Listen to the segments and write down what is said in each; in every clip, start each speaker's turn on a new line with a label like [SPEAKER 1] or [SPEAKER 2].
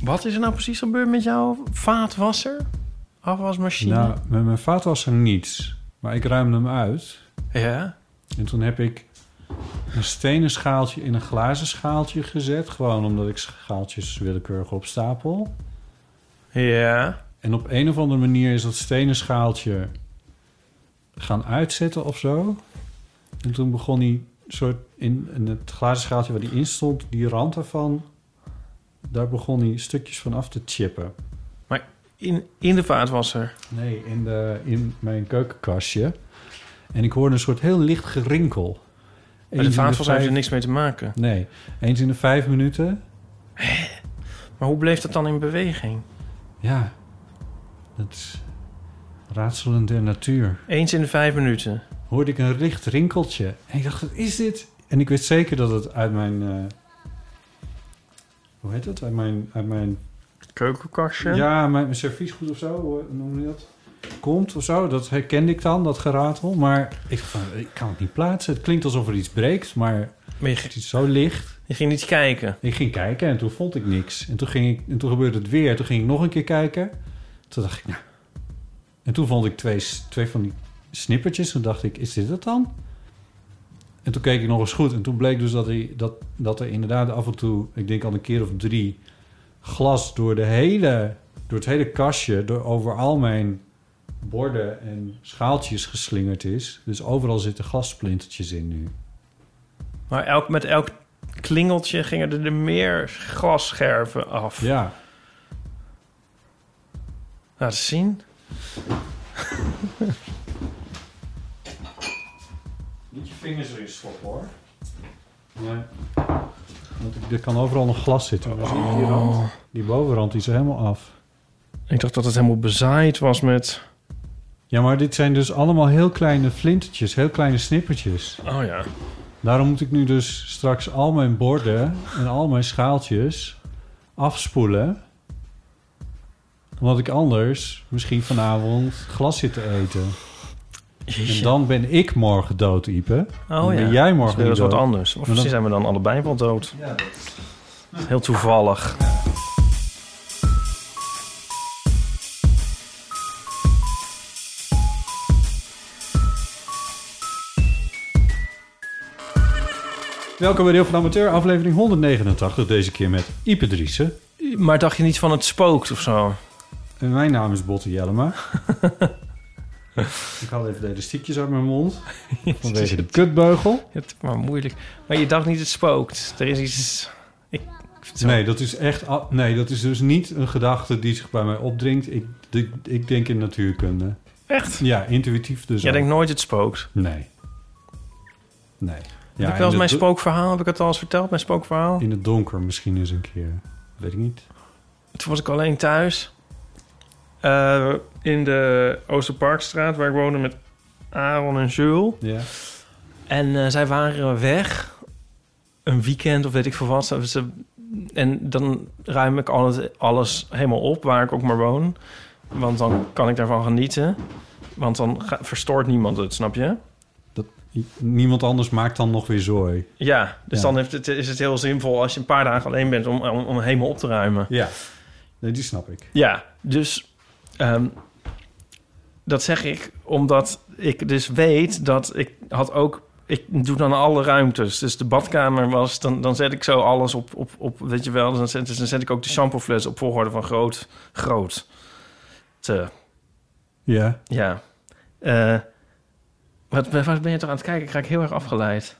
[SPEAKER 1] Wat is er nou precies gebeurd met jouw vaatwasser? Afwasmachine?
[SPEAKER 2] Nou, met mijn vaatwasser niets. Maar ik ruimde hem uit.
[SPEAKER 1] Ja.
[SPEAKER 2] En toen heb ik een stenen schaaltje in een glazen schaaltje gezet. Gewoon omdat ik schaaltjes willekeurig opstapel.
[SPEAKER 1] Ja.
[SPEAKER 2] En op een of andere manier is dat stenen schaaltje gaan uitzetten of zo. En toen begon die soort in, in het glazen schaaltje waar die in stond, die rand daarvan, daar begon hij stukjes van af te chippen.
[SPEAKER 1] Maar in, in de vaatwasser.
[SPEAKER 2] Nee, in, de, in mijn keukenkastje. En ik hoorde een soort heel licht gerinkel.
[SPEAKER 1] Maar de
[SPEAKER 2] Eens in de
[SPEAKER 1] vaatwasser heeft er
[SPEAKER 2] vijf-
[SPEAKER 1] niks mee te maken.
[SPEAKER 2] Nee, eens in de vijf minuten.
[SPEAKER 1] Maar hoe bleef dat dan in beweging?
[SPEAKER 2] Ja, dat is raadselen der natuur.
[SPEAKER 1] Eens in de vijf minuten.
[SPEAKER 2] Hoorde ik een licht rinkeltje. En ik dacht, wat is dit? En ik wist zeker dat het uit mijn... eh, hoe heet het? Uit mijn... Uit mijn
[SPEAKER 1] Keukenkastje?
[SPEAKER 2] ja, mijn, mijn serviesgoed of zo. Hoe noem je dat? Komt of zo. Dat herkende ik dan, dat geratel. Maar ik, dacht van, ik kan het niet plaatsen. Het klinkt alsof er iets breekt, maar
[SPEAKER 1] Maar je,
[SPEAKER 2] het
[SPEAKER 1] g-
[SPEAKER 2] is zo licht.
[SPEAKER 1] je ging niet kijken.
[SPEAKER 2] Ik ging kijken en toen vond ik niks. En toen, ging ik, en toen gebeurde het weer. Toen ging ik nog een keer kijken. Toen dacht ik, nou. En toen vond ik twee, s- twee van die snippertjes. Toen dacht ik, is dit het dan? En toen keek ik nog eens goed. En toen bleek dus dat, hij, dat, dat er inderdaad af en toe, ik denk al een keer of drie, glas door, de hele, door het hele kastje, door over al mijn borden en schaaltjes geslingerd is. Dus overal zitten glassplintertjes in nu.
[SPEAKER 1] Maar elk, met elk klingeltje gingen er de meer glasscherven af.
[SPEAKER 2] Ja.
[SPEAKER 1] Laat eens zien.
[SPEAKER 2] Niet je vingers erin stoppen hoor. Nee. Want er kan overal nog glas zitten.
[SPEAKER 1] Oh.
[SPEAKER 2] Maar zie je die rand? Die bovenrand die is er helemaal af.
[SPEAKER 1] Ik dacht dat het helemaal bezaaid was met...
[SPEAKER 2] Ja, maar dit zijn dus allemaal heel kleine flintertjes, heel kleine snippertjes.
[SPEAKER 1] Oh ja.
[SPEAKER 2] Daarom moet ik nu dus straks al mijn borden en al mijn schaaltjes afspoelen. Omdat ik anders misschien vanavond glas zit te eten. En dan ben ik morgen dood, Ipe.
[SPEAKER 1] Oh
[SPEAKER 2] dan
[SPEAKER 1] ja.
[SPEAKER 2] ben jij morgen
[SPEAKER 1] dat is weer
[SPEAKER 2] niet
[SPEAKER 1] eens wat
[SPEAKER 2] dood.
[SPEAKER 1] anders. Of
[SPEAKER 2] Maar
[SPEAKER 1] misschien
[SPEAKER 2] dan-
[SPEAKER 1] zijn we dan allebei wel dood. Heel toevallig.
[SPEAKER 2] Welkom bij Deel van de Amateur, aflevering 189. Deze keer met Ipe Driessen.
[SPEAKER 1] Maar dacht je niet van het spookt of zo?
[SPEAKER 2] En mijn naam is Botte Jellema. ik haal even de elastiekjes uit mijn mond. Vanwege de kutbeugel.
[SPEAKER 1] Het maar moeilijk. Maar je dacht niet het spookt. Er is iets... Ik, zo.
[SPEAKER 2] Nee, dat is echt... a- Nee, dat is dus niet een gedachte die zich bij mij opdringt. Ik, ik, ik denk in natuurkunde.
[SPEAKER 1] Echt?
[SPEAKER 2] Ja, intuïtief dus
[SPEAKER 1] Jij
[SPEAKER 2] ook.
[SPEAKER 1] denkt nooit het spookt.
[SPEAKER 2] Nee. Nee. Ja,
[SPEAKER 1] heb ik
[SPEAKER 2] in
[SPEAKER 1] wel eens
[SPEAKER 2] het
[SPEAKER 1] mijn
[SPEAKER 2] do-
[SPEAKER 1] spookverhaal? Heb ik het al eens verteld, mijn spookverhaal?
[SPEAKER 2] In het donker misschien eens een keer. Weet ik niet.
[SPEAKER 1] Toen was ik alleen thuis. Eh, in de Oosterparkstraat, waar ik woonde met Aaron en Jules.
[SPEAKER 2] Ja.
[SPEAKER 1] En eh, zij waren weg. Een weekend of weet ik veel wat. Ze- ze- En dan ruim ik alles, alles helemaal op waar ik ook maar woon. Want dan kan ik daarvan genieten. Want dan ga- verstoort niemand het, snap je?
[SPEAKER 2] I- Niemand anders maakt dan nog weer zooi.
[SPEAKER 1] Ja, dus
[SPEAKER 2] Ja.
[SPEAKER 1] dan heeft het, is het heel zinvol als je een paar dagen alleen bent om, om, om helemaal op te ruimen.
[SPEAKER 2] Ja. Nee, die snap ik.
[SPEAKER 1] Ja, dus ehm, dat zeg ik omdat ik dus weet dat ik had ook... Ik doe dan alle ruimtes. Dus de badkamer was... Dan, dan zet ik zo alles op, op, op weet je wel. Dan zet, dus dan zet ik ook die shampoofles op volgorde van groot, groot. Te,
[SPEAKER 2] Ja.
[SPEAKER 1] ja. Eh, wat, wat ben je toch aan het kijken? Ik raak heel erg afgeleid.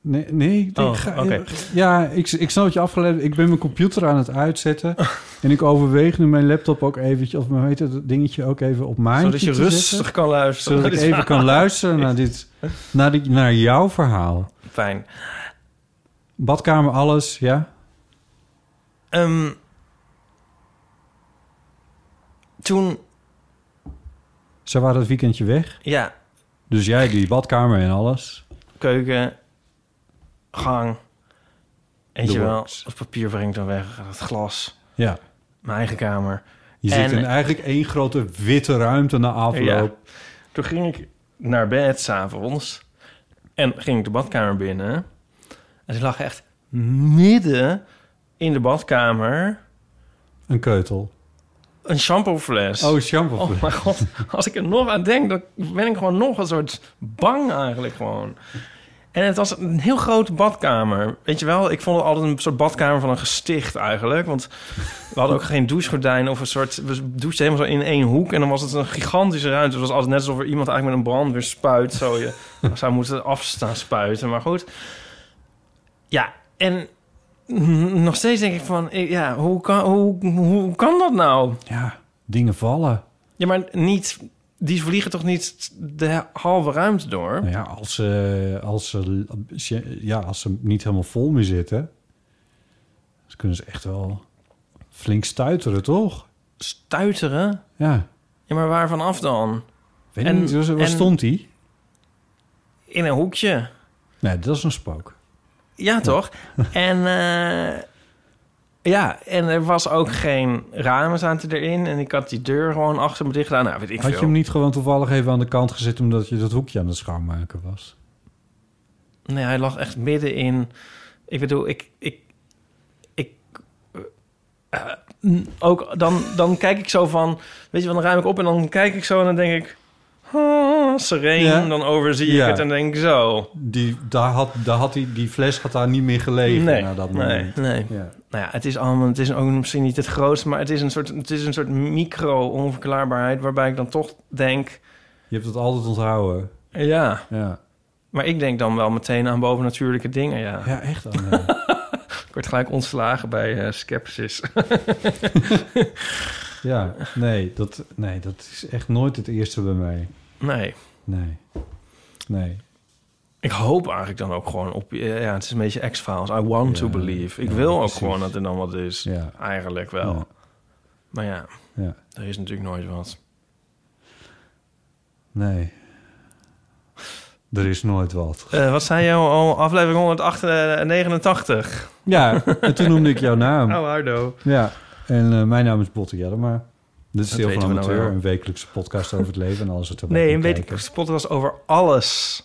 [SPEAKER 2] Nee, nee.
[SPEAKER 1] Oh,
[SPEAKER 2] ik ga-
[SPEAKER 1] oké.
[SPEAKER 2] Ja, ik, ik snap wat je afgeleid. Ik ben mijn computer aan het uitzetten. en ik overweeg nu mijn laptop ook eventje... of mijn, weet het, dat dingetje ook even op mijn
[SPEAKER 1] Zodat je rustig kan luisteren.
[SPEAKER 2] Zodat ik
[SPEAKER 1] Dit is
[SPEAKER 2] even kan luisteren naar, dit, naar, die, naar jouw verhaal.
[SPEAKER 1] Fijn.
[SPEAKER 2] Badkamer, alles, ja?
[SPEAKER 1] Ehm, toen,
[SPEAKER 2] Ze waren dat weekendje weg.
[SPEAKER 1] ja,
[SPEAKER 2] Dus jij die badkamer en alles.
[SPEAKER 1] keuken, gang, weet
[SPEAKER 2] The
[SPEAKER 1] je wel,
[SPEAKER 2] works.
[SPEAKER 1] het papier brengt dan weg, het glas,
[SPEAKER 2] Ja.
[SPEAKER 1] mijn eigen kamer.
[SPEAKER 2] Je
[SPEAKER 1] En-
[SPEAKER 2] zit in eigenlijk één grote witte ruimte na afloop.
[SPEAKER 1] Toen ging ik naar bed s'avonds en ging ik de badkamer binnen. En ze lag echt midden in de badkamer
[SPEAKER 2] Een keutel.
[SPEAKER 1] een shampoofles.
[SPEAKER 2] Oh, shampoo.
[SPEAKER 1] Oh mijn god, als ik er nog aan denk, dan ben ik gewoon nog een soort bang eigenlijk gewoon. En het was een heel grote badkamer. Weet je wel, ik vond het altijd een soort badkamer van een gesticht eigenlijk. Want we hadden ook geen douchegordijn of een soort... We douchten helemaal zo in één hoek en dan was het een gigantische ruimte. Het was altijd net alsof er iemand eigenlijk met een brandweer spuit. Zo je zou moeten afstaan spuiten, maar goed. Ja, en mm, nog steeds denk ik van... eh, Ja, hoe kan, hoe, hoe kan dat nou?
[SPEAKER 2] Ja, dingen vallen.
[SPEAKER 1] Ja, maar niet... Die vliegen toch niet de halve ruimte door?
[SPEAKER 2] Nou ja, als ze, als ze, ja, als ze niet helemaal vol meer zitten... dan kunnen ze echt wel flink stuiteren, toch?
[SPEAKER 1] Stuiteren?
[SPEAKER 2] Ja.
[SPEAKER 1] Ja, maar waar vanaf dan?
[SPEAKER 2] Weet
[SPEAKER 1] En-
[SPEAKER 2] niet, dus waar
[SPEAKER 1] en-
[SPEAKER 2] stond die?
[SPEAKER 1] In een hoekje.
[SPEAKER 2] Nee, dat is een spook.
[SPEAKER 1] Ja, toch? en eh, ja, en er was ook geen ramen zaten erin. En ik had die deur gewoon achter me dicht gedaan. Nou, weet ik
[SPEAKER 2] Had je
[SPEAKER 1] veel.
[SPEAKER 2] hem niet gewoon toevallig even aan de kant gezet... omdat je dat hoekje aan het schoonmaken was?
[SPEAKER 1] Nee, hij lag echt midden in... Ik bedoel, ik... ik, ik eh, mm, ook dan, dan kijk ik zo van... Weet je, wel, dan ruim ik op en dan kijk ik zo en dan denk ik... ah, sereen,
[SPEAKER 2] Ja.
[SPEAKER 1] dan overzie ik
[SPEAKER 2] Ja.
[SPEAKER 1] het en denk ik zo.
[SPEAKER 2] Die, daar had, daar had die, die fles had daar niet meer gelegen
[SPEAKER 1] nee,
[SPEAKER 2] na dat
[SPEAKER 1] nee,
[SPEAKER 2] moment.
[SPEAKER 1] nee.
[SPEAKER 2] Ja.
[SPEAKER 1] Nou ja, het is allemaal... Het is ook misschien niet het grootste, maar het is een soort, het is een soort micro-onverklaarbaarheid... waarbij ik dan toch denk...
[SPEAKER 2] Je hebt het altijd onthouden.
[SPEAKER 1] Ja,
[SPEAKER 2] Ja,
[SPEAKER 1] maar ik denk dan wel meteen aan bovennatuurlijke dingen, ja.
[SPEAKER 2] ja echt. Anne.
[SPEAKER 1] Ik word gelijk ontslagen bij eh Skepsis.
[SPEAKER 2] ja, nee dat, nee, dat is echt nooit het eerste bij mij.
[SPEAKER 1] nee.
[SPEAKER 2] Nee. Nee.
[SPEAKER 1] Ik hoop eigenlijk dan ook gewoon op... eh, Ja, het is een beetje X-Files. I want
[SPEAKER 2] Ja,
[SPEAKER 1] to believe. Ik
[SPEAKER 2] ja,
[SPEAKER 1] wil ook
[SPEAKER 2] precies.
[SPEAKER 1] gewoon dat er dan wat is.
[SPEAKER 2] Ja.
[SPEAKER 1] Eigenlijk wel.
[SPEAKER 2] Ja.
[SPEAKER 1] Maar ja,
[SPEAKER 2] Ja.
[SPEAKER 1] er is natuurlijk nooit wat.
[SPEAKER 2] Nee. Er is nooit wat.
[SPEAKER 1] Eh, wat zei jou al? Aflevering 189.
[SPEAKER 2] Ja, en toen noemde ik jouw naam.
[SPEAKER 1] Oh, Hardo.
[SPEAKER 2] Ja, en eh, mijn naam is Botte Jellema. Dit is
[SPEAKER 1] Dat
[SPEAKER 2] Deel
[SPEAKER 1] weten
[SPEAKER 2] van
[SPEAKER 1] we nou
[SPEAKER 2] Amateur,
[SPEAKER 1] wel.
[SPEAKER 2] een wekelijkse podcast over het leven en alles wat erbij
[SPEAKER 1] Nee, een
[SPEAKER 2] komt
[SPEAKER 1] weet ik.
[SPEAKER 2] kijken.
[SPEAKER 1] Spot was over alles.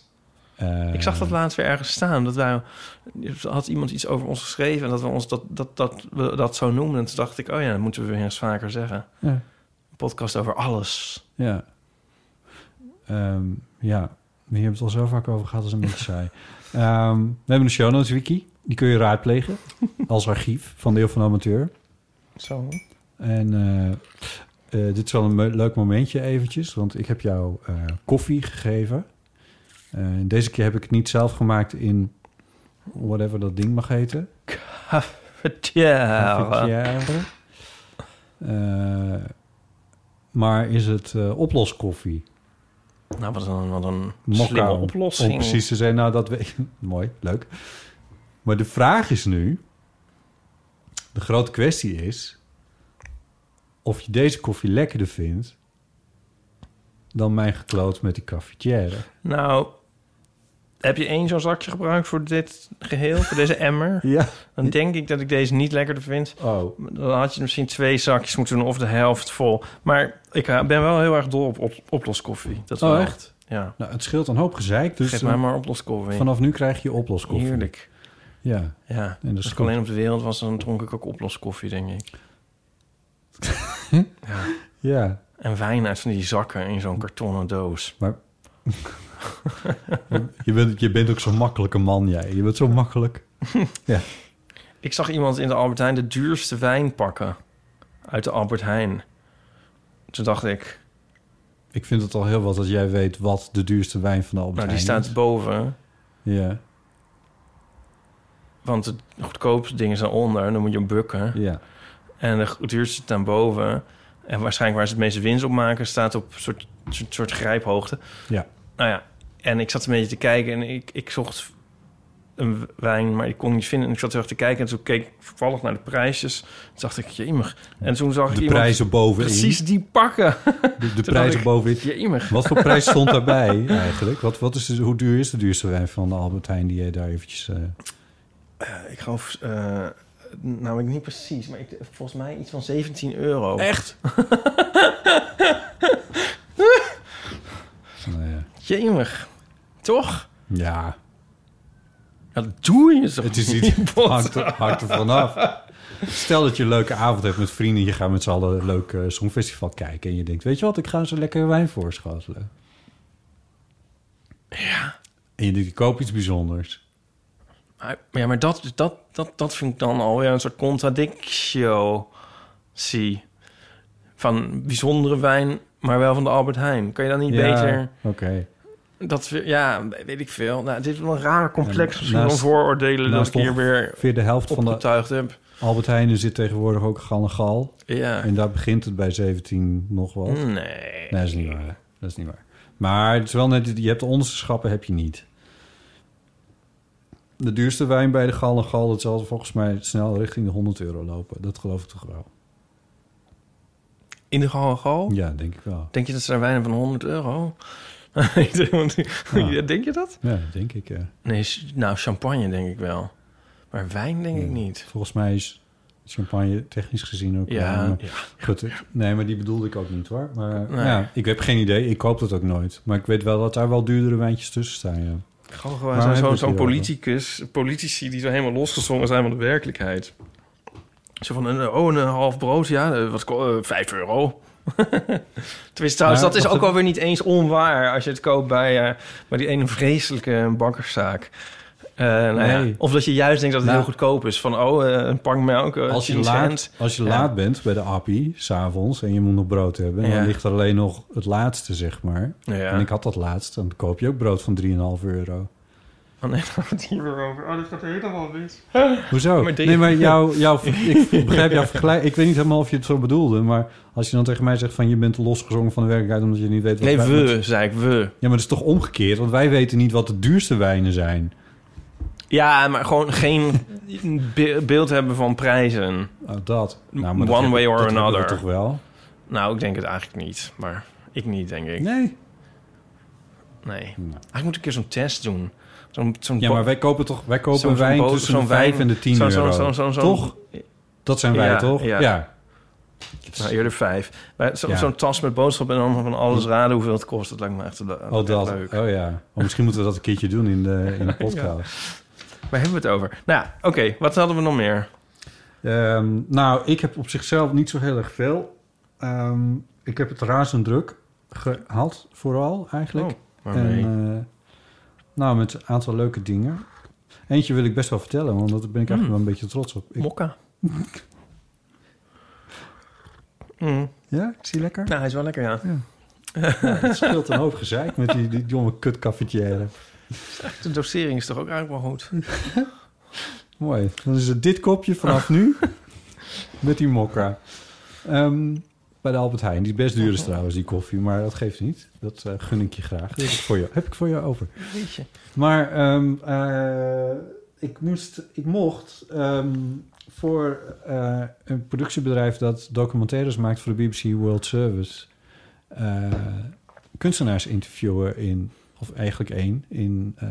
[SPEAKER 2] Eh,
[SPEAKER 1] Ik zag dat laatst weer ergens staan. Dat wij, er had iemand iets over ons geschreven en dat we ons dat, dat, dat, we dat zo noemden. En toen dacht ik, oh ja, dat moeten we weer eens vaker zeggen.
[SPEAKER 2] Ja.
[SPEAKER 1] Een podcast over alles.
[SPEAKER 2] Ja. Ehm, ja, we hebben het al zo vaak over gehad, dat is een beetje saai. Ehm, we hebben een show notes wiki. Die kun je raadplegen als archief van Deel van de Amateur.
[SPEAKER 1] Zo.
[SPEAKER 2] En eh, eh, dit is wel een me- leuk momentje eventjes, want ik heb jou eh, koffie gegeven. Eh, deze keer heb ik het niet zelf gemaakt in whatever dat ding mag heten.
[SPEAKER 1] Ja.
[SPEAKER 2] Cafetière. Eh, maar is het eh, oploskoffie?
[SPEAKER 1] Nou, wat een, wat een
[SPEAKER 2] mokka
[SPEAKER 1] slimme
[SPEAKER 2] om-
[SPEAKER 1] oplossing.
[SPEAKER 2] Om precies te zijn, nou dat weet Mooi, leuk. Maar de vraag is nu... De grote kwestie is... of je deze koffie lekkerder vindt... dan mijn gekloot met die cafetière.
[SPEAKER 1] Nou, heb je één zo'n zakje gebruikt voor dit geheel, voor deze emmer?
[SPEAKER 2] Ja.
[SPEAKER 1] Dan denk ik dat ik deze niet lekkerder vind.
[SPEAKER 2] Oh,
[SPEAKER 1] Dan had je misschien twee zakjes moeten doen of de helft vol. Maar ik eh, ben wel heel erg dol op, op oploskoffie. Dat
[SPEAKER 2] Oh,
[SPEAKER 1] wel.
[SPEAKER 2] echt?
[SPEAKER 1] Ja.
[SPEAKER 2] nou het scheelt een hoop gezeik. Dus
[SPEAKER 1] Geef
[SPEAKER 2] eh,
[SPEAKER 1] mij maar oploskoffie.
[SPEAKER 2] vanaf nu krijg je oploskoffie.
[SPEAKER 1] Heerlijk.
[SPEAKER 2] Ja,
[SPEAKER 1] Ja.
[SPEAKER 2] en dat
[SPEAKER 1] Als
[SPEAKER 2] is
[SPEAKER 1] ik
[SPEAKER 2] goed.
[SPEAKER 1] alleen op de wereld was, dan dronk ik ook oploskoffie, denk ik. ja.
[SPEAKER 2] Ja,
[SPEAKER 1] En wijn uit van die zakken in zo'n kartonnen doos.
[SPEAKER 2] maar... je, bent, je bent ook zo'n makkelijke man, jij. Je bent zo makkelijk. ja.
[SPEAKER 1] Ik zag iemand in de Albert Heijn de duurste wijn pakken. Uit de Albert Heijn. Toen dacht ik,
[SPEAKER 2] Ik vind het al heel wat dat jij weet wat de duurste wijn van de Albert
[SPEAKER 1] nou die
[SPEAKER 2] Heijn
[SPEAKER 1] staat
[SPEAKER 2] is.
[SPEAKER 1] boven.
[SPEAKER 2] Ja.
[SPEAKER 1] Want de goedkoopste dingen zijn onder, en dan moet je bukken.
[SPEAKER 2] Ja.
[SPEAKER 1] En de go- duurste zit aan boven. En waarschijnlijk waar ze het meeste winst op maken, staat op soort, soort, soort grijphoogte.
[SPEAKER 2] Ja.
[SPEAKER 1] Nou ja, en ik zat een beetje te kijken en ik, ik zocht een wijn, maar ik kon niet vinden. En ik zat heel erg te kijken en toen keek ik toevallig naar de prijsjes. Toen dacht ik, jemig. En toen zag ik
[SPEAKER 2] De
[SPEAKER 1] iemand
[SPEAKER 2] prijzen bovenin.
[SPEAKER 1] precies die pakken.
[SPEAKER 2] De, de prijzen
[SPEAKER 1] ik-
[SPEAKER 2] bovenin.
[SPEAKER 1] Jemig.
[SPEAKER 2] Wat voor prijs stond daarbij eigenlijk? Wat, wat is de- hoe duur is de duurste wijn van de Albert Heijn die je daar eventjes... eh,
[SPEAKER 1] Ik geloof, eh nou ik niet precies, maar ik, volgens mij iets van 17 euro.
[SPEAKER 2] Echt? nou ja.
[SPEAKER 1] Jemig. Toch?
[SPEAKER 2] ja,
[SPEAKER 1] Ja, dat doe je zo.
[SPEAKER 2] het is iets hangt, er- hangt er vanaf. Stel dat je een leuke avond hebt met vrienden... je gaat met z'n allen een leuk eh, songfestival kijken... en je denkt, weet je wat, ik ga ze lekker wijn voorschotelen. Ja. En je denkt, ik koop iets bijzonders.
[SPEAKER 1] Maar, ja, maar dat, dat, dat, dat vind ik dan alweer een soort contradictie. Van bijzondere wijn, maar wel van de Albert Heijn. Kan je dan niet
[SPEAKER 2] Ja,
[SPEAKER 1] beter...
[SPEAKER 2] Oké.
[SPEAKER 1] Dat, we- ja, weet ik veel. Nou, dit is wel een raar complex
[SPEAKER 2] Ja,
[SPEAKER 1] misschien
[SPEAKER 2] naast-
[SPEAKER 1] van vooroordelen... dat
[SPEAKER 2] naast
[SPEAKER 1] ik hier weer
[SPEAKER 2] Ongeveer de helft van de
[SPEAKER 1] opgetuigd heb.
[SPEAKER 2] Albert Heijnen zit tegenwoordig ook Gallengal.
[SPEAKER 1] Ja. Mm.
[SPEAKER 2] En daar begint het bij 17 nog wat.
[SPEAKER 1] Nee.
[SPEAKER 2] Nee, dat is niet waar. Dat is niet waar. Maar het is wel net, je hebt de onderschappen heb je niet. De duurste wijn bij de Gallengal, dat zal volgens mij snel richting de 100 euro lopen. Dat geloof ik toch wel.
[SPEAKER 1] In de gal gal?
[SPEAKER 2] Ja, denk ik wel.
[SPEAKER 1] Denk je dat ze daar wijnen van 100 euro... Want- Ja, Denk je dat?
[SPEAKER 2] Ja, denk ik. Ja.
[SPEAKER 1] Nee, s- nou, champagne denk ik wel. Maar wijn denk ik niet.
[SPEAKER 2] Volgens mij is champagne technisch gezien ook...
[SPEAKER 1] Ja,
[SPEAKER 2] eh,
[SPEAKER 1] ja.
[SPEAKER 2] Goed, ik- nee, maar die bedoelde ik ook niet hoor. Maar
[SPEAKER 1] Nee.
[SPEAKER 2] ja, ik heb geen idee. Ik koop dat ook nooit. Maar ik weet wel dat daar wel duurdere wijntjes tussen staan. Ja.
[SPEAKER 1] Gewoon
[SPEAKER 2] Waarom
[SPEAKER 1] zo'n
[SPEAKER 2] hebben we
[SPEAKER 1] zo'n
[SPEAKER 2] het hier
[SPEAKER 1] politicus, politici die zo helemaal losgezongen zijn van de werkelijkheid. Zo van, een, oh, een half brood, ja, eh, wat, ko- eh, vijf euro. Tenminste, trouwens,
[SPEAKER 2] Maar
[SPEAKER 1] dat is
[SPEAKER 2] wat
[SPEAKER 1] ook
[SPEAKER 2] de-
[SPEAKER 1] alweer niet eens onwaar als je het koopt bij, eh, bij die ene vreselijke bakkerszaak. Eh, nou ja,
[SPEAKER 2] Nee.
[SPEAKER 1] Of dat je juist denkt dat het
[SPEAKER 2] Nou.
[SPEAKER 1] heel goedkoop is. Van, oh, eh, een pak melk, eh,
[SPEAKER 2] als je,
[SPEAKER 1] 10
[SPEAKER 2] laat,
[SPEAKER 1] cent.
[SPEAKER 2] als je
[SPEAKER 1] Ja.
[SPEAKER 2] laat bent bij de appie, s'avonds, en je moet nog brood hebben...
[SPEAKER 1] Ja.
[SPEAKER 2] dan ligt er alleen nog het laatste, zeg maar.
[SPEAKER 1] Ja.
[SPEAKER 2] En ik had dat laatste, dan koop je ook brood van 3,5 euro.
[SPEAKER 1] Oh, nee, daar gaat het hier weer over. Oh, dit gaat helemaal mis.
[SPEAKER 2] Hoezo?
[SPEAKER 1] Maar die-
[SPEAKER 2] Nee, maar jou, jou, ik begrijp jouw vergelijk. Ik weet niet helemaal of je het zo bedoelde, maar als je dan tegen mij zegt van... je bent losgezongen van de werkelijkheid omdat je niet weet... Wat
[SPEAKER 1] Nee,
[SPEAKER 2] wij-
[SPEAKER 1] we, zei ik, we.
[SPEAKER 2] Ja, maar dat is toch omgekeerd? Want wij weten niet wat de duurste wijnen zijn.
[SPEAKER 1] Ja, maar gewoon geen be- beeld hebben van prijzen.
[SPEAKER 2] Oh, dat. Nou, maar dat
[SPEAKER 1] One
[SPEAKER 2] heb-
[SPEAKER 1] way or
[SPEAKER 2] dat hebben we
[SPEAKER 1] another.
[SPEAKER 2] toch wel?
[SPEAKER 1] Nou, ik denk het eigenlijk niet. Maar ik niet, denk ik.
[SPEAKER 2] Nee.
[SPEAKER 1] Nee. Eigenlijk moet ik een keer zo'n test doen. Zo'n zo'n
[SPEAKER 2] Ja,
[SPEAKER 1] bo-
[SPEAKER 2] maar wij kopen toch wij kopen
[SPEAKER 1] zo'n- zo'n
[SPEAKER 2] wijn
[SPEAKER 1] bo-
[SPEAKER 2] tussen
[SPEAKER 1] zo'n
[SPEAKER 2] de 5
[SPEAKER 1] wijn-
[SPEAKER 2] en de 10
[SPEAKER 1] zo'n- zo'n-
[SPEAKER 2] euro.
[SPEAKER 1] zo'n- zo'n- zo'n-
[SPEAKER 2] toch? Dat zijn wij,
[SPEAKER 1] Ja,
[SPEAKER 2] toch?
[SPEAKER 1] ja.
[SPEAKER 2] Ja.
[SPEAKER 1] Nou, eerder vijf. Maar zo- Zo'n
[SPEAKER 2] Ja.
[SPEAKER 1] tas met boodschappen en dan van alles raden hoeveel het kost. Dat lijkt me echt, le-
[SPEAKER 2] Oh, dat.
[SPEAKER 1] leuk.
[SPEAKER 2] Oh, ja. Oh, misschien moeten we dat een keertje doen in de, in de podcast.
[SPEAKER 1] Waar hebben we het over? Nou, oké. wat hadden we nog meer?
[SPEAKER 2] Ehm, nou, ik heb op zichzelf niet zo heel erg veel. Ehm, ik heb het razend druk gehad, vooral eigenlijk.
[SPEAKER 1] Oh, waarmee?
[SPEAKER 2] En, eh, nou, met een aantal leuke dingen. Eentje wil ik best wel vertellen, want
[SPEAKER 1] Hmm.
[SPEAKER 2] daar ben ik eigenlijk wel een beetje trots op. Ik-
[SPEAKER 1] Mokka. Mm.
[SPEAKER 2] ja, ik zie lekker.
[SPEAKER 1] Nou, hij is wel lekker, ja.
[SPEAKER 2] Het scheelt een hoop gezeik met die, die jonge kutcafetière.
[SPEAKER 1] De dosering is toch ook eigenlijk wel goed?
[SPEAKER 2] Mooi. Dan is het dit kopje vanaf nu met die mokka. Ehm, bij de Albert Heijn. Die is best duur is trouwens, die koffie. Maar dat geeft niet. Dat eh, gun ik je graag. Dat heb ik voor je, heb ik voor je over.
[SPEAKER 1] Weet je.
[SPEAKER 2] Maar ehm, eh, ik, moest, ik mocht ehm, voor eh, een productiebedrijf... dat documentaires maakt voor de BBC World Service... eh, kunstenaars interviewen in... of eigenlijk één in... eh,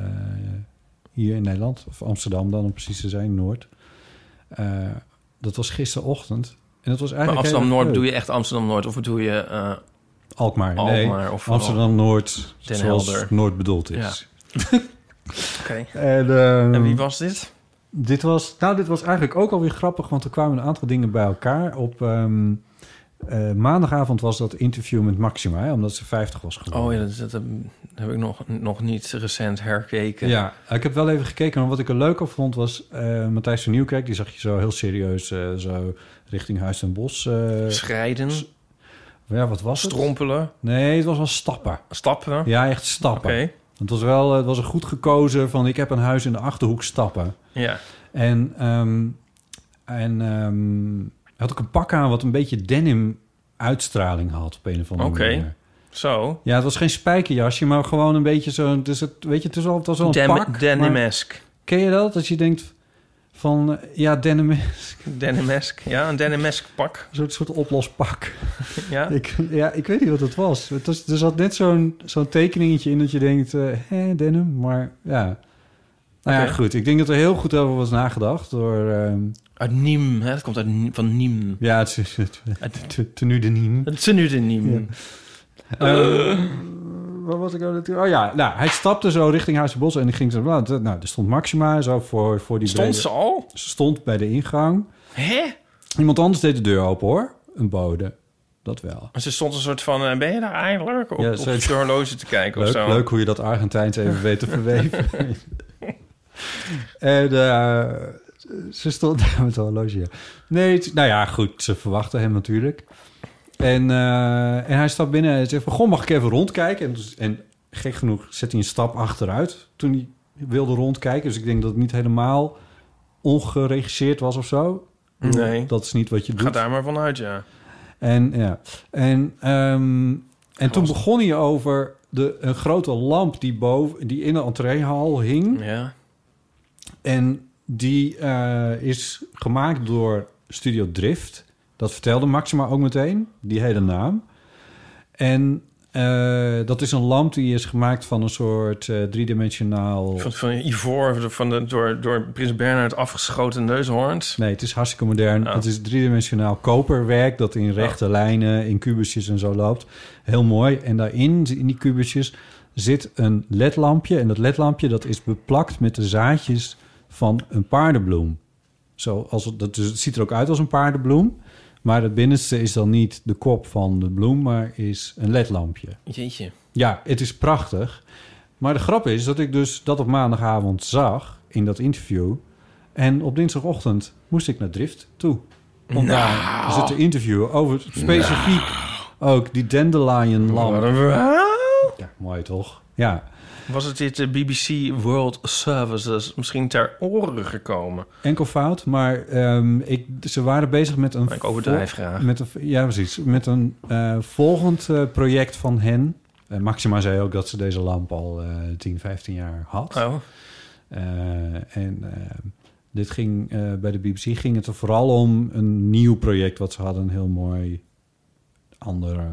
[SPEAKER 2] hier in Nederland, of Amsterdam dan om precies te zijn, Noord. Eh, dat was gisterochtend. En dat was
[SPEAKER 1] Maar
[SPEAKER 2] eigenlijk.
[SPEAKER 1] Amsterdam-Noord doe je echt Amsterdam-Noord? Of doe je... eh,
[SPEAKER 2] Alkmaar. Nee,
[SPEAKER 1] Alkmaar of-
[SPEAKER 2] Amsterdam-Noord,
[SPEAKER 1] Den
[SPEAKER 2] zoals
[SPEAKER 1] Helder.
[SPEAKER 2] Noord bedoeld is.
[SPEAKER 1] Oké.
[SPEAKER 2] En, ehm,
[SPEAKER 1] En wie was dit?
[SPEAKER 2] dit was, nou, dit was eigenlijk ook alweer grappig, want er kwamen een aantal dingen bij elkaar. Op ehm, eh, maandagavond was dat interview met Maxima, hè, omdat ze 50 was geworden.
[SPEAKER 1] Oh ja, dat, dat heb ik nog, nog niet recent herkeken.
[SPEAKER 2] Ja, ik heb wel even gekeken. Maar wat ik er leuk op vond was eh, Matthijs van Nieuwkerk. Die zag je zo heel serieus eh, zo richting Huis en Bos. eh,
[SPEAKER 1] Schrijden,
[SPEAKER 2] ja, wat was het?
[SPEAKER 1] strompelen,
[SPEAKER 2] Nee, het was wel stappen.
[SPEAKER 1] stappen. Oké.
[SPEAKER 2] Ja, echt stappen. Het was wel eh, het was een goed gekozen van ik heb een huis in de Achterhoek stappen.
[SPEAKER 1] Ja.
[SPEAKER 2] En, ehm, en ehm, hij had ook een pak aan wat een beetje denim uitstraling had op een of andere
[SPEAKER 1] Oké.
[SPEAKER 2] manier.
[SPEAKER 1] Zo.
[SPEAKER 2] Ja, het was geen spijkerjasje, maar gewoon een beetje zo'n... Dus het, weet je, het is al, het was al een
[SPEAKER 1] Dem-
[SPEAKER 2] pak. maar-
[SPEAKER 1] Denimesk.
[SPEAKER 2] Ken je dat? Dat je denkt van, eh, ja, denim is
[SPEAKER 1] Denimesk. Ja, een denimesk pak.
[SPEAKER 2] een soort, soort oplospak.
[SPEAKER 1] Ja.
[SPEAKER 2] Ik, ja, ik weet niet wat het was. Het was er zat net zo'n zo'n tekeningetje in dat je denkt, eh hè, denim, maar ja. Nou ja,
[SPEAKER 1] Oké.
[SPEAKER 2] goed. Ik denk dat er heel goed over was nagedacht door... ehm,
[SPEAKER 1] Uit Niem. Hè? Dat komt uit, Niem- van Niem.
[SPEAKER 2] ja, het is het- het- het- tenue de niem.
[SPEAKER 1] Het is nu de Niem.
[SPEAKER 2] Eh, Waar was ik nou natuurlijk? Oh ja, nou, hij stapte zo richting Huizenbos en ging zo... Nou, d- nou, er stond Maxima zo voor, voor die...
[SPEAKER 1] Stond
[SPEAKER 2] brede-
[SPEAKER 1] ze al?
[SPEAKER 2] ze stond bij de ingang.
[SPEAKER 1] Hè?
[SPEAKER 2] Iemand anders deed de deur open, hoor. Een bode. Dat wel.
[SPEAKER 1] Maar ze stond een soort van... eh, ben je daar eigenlijk? Op,
[SPEAKER 2] Ja,
[SPEAKER 1] op
[SPEAKER 2] ze-
[SPEAKER 1] het horloge te kijken of
[SPEAKER 2] Leuk,
[SPEAKER 1] zo.
[SPEAKER 2] leuk hoe je dat Argentijns even weet te verweven. en eh, ze stond daar met een horloge. ja. Nee, het- nou ja, goed. Ze verwachten hem natuurlijk. En, eh, en hij stapt binnen en zegt van... Goh, mag ik even rondkijken? En, dus- en gek genoeg zet hij een stap achteruit toen hij wilde rondkijken. Dus ik denk dat het niet helemaal ongeregisseerd was of zo.
[SPEAKER 1] Nee.
[SPEAKER 2] Dat is niet wat je doet.
[SPEAKER 1] Ga daar maar vanuit, ja.
[SPEAKER 2] En, ja. en, ehm, en toen
[SPEAKER 1] was-
[SPEAKER 2] begon hij over de, een grote lamp die, boven, die in de entreehal hing.
[SPEAKER 1] Ja.
[SPEAKER 2] En die eh, is gemaakt door Studio Drift. Dat vertelde Maxima ook meteen, die hele naam. En eh, dat is een lamp die is gemaakt van een soort eh, driedimensionaal...
[SPEAKER 1] Van, van ivoor, van de, door, door prins Bernhard afgeschoten neushoorns.
[SPEAKER 2] Nee, het is hartstikke modern.
[SPEAKER 1] Oh.
[SPEAKER 2] Het is driedimensionaal koperwerk dat in rechte lijnen, in kubusjes en zo loopt. Heel mooi. En daarin, in die kubusjes, zit een ledlampje. En dat ledlampje dat is beplakt met de zaadjes van een paardenbloem. Zo, als het, dat, dus het ziet er ook uit als een paardenbloem. Maar het binnenste is dan niet de kop van de bloem, maar is een ledlampje.
[SPEAKER 1] Jeetje.
[SPEAKER 2] Ja, het is prachtig. Maar de grap is dat ik dus dat op maandagavond zag in dat interview. En op dinsdagochtend moest ik naar Drift toe. Om daar zit te interviewen over specifiek ook die dandelion
[SPEAKER 1] Wat
[SPEAKER 2] lamp.
[SPEAKER 1] een verhaal.
[SPEAKER 2] Ja, mooi toch? Ja.
[SPEAKER 1] Was het dit eh, de BBC World Services misschien ter oren gekomen?
[SPEAKER 2] Enkel fout, maar ehm, ik, ze waren bezig met een...
[SPEAKER 1] Maar ik overdrijf graag.
[SPEAKER 2] Met een, ja, precies. Met een eh, volgend eh, project van hen. Eh, Maxima zei ook dat ze deze lamp al eh 10, 15 jaar had.
[SPEAKER 1] Oh,
[SPEAKER 2] Eh, en eh, dit ging, eh, bij de BBC ging het er vooral om een nieuw project wat ze hadden. Een heel mooi andere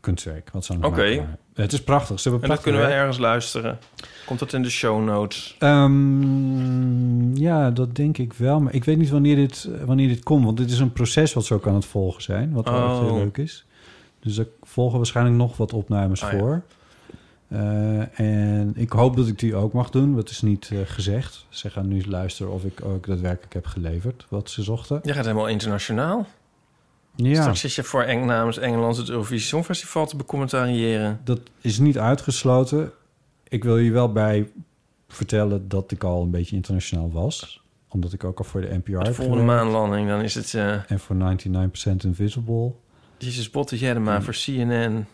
[SPEAKER 2] kunstwerk. Wat ze aan het
[SPEAKER 1] Oké.
[SPEAKER 2] maken waren. Het is prachtig. Ze hebben
[SPEAKER 1] en dat kunnen we
[SPEAKER 2] prachtig
[SPEAKER 1] ergens luisteren. Komt dat in de show notes?
[SPEAKER 2] werk. Ehm, ja, dat denk ik wel. Maar ik weet niet wanneer dit, eh, wanneer dit komt. Want dit is een proces wat ze ook aan het volgen zijn. Wat wel echt heel
[SPEAKER 1] Oh.
[SPEAKER 2] leuk is. Dus er volgen waarschijnlijk nog wat opnames
[SPEAKER 1] Ah, ja.
[SPEAKER 2] voor. Eh, en ik hoop dat ik die ook mag doen. Dat is niet eh, gezegd. Ze gaan nu luisteren of ik ook daadwerkelijk heb geleverd wat ze zochten.
[SPEAKER 1] Je gaat helemaal internationaal.
[SPEAKER 2] Ja,
[SPEAKER 1] Straks zit je voor Eng namens Engeland het Eurovisie Songfestival te becommentariëren.
[SPEAKER 2] dat is niet uitgesloten. Ik wil je wel bij vertellen dat ik al een beetje internationaal was. Omdat ik ook al voor de NPR
[SPEAKER 1] De
[SPEAKER 2] heb
[SPEAKER 1] volgende
[SPEAKER 2] gewerkt.
[SPEAKER 1] maanlanding, dan is het eh
[SPEAKER 2] En voor 99% Invisible.
[SPEAKER 1] Jesus Botte Jedema voor CNN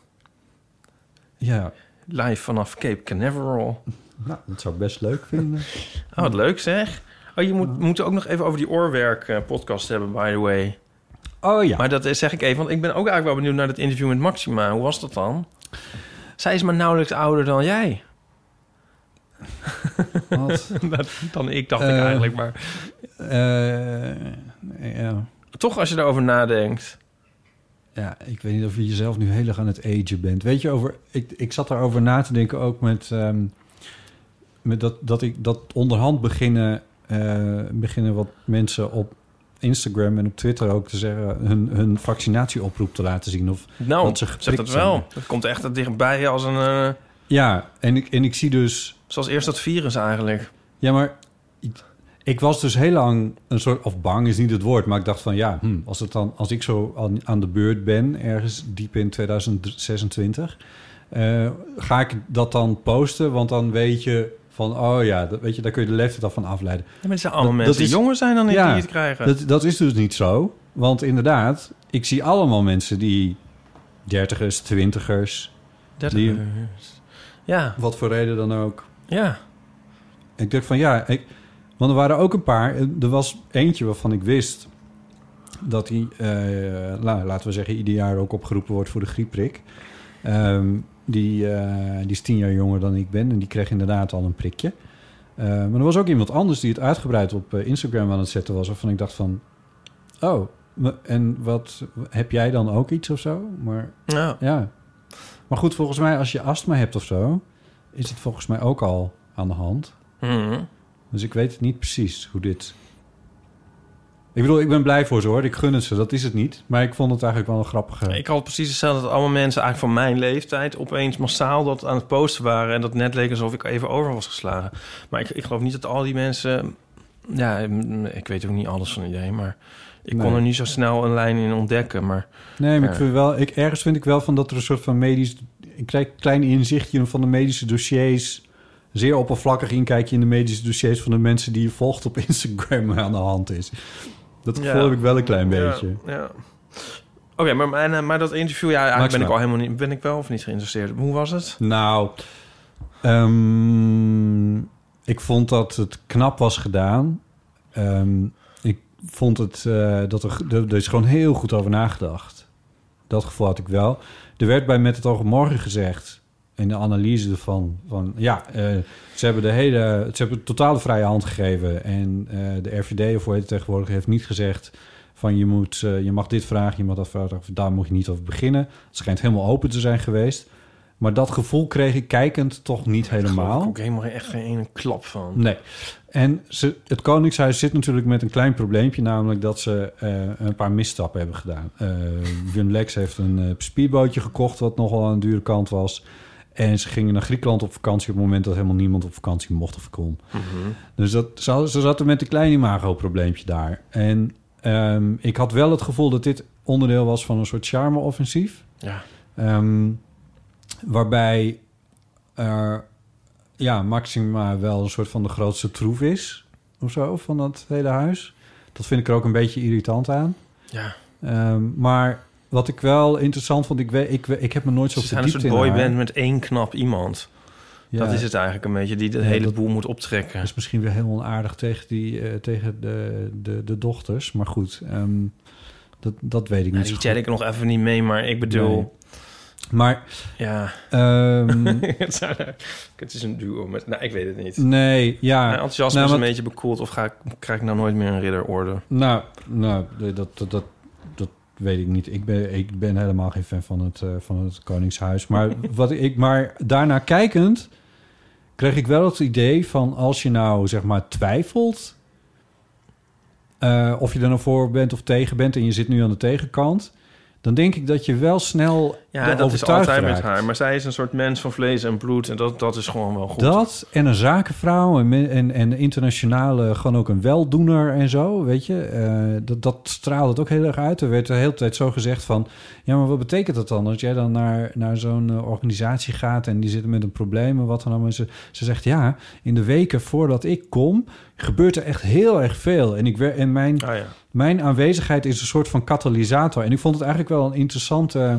[SPEAKER 2] Ja,
[SPEAKER 1] live vanaf Cape Canaveral.
[SPEAKER 2] nou, dat zou ik best leuk vinden.
[SPEAKER 1] Oh, wat leuk zeg. Oh, je moet, we moeten ook nog even over die oorwerk eh, podcast hebben, by the way.
[SPEAKER 2] Oh ja.
[SPEAKER 1] Maar dat is- zeg ik even, want ik ben ook eigenlijk wel benieuwd naar dat interview met Maxima. Hoe was dat dan? Zij is maar nauwelijks ouder dan jij.
[SPEAKER 2] Wat?
[SPEAKER 1] dan ik, dacht ik
[SPEAKER 2] Eh.
[SPEAKER 1] eigenlijk. Maar
[SPEAKER 2] Eh, ja.
[SPEAKER 1] toch, als je daarover nadenkt.
[SPEAKER 2] Ja, ik weet niet of je jezelf nu heel erg aan het agen bent. Weet je, over, ik, ik zat daarover na te denken ook met, ehm, met dat, dat, ik, dat onderhand beginnen, eh, beginnen wat mensen op Instagram en op Twitter ook te zeggen hun, hun vaccinatieoproep te laten zien. Of,
[SPEAKER 1] Nou,
[SPEAKER 2] Dat ze
[SPEAKER 1] zeg
[SPEAKER 2] geprikt
[SPEAKER 1] dat wel.
[SPEAKER 2] zijn.
[SPEAKER 1] Dat komt echt dichtbij als een... eh,
[SPEAKER 2] ja, en ik, en ik zie dus
[SPEAKER 1] zoals eerst dat virus eigenlijk.
[SPEAKER 2] Ja, maar ik, ik was dus heel lang een soort... Of bang is niet het woord, maar ik dacht van ja... hm, als, het dan, als ik zo aan, aan de beurt ben, ergens diep in 2026... eh, ga ik dat dan posten, want dan weet je van... Oh ja, dat, weet je, daar kun je de leeftijd al van afleiden.
[SPEAKER 1] Ja, maar het zijn allemaal
[SPEAKER 2] Dat-
[SPEAKER 1] mensen
[SPEAKER 2] dat
[SPEAKER 1] die
[SPEAKER 2] is-
[SPEAKER 1] jonger zijn dan ik
[SPEAKER 2] Ja,
[SPEAKER 1] die het krijgen.
[SPEAKER 2] Dat, dat is dus niet zo. Want inderdaad, ik zie allemaal mensen die... Dertigers, twintigers,
[SPEAKER 1] Dat-
[SPEAKER 2] die-
[SPEAKER 1] Ja,
[SPEAKER 2] wat voor reden dan ook...
[SPEAKER 1] ja.
[SPEAKER 2] Ik denk van ja, ik, Want er waren ook een paar. eh, Er was eentje waarvan ik wist dat hij, eh, la- laten we zeggen, ieder jaar ook opgeroepen wordt voor de griepprik. Ehm, die, eh, die is tien jaar jonger dan ik ben en die kreeg inderdaad al een prikje. Eh, maar er was ook iemand anders die het uitgebreid op eh, Instagram aan het zetten was. Waarvan ik dacht van, oh, m- en wat, heb jij dan ook iets of zo? Maar
[SPEAKER 1] Ja.
[SPEAKER 2] ja. Maar goed, volgens mij als je astma hebt of zo, is het volgens mij ook al aan de hand.
[SPEAKER 1] Mhm.
[SPEAKER 2] Dus ik weet niet precies hoe dit. Ik bedoel, ik ben blij voor ze hoor. Ik gun het ze, dat is het niet. Maar ik vond het eigenlijk wel een grappige.
[SPEAKER 1] Ik had precies hetzelfde dat allemaal mensen eigenlijk van mijn leeftijd... opeens massaal dat aan het posten waren... en dat net leek alsof ik even over was geslagen. Maar ik, ik geloof niet dat al die mensen... Ja, mm, ik weet ook niet alles van iedereen, maar... Ik
[SPEAKER 2] Nee.
[SPEAKER 1] kon er niet zo snel een lijn in ontdekken, maar...
[SPEAKER 2] Nee, maar
[SPEAKER 1] Ja.
[SPEAKER 2] ik vind wel, ik, ergens vind ik wel van dat er een soort van medisch. Ik krijg een klein inzichtje van de medische dossiers. Zeer oppervlakkig inkijkje in de medische dossiers van de mensen die je volgt op Instagram aan de hand is. Dat gevoel
[SPEAKER 1] Ja.
[SPEAKER 2] heb ik wel een klein beetje.
[SPEAKER 1] Ja, ja. Oké, maar, maar, maar dat interview, ja, eigenlijk
[SPEAKER 2] Max
[SPEAKER 1] ben ik
[SPEAKER 2] maar.
[SPEAKER 1] al helemaal niet... Ben ik wel of niet geïnteresseerd? Hoe was het?
[SPEAKER 2] Nou, ehm, ik vond dat het knap was gedaan. Ehm, ik vond het eh, dat er, er, er is gewoon heel goed over nagedacht. Dat gevoel had ik wel. Er werd bij Met het Oog op Morgen gezegd, in de analyse ervan, van ja, eh, ze hebben de hele, ze hebben totale vrije hand gegeven. En eh, de RVD, of hoe heet het tegenwoordig, heeft niet gezegd van je, moet, eh, je mag dit vragen, je mag dat vragen, of daar moet je niet over beginnen. Het schijnt helemaal open te zijn geweest. Maar dat gevoel kreeg ik kijkend toch niet
[SPEAKER 1] Daar
[SPEAKER 2] helemaal.
[SPEAKER 1] heb ik helemaal echt geen ene klap van.
[SPEAKER 2] Nee. En ze, het Koningshuis zit natuurlijk met een klein probleempje, namelijk dat ze eh, een paar misstappen hebben gedaan. Eh Wim Lex heeft een eh, speedbootje gekocht, wat nogal aan de dure kant was. En ze gingen naar Griekenland op vakantie op het moment dat helemaal niemand op vakantie mocht of kon. Dus dat, ze, hadden- ze zaten met een klein imago-probleempje daar. En ehm, ik had wel het gevoel dat dit onderdeel was van een soort charme-offensief.
[SPEAKER 1] Ja.
[SPEAKER 2] Ehm, waarbij er ja, Maxima wel een soort van de grootste troef is. Of zo, van dat hele huis. Dat vind ik er ook een beetje irritant aan.
[SPEAKER 1] Ja.
[SPEAKER 2] Ehm, maar wat ik wel interessant vond... Ik, weet, ik, we- ik heb me nooit zo
[SPEAKER 1] Ze zijn een
[SPEAKER 2] verdiept
[SPEAKER 1] soort
[SPEAKER 2] in haar.
[SPEAKER 1] boyband met één knap iemand.
[SPEAKER 2] Ja,
[SPEAKER 1] Dat is het eigenlijk een beetje, die de
[SPEAKER 2] Ja,
[SPEAKER 1] hele
[SPEAKER 2] dat-
[SPEAKER 1] boel moet optrekken.
[SPEAKER 2] Dat is misschien weer heel onaardig tegen, die, eh, tegen de, de, de dochters. Maar goed, ehm, dat, dat weet ik
[SPEAKER 1] Nou,
[SPEAKER 2] niet
[SPEAKER 1] die
[SPEAKER 2] zo
[SPEAKER 1] tel
[SPEAKER 2] goed.
[SPEAKER 1] ik nog even niet mee, maar ik bedoel,
[SPEAKER 2] Maar...
[SPEAKER 1] ja.
[SPEAKER 2] ehm,
[SPEAKER 1] het zou- het is een duo met, Mm. nou, ik weet het niet.
[SPEAKER 2] nee, ja.
[SPEAKER 1] Mijn enthousiasme
[SPEAKER 2] Nou,
[SPEAKER 1] is
[SPEAKER 2] wat-
[SPEAKER 1] een beetje bekoeld of ga ik, krijg ik nou nooit meer een ridderorde?
[SPEAKER 2] Nou, nou dat, dat, dat, dat weet ik niet. Ik ben, ik ben helemaal geen fan van het, eh, van het Koningshuis. Maar, wat ik, maar daarna kijkend kreeg ik wel het idee van... als je nou zeg maar twijfelt... eh, of je er nou voor bent of tegen bent... en je zit nu aan de tegenkant... dan denk ik dat je wel snel
[SPEAKER 1] Ja,
[SPEAKER 2] de
[SPEAKER 1] dat is
[SPEAKER 2] overtuigd
[SPEAKER 1] altijd met
[SPEAKER 2] raakt.
[SPEAKER 1] haar. Maar zij is een soort mens van vlees en bloed en dat, dat is gewoon wel goed.
[SPEAKER 2] Dat en een zakenvrouw en, men- en, en internationale, gewoon ook een weldoener en zo, weet je. Eh, dat, dat straalde het ook heel erg uit. Er werd de hele tijd zo gezegd van... ja, maar wat betekent dat dan? Als jij dan naar, naar zo'n eh, organisatie gaat... en die zitten met een probleem en wat dan allemaal. Ze, ze zegt, ja, in de weken voordat ik kom... gebeurt er echt heel erg veel. En, ik, wer- en mijn
[SPEAKER 1] Ah, ja.
[SPEAKER 2] mijn aanwezigheid is een soort van katalysator. En ik vond het eigenlijk wel een interessante... eh,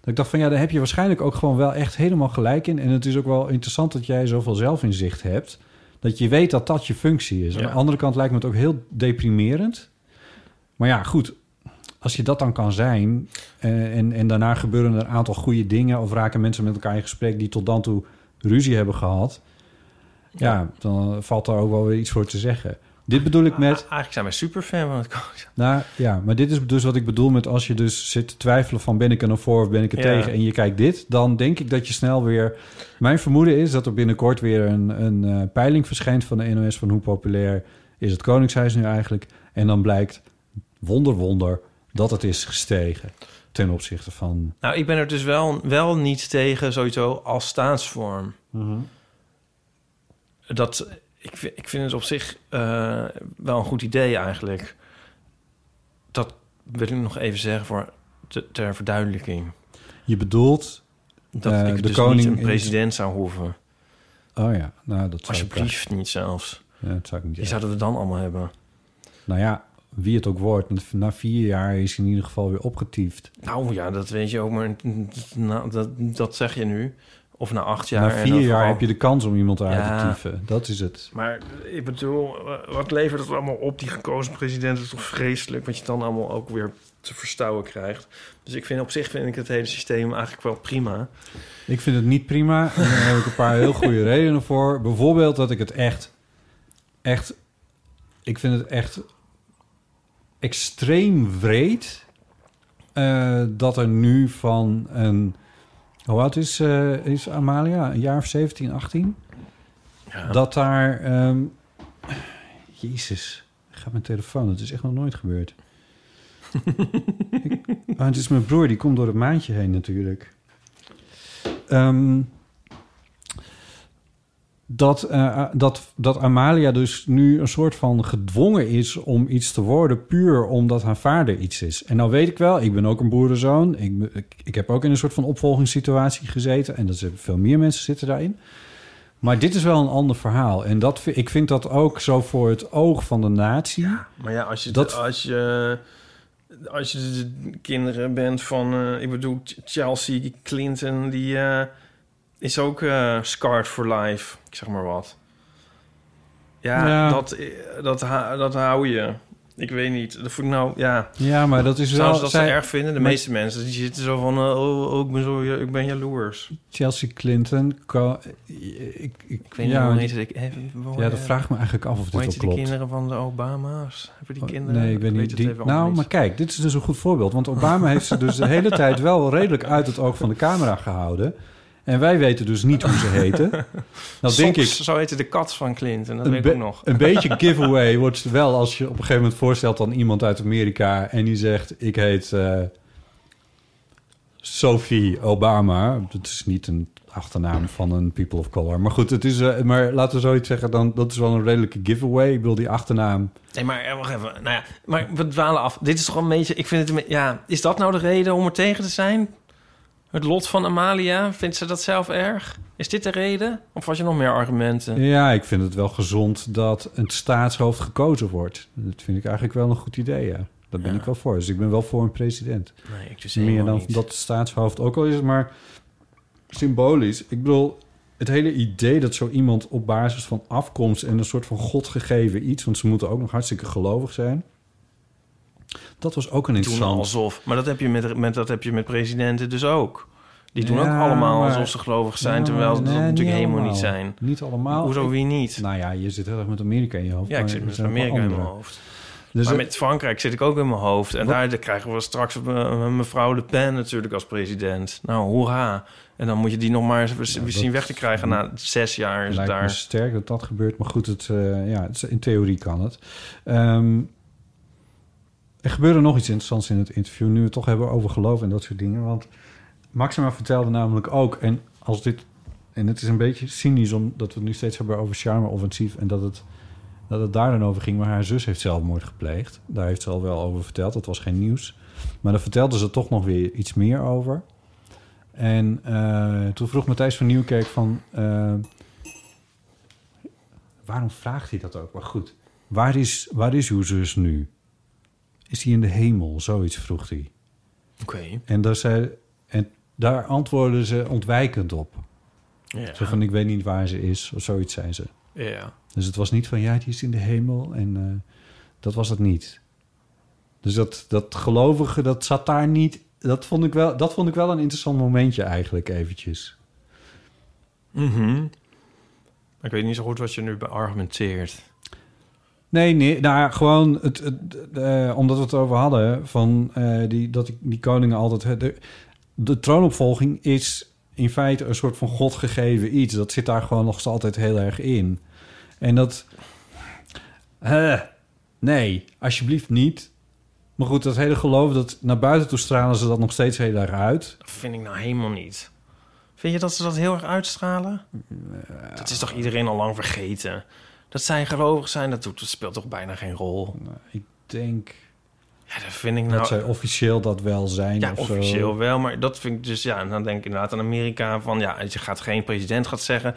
[SPEAKER 2] Dat ik dacht van ja, daar heb je waarschijnlijk ook gewoon wel echt helemaal gelijk in. En het is ook wel interessant dat jij zoveel zelfinzicht hebt. Dat je weet dat dat je functie is. Aan
[SPEAKER 1] Ja.
[SPEAKER 2] de andere kant lijkt me het ook heel deprimerend. Maar ja, goed. Als je dat dan kan zijn... eh, en, en daarna gebeuren er een aantal goede dingen... of raken mensen met elkaar in gesprek die tot dan toe ruzie hebben gehad... ja, dan valt daar ook wel weer iets voor te zeggen. Dit bedoel ik met...
[SPEAKER 1] A- Ah, Eigenlijk zijn wij superfan van het koningshuis.
[SPEAKER 2] Nou ja, maar dit is dus wat ik bedoel met als je dus zit te twijfelen van ben ik er nou voor of ben ik er
[SPEAKER 1] Ja.
[SPEAKER 2] tegen en je kijkt dit, dan denk ik dat je snel weer... Mijn vermoeden is dat er binnenkort weer een, een eh, peiling verschijnt van de NOS van hoe populair is het Koningshuis nu eigenlijk. En dan blijkt, wonder wonder, dat het is gestegen ten opzichte van...
[SPEAKER 1] Nou, ik ben er dus wel, wel niet tegen sowieso als staatsvorm.
[SPEAKER 2] Mhm.
[SPEAKER 1] Dat, ik, vi- ik vind het op zich eh, wel een goed idee eigenlijk. Dat wil ik nog even zeggen voor te- ter verduidelijking.
[SPEAKER 2] Je bedoelt...
[SPEAKER 1] Dat
[SPEAKER 2] Eh,
[SPEAKER 1] ik
[SPEAKER 2] de
[SPEAKER 1] dus
[SPEAKER 2] koning
[SPEAKER 1] niet een
[SPEAKER 2] is-
[SPEAKER 1] president zou hoeven.
[SPEAKER 2] Oh ja, nou dat zou, ik,
[SPEAKER 1] Alsjeblieft niet zelfs.
[SPEAKER 2] ja, dat zou ik niet
[SPEAKER 1] Die
[SPEAKER 2] zeggen.
[SPEAKER 1] zouden we dan allemaal hebben.
[SPEAKER 2] Nou ja, wie het ook wordt, na vier jaar is hij in ieder geval weer opgetiefd.
[SPEAKER 1] Nou ja, dat weet je ook, maar nou, dat, dat zeg je nu. Of na acht jaar.
[SPEAKER 2] Na
[SPEAKER 1] en
[SPEAKER 2] vier
[SPEAKER 1] dan
[SPEAKER 2] jaar
[SPEAKER 1] vooral-
[SPEAKER 2] heb je de kans om iemand uit
[SPEAKER 1] Ja.
[SPEAKER 2] te tieven. Dat is het.
[SPEAKER 1] Maar eh, ik bedoel, eh, wat levert het allemaal op? Die gekozen president is toch vreselijk, wat je dan allemaal ook weer te verstouwen krijgt. Dus ik vind op zich vind ik het hele systeem eigenlijk wel prima.
[SPEAKER 2] Ik vind het niet prima. En daar heb ik een paar heel goede redenen voor. Bijvoorbeeld dat ik het echt, echt, ik vind het echt extreem wreed eh, dat er nu van een, hoe oud is, eh, is Amalia? Een jaar of 17, 18? Dat daar, ehm, jezus, gaat mijn telefoon. Het is echt nog nooit gebeurd. ik, ah, het is mijn broer, die komt door het maandje heen natuurlijk. Ehm, dat, eh, dat, dat Amalia dus nu een soort van gedwongen is om iets te worden... puur omdat haar vader iets is. En nou weet ik wel, ik ben ook een boerenzoon. Ik, be- ik, ik heb ook in een soort van opvolgingssituatie gezeten. En dat zijn veel meer mensen zitten daarin. Maar dit is wel een ander verhaal. En dat, vind- ik vind dat ook zo voor het oog van de natie.
[SPEAKER 1] Maar ja, als je,
[SPEAKER 2] Dat-
[SPEAKER 1] als je, als je de kinderen bent van, eh, ik bedoel, Ch- Chelsea Clinton, die eh, is ook eh, scarred for life, ik zeg maar wat. Ja,
[SPEAKER 2] Ja.
[SPEAKER 1] Dat, eh, dat, ha- dat hou je. Ik weet niet. Dat voel ik nou, ja.
[SPEAKER 2] Ja, maar dat is wel...
[SPEAKER 1] Zouden ze dat
[SPEAKER 2] zij-
[SPEAKER 1] ze erg vinden? De
[SPEAKER 2] maar-
[SPEAKER 1] meeste mensen die zitten zo van... eh, oh, oh, ik ben, zo, ik ben jaloers.
[SPEAKER 2] Chelsea Clinton... ko- ik, ik,
[SPEAKER 1] Ik weet
[SPEAKER 2] ja,
[SPEAKER 1] niet hoe heet het.
[SPEAKER 2] ja, dat vraag ik me eigenlijk af of dit
[SPEAKER 1] eh, Hoe
[SPEAKER 2] wel
[SPEAKER 1] heet die
[SPEAKER 2] klopt.
[SPEAKER 1] kinderen van de Obama's? Hebben die
[SPEAKER 2] Oh,
[SPEAKER 1] kinderen?
[SPEAKER 2] Nee, ik weet niet.
[SPEAKER 1] het
[SPEAKER 2] die-
[SPEAKER 1] even allemaal
[SPEAKER 2] nou,
[SPEAKER 1] niet.
[SPEAKER 2] maar kijk, dit is dus een goed voorbeeld. Want Obama heeft ze dus de hele tijd wel redelijk uit het oog van de camera gehouden. En wij weten dus niet hoe ze heten. Nou, denk
[SPEAKER 1] Sox,
[SPEAKER 2] ik.
[SPEAKER 1] Zo heette de kat van Clinton. Dat
[SPEAKER 2] Een,
[SPEAKER 1] weet ik ook
[SPEAKER 2] be-
[SPEAKER 1] nog.
[SPEAKER 2] een beetje giveaway wordt het wel als je op een gegeven moment voorstelt aan iemand uit Amerika en die zegt: Ik heet eh, Sophie Obama. Dat is niet een achternaam van een people of color. Maar goed, het is, eh, maar laten we zoiets zeggen, dan, dat is wel een redelijke giveaway. Ik bedoel, die achternaam.
[SPEAKER 1] Nee, maar eh, wacht even. Nou ja, maar we dwalen af. Dit is toch een beetje... Ik vind het... een be- Ja, is dat nou de reden om er tegen te zijn? Het lot van Amalia? Vindt ze dat zelf erg? Is dit de reden? Of had je nog meer argumenten?
[SPEAKER 2] Ja, ik vind het wel gezond dat een staatshoofd gekozen wordt. Dat vind ik eigenlijk wel een goed idee, ja. Daar ben
[SPEAKER 1] Ja.
[SPEAKER 2] ik wel voor. Dus ik ben wel voor een president.
[SPEAKER 1] Nee, ik dus
[SPEAKER 2] Meer
[SPEAKER 1] helemaal
[SPEAKER 2] dan
[SPEAKER 1] niet.
[SPEAKER 2] dat het staatshoofd ook al is, het maar symbolisch. Ik bedoel, het hele idee dat zo iemand op basis van afkomst en een soort van godgegeven iets, want ze moeten ook nog hartstikke gelovig zijn. Dat was ook een
[SPEAKER 1] doen
[SPEAKER 2] interessant.
[SPEAKER 1] alsof. Maar dat heb je met, met, dat heb je met presidenten dus ook. Die doen
[SPEAKER 2] Ja,
[SPEAKER 1] ook allemaal
[SPEAKER 2] maar-
[SPEAKER 1] alsof ze gelovig zijn,
[SPEAKER 2] Nou,
[SPEAKER 1] terwijl ze
[SPEAKER 2] nee,
[SPEAKER 1] dat natuurlijk helemaal
[SPEAKER 2] allemaal.
[SPEAKER 1] niet zijn.
[SPEAKER 2] Niet allemaal.
[SPEAKER 1] Hoezo
[SPEAKER 2] Ik-
[SPEAKER 1] wie niet?
[SPEAKER 2] Nou ja, je zit heel erg met Amerika in je hoofd.
[SPEAKER 1] ja, ik
[SPEAKER 2] maar
[SPEAKER 1] zit
[SPEAKER 2] er
[SPEAKER 1] met
[SPEAKER 2] zijn ook wel
[SPEAKER 1] Amerika in mijn
[SPEAKER 2] andere.
[SPEAKER 1] hoofd.
[SPEAKER 2] Dus
[SPEAKER 1] maar
[SPEAKER 2] dat-
[SPEAKER 1] met Frankrijk zit ik ook in mijn hoofd. En
[SPEAKER 2] Wat-
[SPEAKER 1] daar daar krijgen we straks eh, mevrouw Le Pen natuurlijk als president. Nou, hoera. En dan moet je die nog maar eens
[SPEAKER 2] Ja,
[SPEAKER 1] zien
[SPEAKER 2] dat-
[SPEAKER 1] weg te krijgen na zes jaar. Is het
[SPEAKER 2] Lijkt me
[SPEAKER 1] daar.
[SPEAKER 2] sterk dat dat gebeurt. Maar goed, het, eh, ja, het is- in theorie kan het. Ehm, er gebeurde nog iets interessants in het interview... nu we het toch hebben over geloof en dat soort dingen. Want Maxima vertelde namelijk ook... en als dit en het is een beetje cynisch... omdat we het nu steeds hebben over charme-offensief... en dat het, dat het daar dan over ging. Maar haar zus heeft zelfmoord gepleegd. Daar heeft ze al wel over verteld. Dat was geen nieuws. Maar daar vertelde ze toch nog weer iets meer over... En eh, toen vroeg Matthijs van Nieuwkerk van... eh, waarom vraagt hij dat ook? Maar goed, waar is, waar is uw zus nu? Is hij in de hemel? Zoiets vroeg hij.
[SPEAKER 1] Oké.
[SPEAKER 2] En daar, zei, en daar antwoordden ze ontwijkend op.
[SPEAKER 1] Ja.
[SPEAKER 2] Zo van, ik weet niet waar ze is, of zoiets zei ze.
[SPEAKER 1] ja.
[SPEAKER 2] Dus het was niet van, ja, die is in de hemel. En eh, dat was het niet. Dus dat, dat gelovige, dat zat daar niet... Dat vond, ik wel, dat vond ik wel een interessant momentje eigenlijk eventjes.
[SPEAKER 1] Mhm. Maar Ik weet niet zo goed wat je nu beargumenteert.
[SPEAKER 2] Nee, nee, nou gewoon het, het, eh, omdat we het over hadden van eh, die, dat die, die koningen altijd de, de troonopvolging is in feite een soort van godgegeven iets. Dat zit daar gewoon nog altijd heel erg in. En dat eh, nee, alsjeblieft niet. Maar goed, dat hele geloof dat naar buiten toe stralen ze dat nog steeds heel erg uit.
[SPEAKER 1] Dat vind ik nou helemaal niet. Vind je dat ze dat heel erg uitstralen? Dat is toch iedereen al lang vergeten? Dat zij gelovig zijn, dat, doet, dat speelt toch bijna geen rol?
[SPEAKER 2] Ik denk
[SPEAKER 1] Ja, dat vind ik
[SPEAKER 2] dat
[SPEAKER 1] nou...
[SPEAKER 2] zij officieel dat wel zijn
[SPEAKER 1] Ja,
[SPEAKER 2] of zo.
[SPEAKER 1] officieel wel, maar dat vind ik dus... Ja, en dan denk ik inderdaad aan Amerika van... Ja, je gaat geen president gaat zeggen,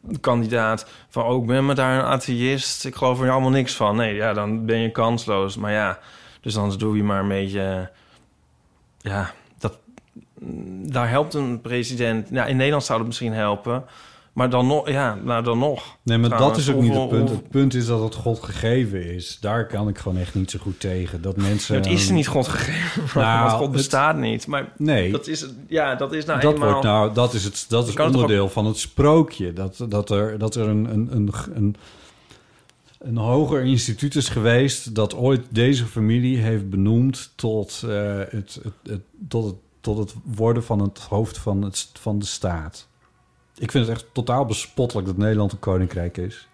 [SPEAKER 1] de kandidaat... van, oh, ik ben maar daar een atheïst. Ik geloof er allemaal niks van. Nee, ja, dan ben je kansloos. Maar ja, dus dan doe je maar een beetje... eh, Ja, dat... mm, daar helpt een president. Nou, in Nederland zou het misschien helpen. Maar dan nog, ja, nou dan nog.
[SPEAKER 2] Nee, maar
[SPEAKER 1] Trouwens,
[SPEAKER 2] dat is ook
[SPEAKER 1] of-
[SPEAKER 2] niet het
[SPEAKER 1] of-
[SPEAKER 2] punt.
[SPEAKER 1] of-
[SPEAKER 2] Het punt is dat het God gegeven is. Daar kan ik gewoon echt niet zo goed tegen. Dat mensen...
[SPEAKER 1] het is niet God gegeven,
[SPEAKER 2] Ehm, Nou,
[SPEAKER 1] want God
[SPEAKER 2] het-
[SPEAKER 1] bestaat niet. Maar
[SPEAKER 2] Nee,
[SPEAKER 1] dat is, ja, dat is nou
[SPEAKER 2] dat,
[SPEAKER 1] eenmaal...
[SPEAKER 2] wordt nou, dat is, het, dat is
[SPEAKER 1] kan het toch
[SPEAKER 2] onderdeel van het sprookje. Dat, dat er, dat er een, een, een, een, een hoger instituut is geweest... dat ooit deze familie heeft benoemd... tot, eh, het, het, het, tot, het, tot het worden van het hoofd van, het, van de staat. Ik vind het echt totaal bespottelijk dat Nederland een koninkrijk is.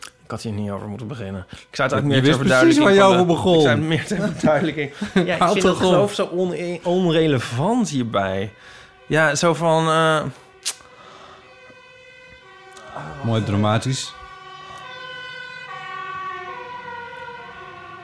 [SPEAKER 1] Ik had hier niet over moeten beginnen. Ik zou het
[SPEAKER 2] Je
[SPEAKER 1] eigenlijk meer
[SPEAKER 2] wist
[SPEAKER 1] ter verduidelijking...
[SPEAKER 2] precies waar je
[SPEAKER 1] van de-
[SPEAKER 2] over begon.
[SPEAKER 1] Ik zou het meer ter verduidelijking... Ja, ik
[SPEAKER 2] Houd
[SPEAKER 1] vind
[SPEAKER 2] toch
[SPEAKER 1] dat geloof
[SPEAKER 2] op.
[SPEAKER 1] zo one- onrelevant hierbij. Ja, zo van... eh,
[SPEAKER 2] Mooi dramatisch.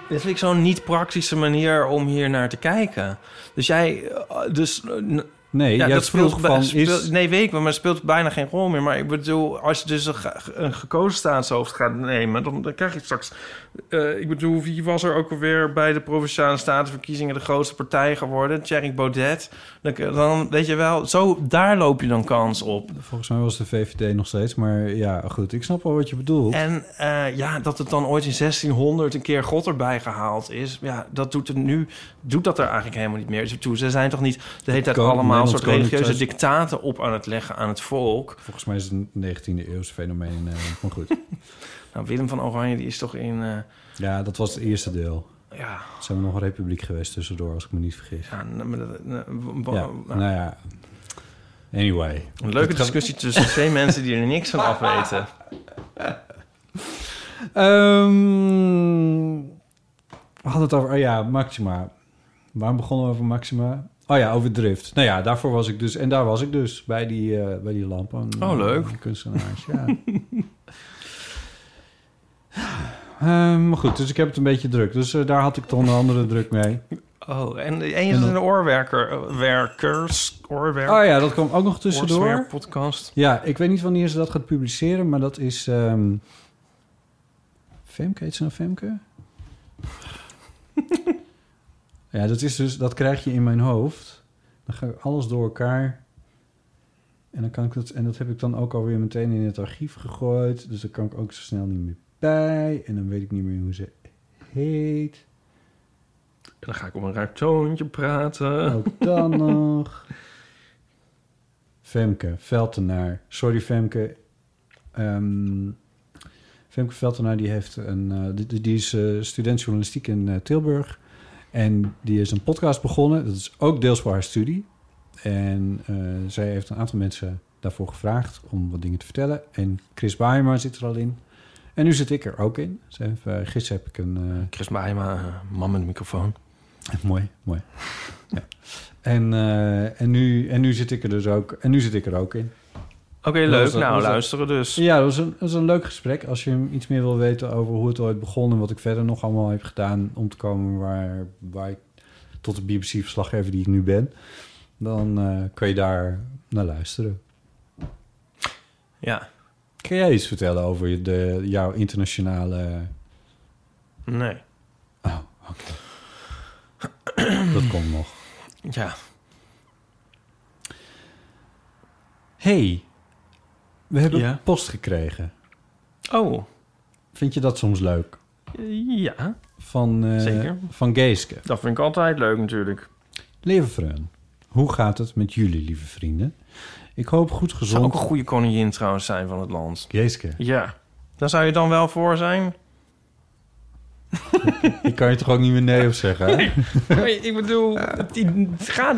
[SPEAKER 1] Dit vind ik zo'n niet praktische manier om hier naar te kijken. Dus jij, eh, dus eh, n-
[SPEAKER 2] Nee,
[SPEAKER 1] ja,
[SPEAKER 2] jij
[SPEAKER 1] dat
[SPEAKER 2] vroeg
[SPEAKER 1] speelt, bij-
[SPEAKER 2] van...
[SPEAKER 1] speelt-
[SPEAKER 2] is,
[SPEAKER 1] nee, weet ik wel, maar het speelt bijna geen rol meer. Maar ik bedoel, als je dus een, ge- een gekozen staatshoofd gaat nemen, dan, dan krijg je straks. eh, ik bedoel, wie was er ook alweer bij de provinciale statenverkiezingen de grootste partij geworden? Thierry Baudet. Dan, dan weet je wel, zo daar loop je dan kans op.
[SPEAKER 2] Volgens mij was de VVD nog steeds, maar ja, goed. Ik snap wel wat je bedoelt.
[SPEAKER 1] En eh, ja, dat het dan ooit in 1600 een keer God erbij gehaald is, ja, dat doet het nu, doet dat er eigenlijk helemaal niet meer toe. Ze zijn toch niet de hele tijd
[SPEAKER 2] Kon-
[SPEAKER 1] allemaal
[SPEAKER 2] Nederlands
[SPEAKER 1] soort
[SPEAKER 2] Koninkrijk-
[SPEAKER 1] religieuze dictaten op aan het leggen aan het volk.
[SPEAKER 2] Volgens mij is het een 19e eeuws fenomeen. in Nederland, maar goed.
[SPEAKER 1] Nou, Willem van Oranje, die is toch in, eh,
[SPEAKER 2] Ja, dat was het eerste deel.
[SPEAKER 1] ja,
[SPEAKER 2] Toen Zijn we nog een republiek geweest tussendoor, als ik me niet vergis.
[SPEAKER 1] ja, nou, n- n- n- w-
[SPEAKER 2] Ja,
[SPEAKER 1] w-
[SPEAKER 2] nou ja. Anyway.
[SPEAKER 1] een leuke discussie tussen twee mensen die er niks van af weten.
[SPEAKER 2] Ehm, we hadden het over... Oh ja, Maxima. Waarom begonnen we over Maxima? Oh ja, over Drift. Nou ja, daarvoor was ik dus... En daar was ik dus, bij die, eh, bij die lampen.
[SPEAKER 1] Oh, leuk.
[SPEAKER 2] Kunstenaars, ja. Ehm, maar goed, dus ik heb het een beetje druk. Dus eh, daar had ik dan de andere druk mee.
[SPEAKER 1] Oh, en en je is een oorwerker, eh, werkers, oorwerker.
[SPEAKER 2] Oh ja, dat kwam ook nog tussendoor.
[SPEAKER 1] podcast.
[SPEAKER 2] Ja, ik weet niet wanneer ze dat gaat publiceren, maar dat is... ehm Femke, heet ze nou Femke? ja, dat is dus... Dat krijg je in mijn hoofd. Dan ga ik alles door elkaar... En, dan kan ik dat, en dat heb ik dan ook alweer meteen in het archief gegooid. Dus daar kan ik ook zo snel niet meer bij. En dan weet ik niet meer hoe ze heet.
[SPEAKER 1] En dan ga ik op een raar toontje praten.
[SPEAKER 2] Ook dan nog. Femke Veltenaar. Sorry Femke. Ehm, Femke Veltenaar die heeft een, eh, die- die, die is eh, student journalistiek in eh, Tilburg. En die is een podcast begonnen. Dat is ook deels voor haar studie. En eh, zij heeft een aantal mensen daarvoor gevraagd om wat dingen te vertellen. En Chris Baiema zit er al in. En nu zit ik er ook in. Zij heeft, eh, gisteren heb ik een... eh,
[SPEAKER 1] Chris Maima, eh, man met de microfoon.
[SPEAKER 2] Mooi, mooi. Ja. En, eh, en, nu, en nu zit ik er dus ook, en nu zit ik er ook in.
[SPEAKER 1] Oké,
[SPEAKER 2] Dat
[SPEAKER 1] leuk.
[SPEAKER 2] was dat,
[SPEAKER 1] Nou,
[SPEAKER 2] dat was dat.
[SPEAKER 1] luisteren dus.
[SPEAKER 2] Ja, dat was, een, dat was een leuk gesprek. Als je iets meer wil weten over hoe het ooit begon en wat ik verder nog allemaal heb gedaan om te komen waar, waar ik tot de BBC-verslaggever die ik nu ben, dan eh, kan je daar naar luisteren.
[SPEAKER 1] Ja.
[SPEAKER 2] Kun jij iets vertellen over je- de, jouw internationale.
[SPEAKER 1] Nee.
[SPEAKER 2] Oh, oké. dat komt nog.
[SPEAKER 1] Ja.
[SPEAKER 2] hey, we hebben
[SPEAKER 1] Ja?
[SPEAKER 2] post gekregen.
[SPEAKER 1] Oh,
[SPEAKER 2] Vind je dat soms leuk?
[SPEAKER 1] ja.
[SPEAKER 2] Van, eh,
[SPEAKER 1] Zeker.
[SPEAKER 2] van Geeske.
[SPEAKER 1] Dat vind ik altijd leuk natuurlijk.
[SPEAKER 2] Lieve vreun, hoe gaat het met jullie, lieve vrienden? Ik hoop goed
[SPEAKER 1] Zou
[SPEAKER 2] gezond.
[SPEAKER 1] ook een goede koningin trouwens zijn van het land.
[SPEAKER 2] Geeske,
[SPEAKER 1] Ja. Daar zou je dan wel voor zijn?
[SPEAKER 2] ik kan je toch ook niet meer nee op zeggen? hè?
[SPEAKER 1] ik bedoel, het, gaat,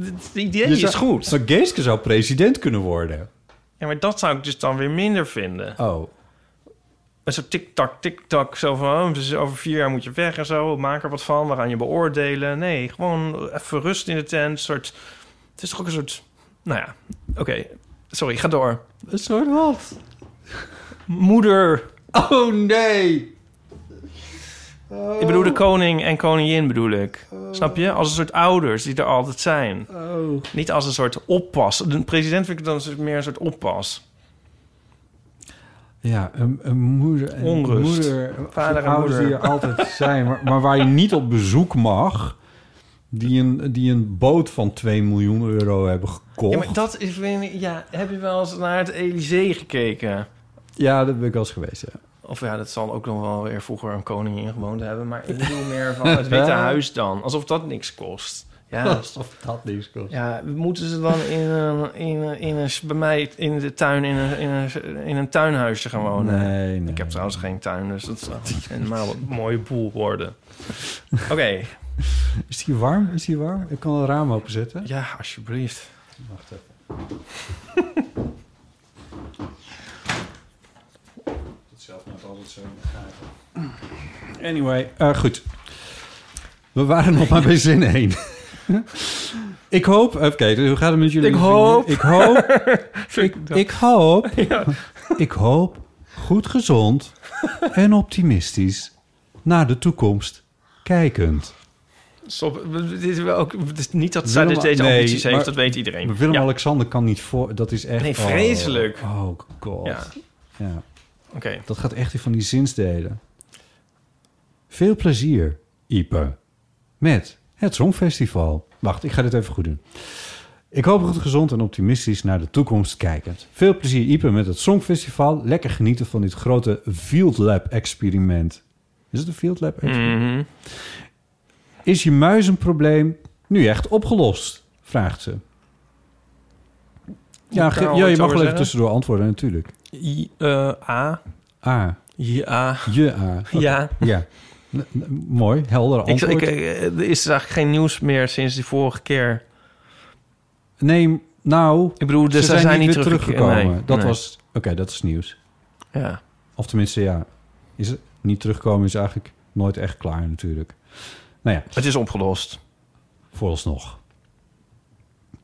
[SPEAKER 1] het idee
[SPEAKER 2] Je
[SPEAKER 1] is
[SPEAKER 2] zou-
[SPEAKER 1] goed.
[SPEAKER 2] Zou Geeske zou president kunnen worden.
[SPEAKER 1] Ja, maar dat zou ik dus dan weer minder vinden.
[SPEAKER 2] Oh,
[SPEAKER 1] En Zo tik-tak, tik-tak, zo van oh, dus over vier jaar moet je weg en zo. Maak er wat van, we gaan je beoordelen. Nee, gewoon even rust in de tent. Soort, het is toch ook een soort... Nou ja, oké. Sorry, ga door.
[SPEAKER 2] een soort wat?
[SPEAKER 1] Moeder.
[SPEAKER 2] Oh nee!
[SPEAKER 1] Ik bedoel de koning en koningin bedoel ik. Snap je? Als een soort ouders die er altijd zijn.
[SPEAKER 2] Oh.
[SPEAKER 1] Niet als een soort oppas. De president vind ik dan een soort- meer een soort oppas.
[SPEAKER 2] Ja, een, een moeder en
[SPEAKER 1] Onrust.
[SPEAKER 2] moeder,
[SPEAKER 1] Vader en
[SPEAKER 2] ouders
[SPEAKER 1] moeder.
[SPEAKER 2] die er altijd zijn, maar, maar waar je niet op bezoek mag, Die een, die een boot van 2 miljoen euro hebben gekocht.
[SPEAKER 1] Ja, maar dat is weer... Ja, heb je wel eens naar het Elysée gekeken?
[SPEAKER 2] Ja, dat ben ik wel eens geweest, ja.
[SPEAKER 1] Of ja, dat zal ook nog wel weer vroeger een koningin gewoond hebben. Maar ik bedoel meer van het Witte Huis dan. Alsof dat niks kost. Ja, dat is toch-
[SPEAKER 2] Alsof dat niks kost.
[SPEAKER 1] ja, moeten ze dan in een, in een, in een, bij mij in de tuin in een, in een, in een tuinhuisje gaan wonen?
[SPEAKER 2] Nee, nee.
[SPEAKER 1] Oh, Ik heb trouwens geen tuin, dus dat zou een maal- mooie boel worden. Oké,
[SPEAKER 2] Is die warm? Is die warm? Ik kan het raam openzetten.
[SPEAKER 1] ja, alsjeblieft.
[SPEAKER 2] Wacht even. Dat zelf net altijd zo Anyway, eh, goed. We waren nog maar bij zin 1. ik hoop... Oké, dus hoe gaat het met jullie?
[SPEAKER 1] Ik hoop.
[SPEAKER 2] Ik hoop... ik, ik hoop... ik hoop goed gezond en optimistisch naar de toekomst kijkend.
[SPEAKER 1] Stop. Dit is wel ook, het is niet dat zij dus
[SPEAKER 2] Willem-
[SPEAKER 1] deze
[SPEAKER 2] nee,
[SPEAKER 1] ambities heeft,
[SPEAKER 2] maar-
[SPEAKER 1] dat weet iedereen. ja. Oké,
[SPEAKER 2] Willem-Alexander kan niet voor... Dat is echt...
[SPEAKER 1] Nee, vreselijk.
[SPEAKER 2] Oh, oh god.
[SPEAKER 1] Ja.
[SPEAKER 2] ja. Dat gaat echt weer van die zinsdelen. Veel plezier, Ipe. Met het Songfestival. Wacht, ik ga dit even goed doen. Ik hoop goed gezond en optimistisch naar de toekomst kijkend. Veel plezier, Ipe, met het Songfestival. Lekker genieten van dit grote Field Lab experiment. Is het een Field Lab experiment?
[SPEAKER 1] Mhm.
[SPEAKER 2] Is je muizenprobleem nu echt opgelost? Vraagt ze. Ja,
[SPEAKER 1] Ik
[SPEAKER 2] ge-
[SPEAKER 1] kan al
[SPEAKER 2] ja je
[SPEAKER 1] iets
[SPEAKER 2] mag
[SPEAKER 1] over
[SPEAKER 2] wel even
[SPEAKER 1] zeggen.
[SPEAKER 2] tussendoor antwoorden, natuurlijk.
[SPEAKER 1] I, eh, A,
[SPEAKER 2] A.
[SPEAKER 1] Ja.
[SPEAKER 2] Je A.
[SPEAKER 1] Ja.
[SPEAKER 2] Ja. N- n- mooi, helder
[SPEAKER 1] Ik,
[SPEAKER 2] antwoord.
[SPEAKER 1] ik, eh, er is eigenlijk geen nieuws meer sinds die vorige keer.
[SPEAKER 2] nee, nou,
[SPEAKER 1] Ik bedoel, eh, dus
[SPEAKER 2] ze zijn, niet weer teruggekomen.
[SPEAKER 1] Nee,
[SPEAKER 2] dat
[SPEAKER 1] nee.
[SPEAKER 2] was, oké, dat is nieuws.
[SPEAKER 1] Ja.
[SPEAKER 2] Of tenminste, ja, is het niet terugkomen is eigenlijk nooit echt klaar natuurlijk. Nou ja,
[SPEAKER 1] Het is opgelost.
[SPEAKER 2] vooralsnog.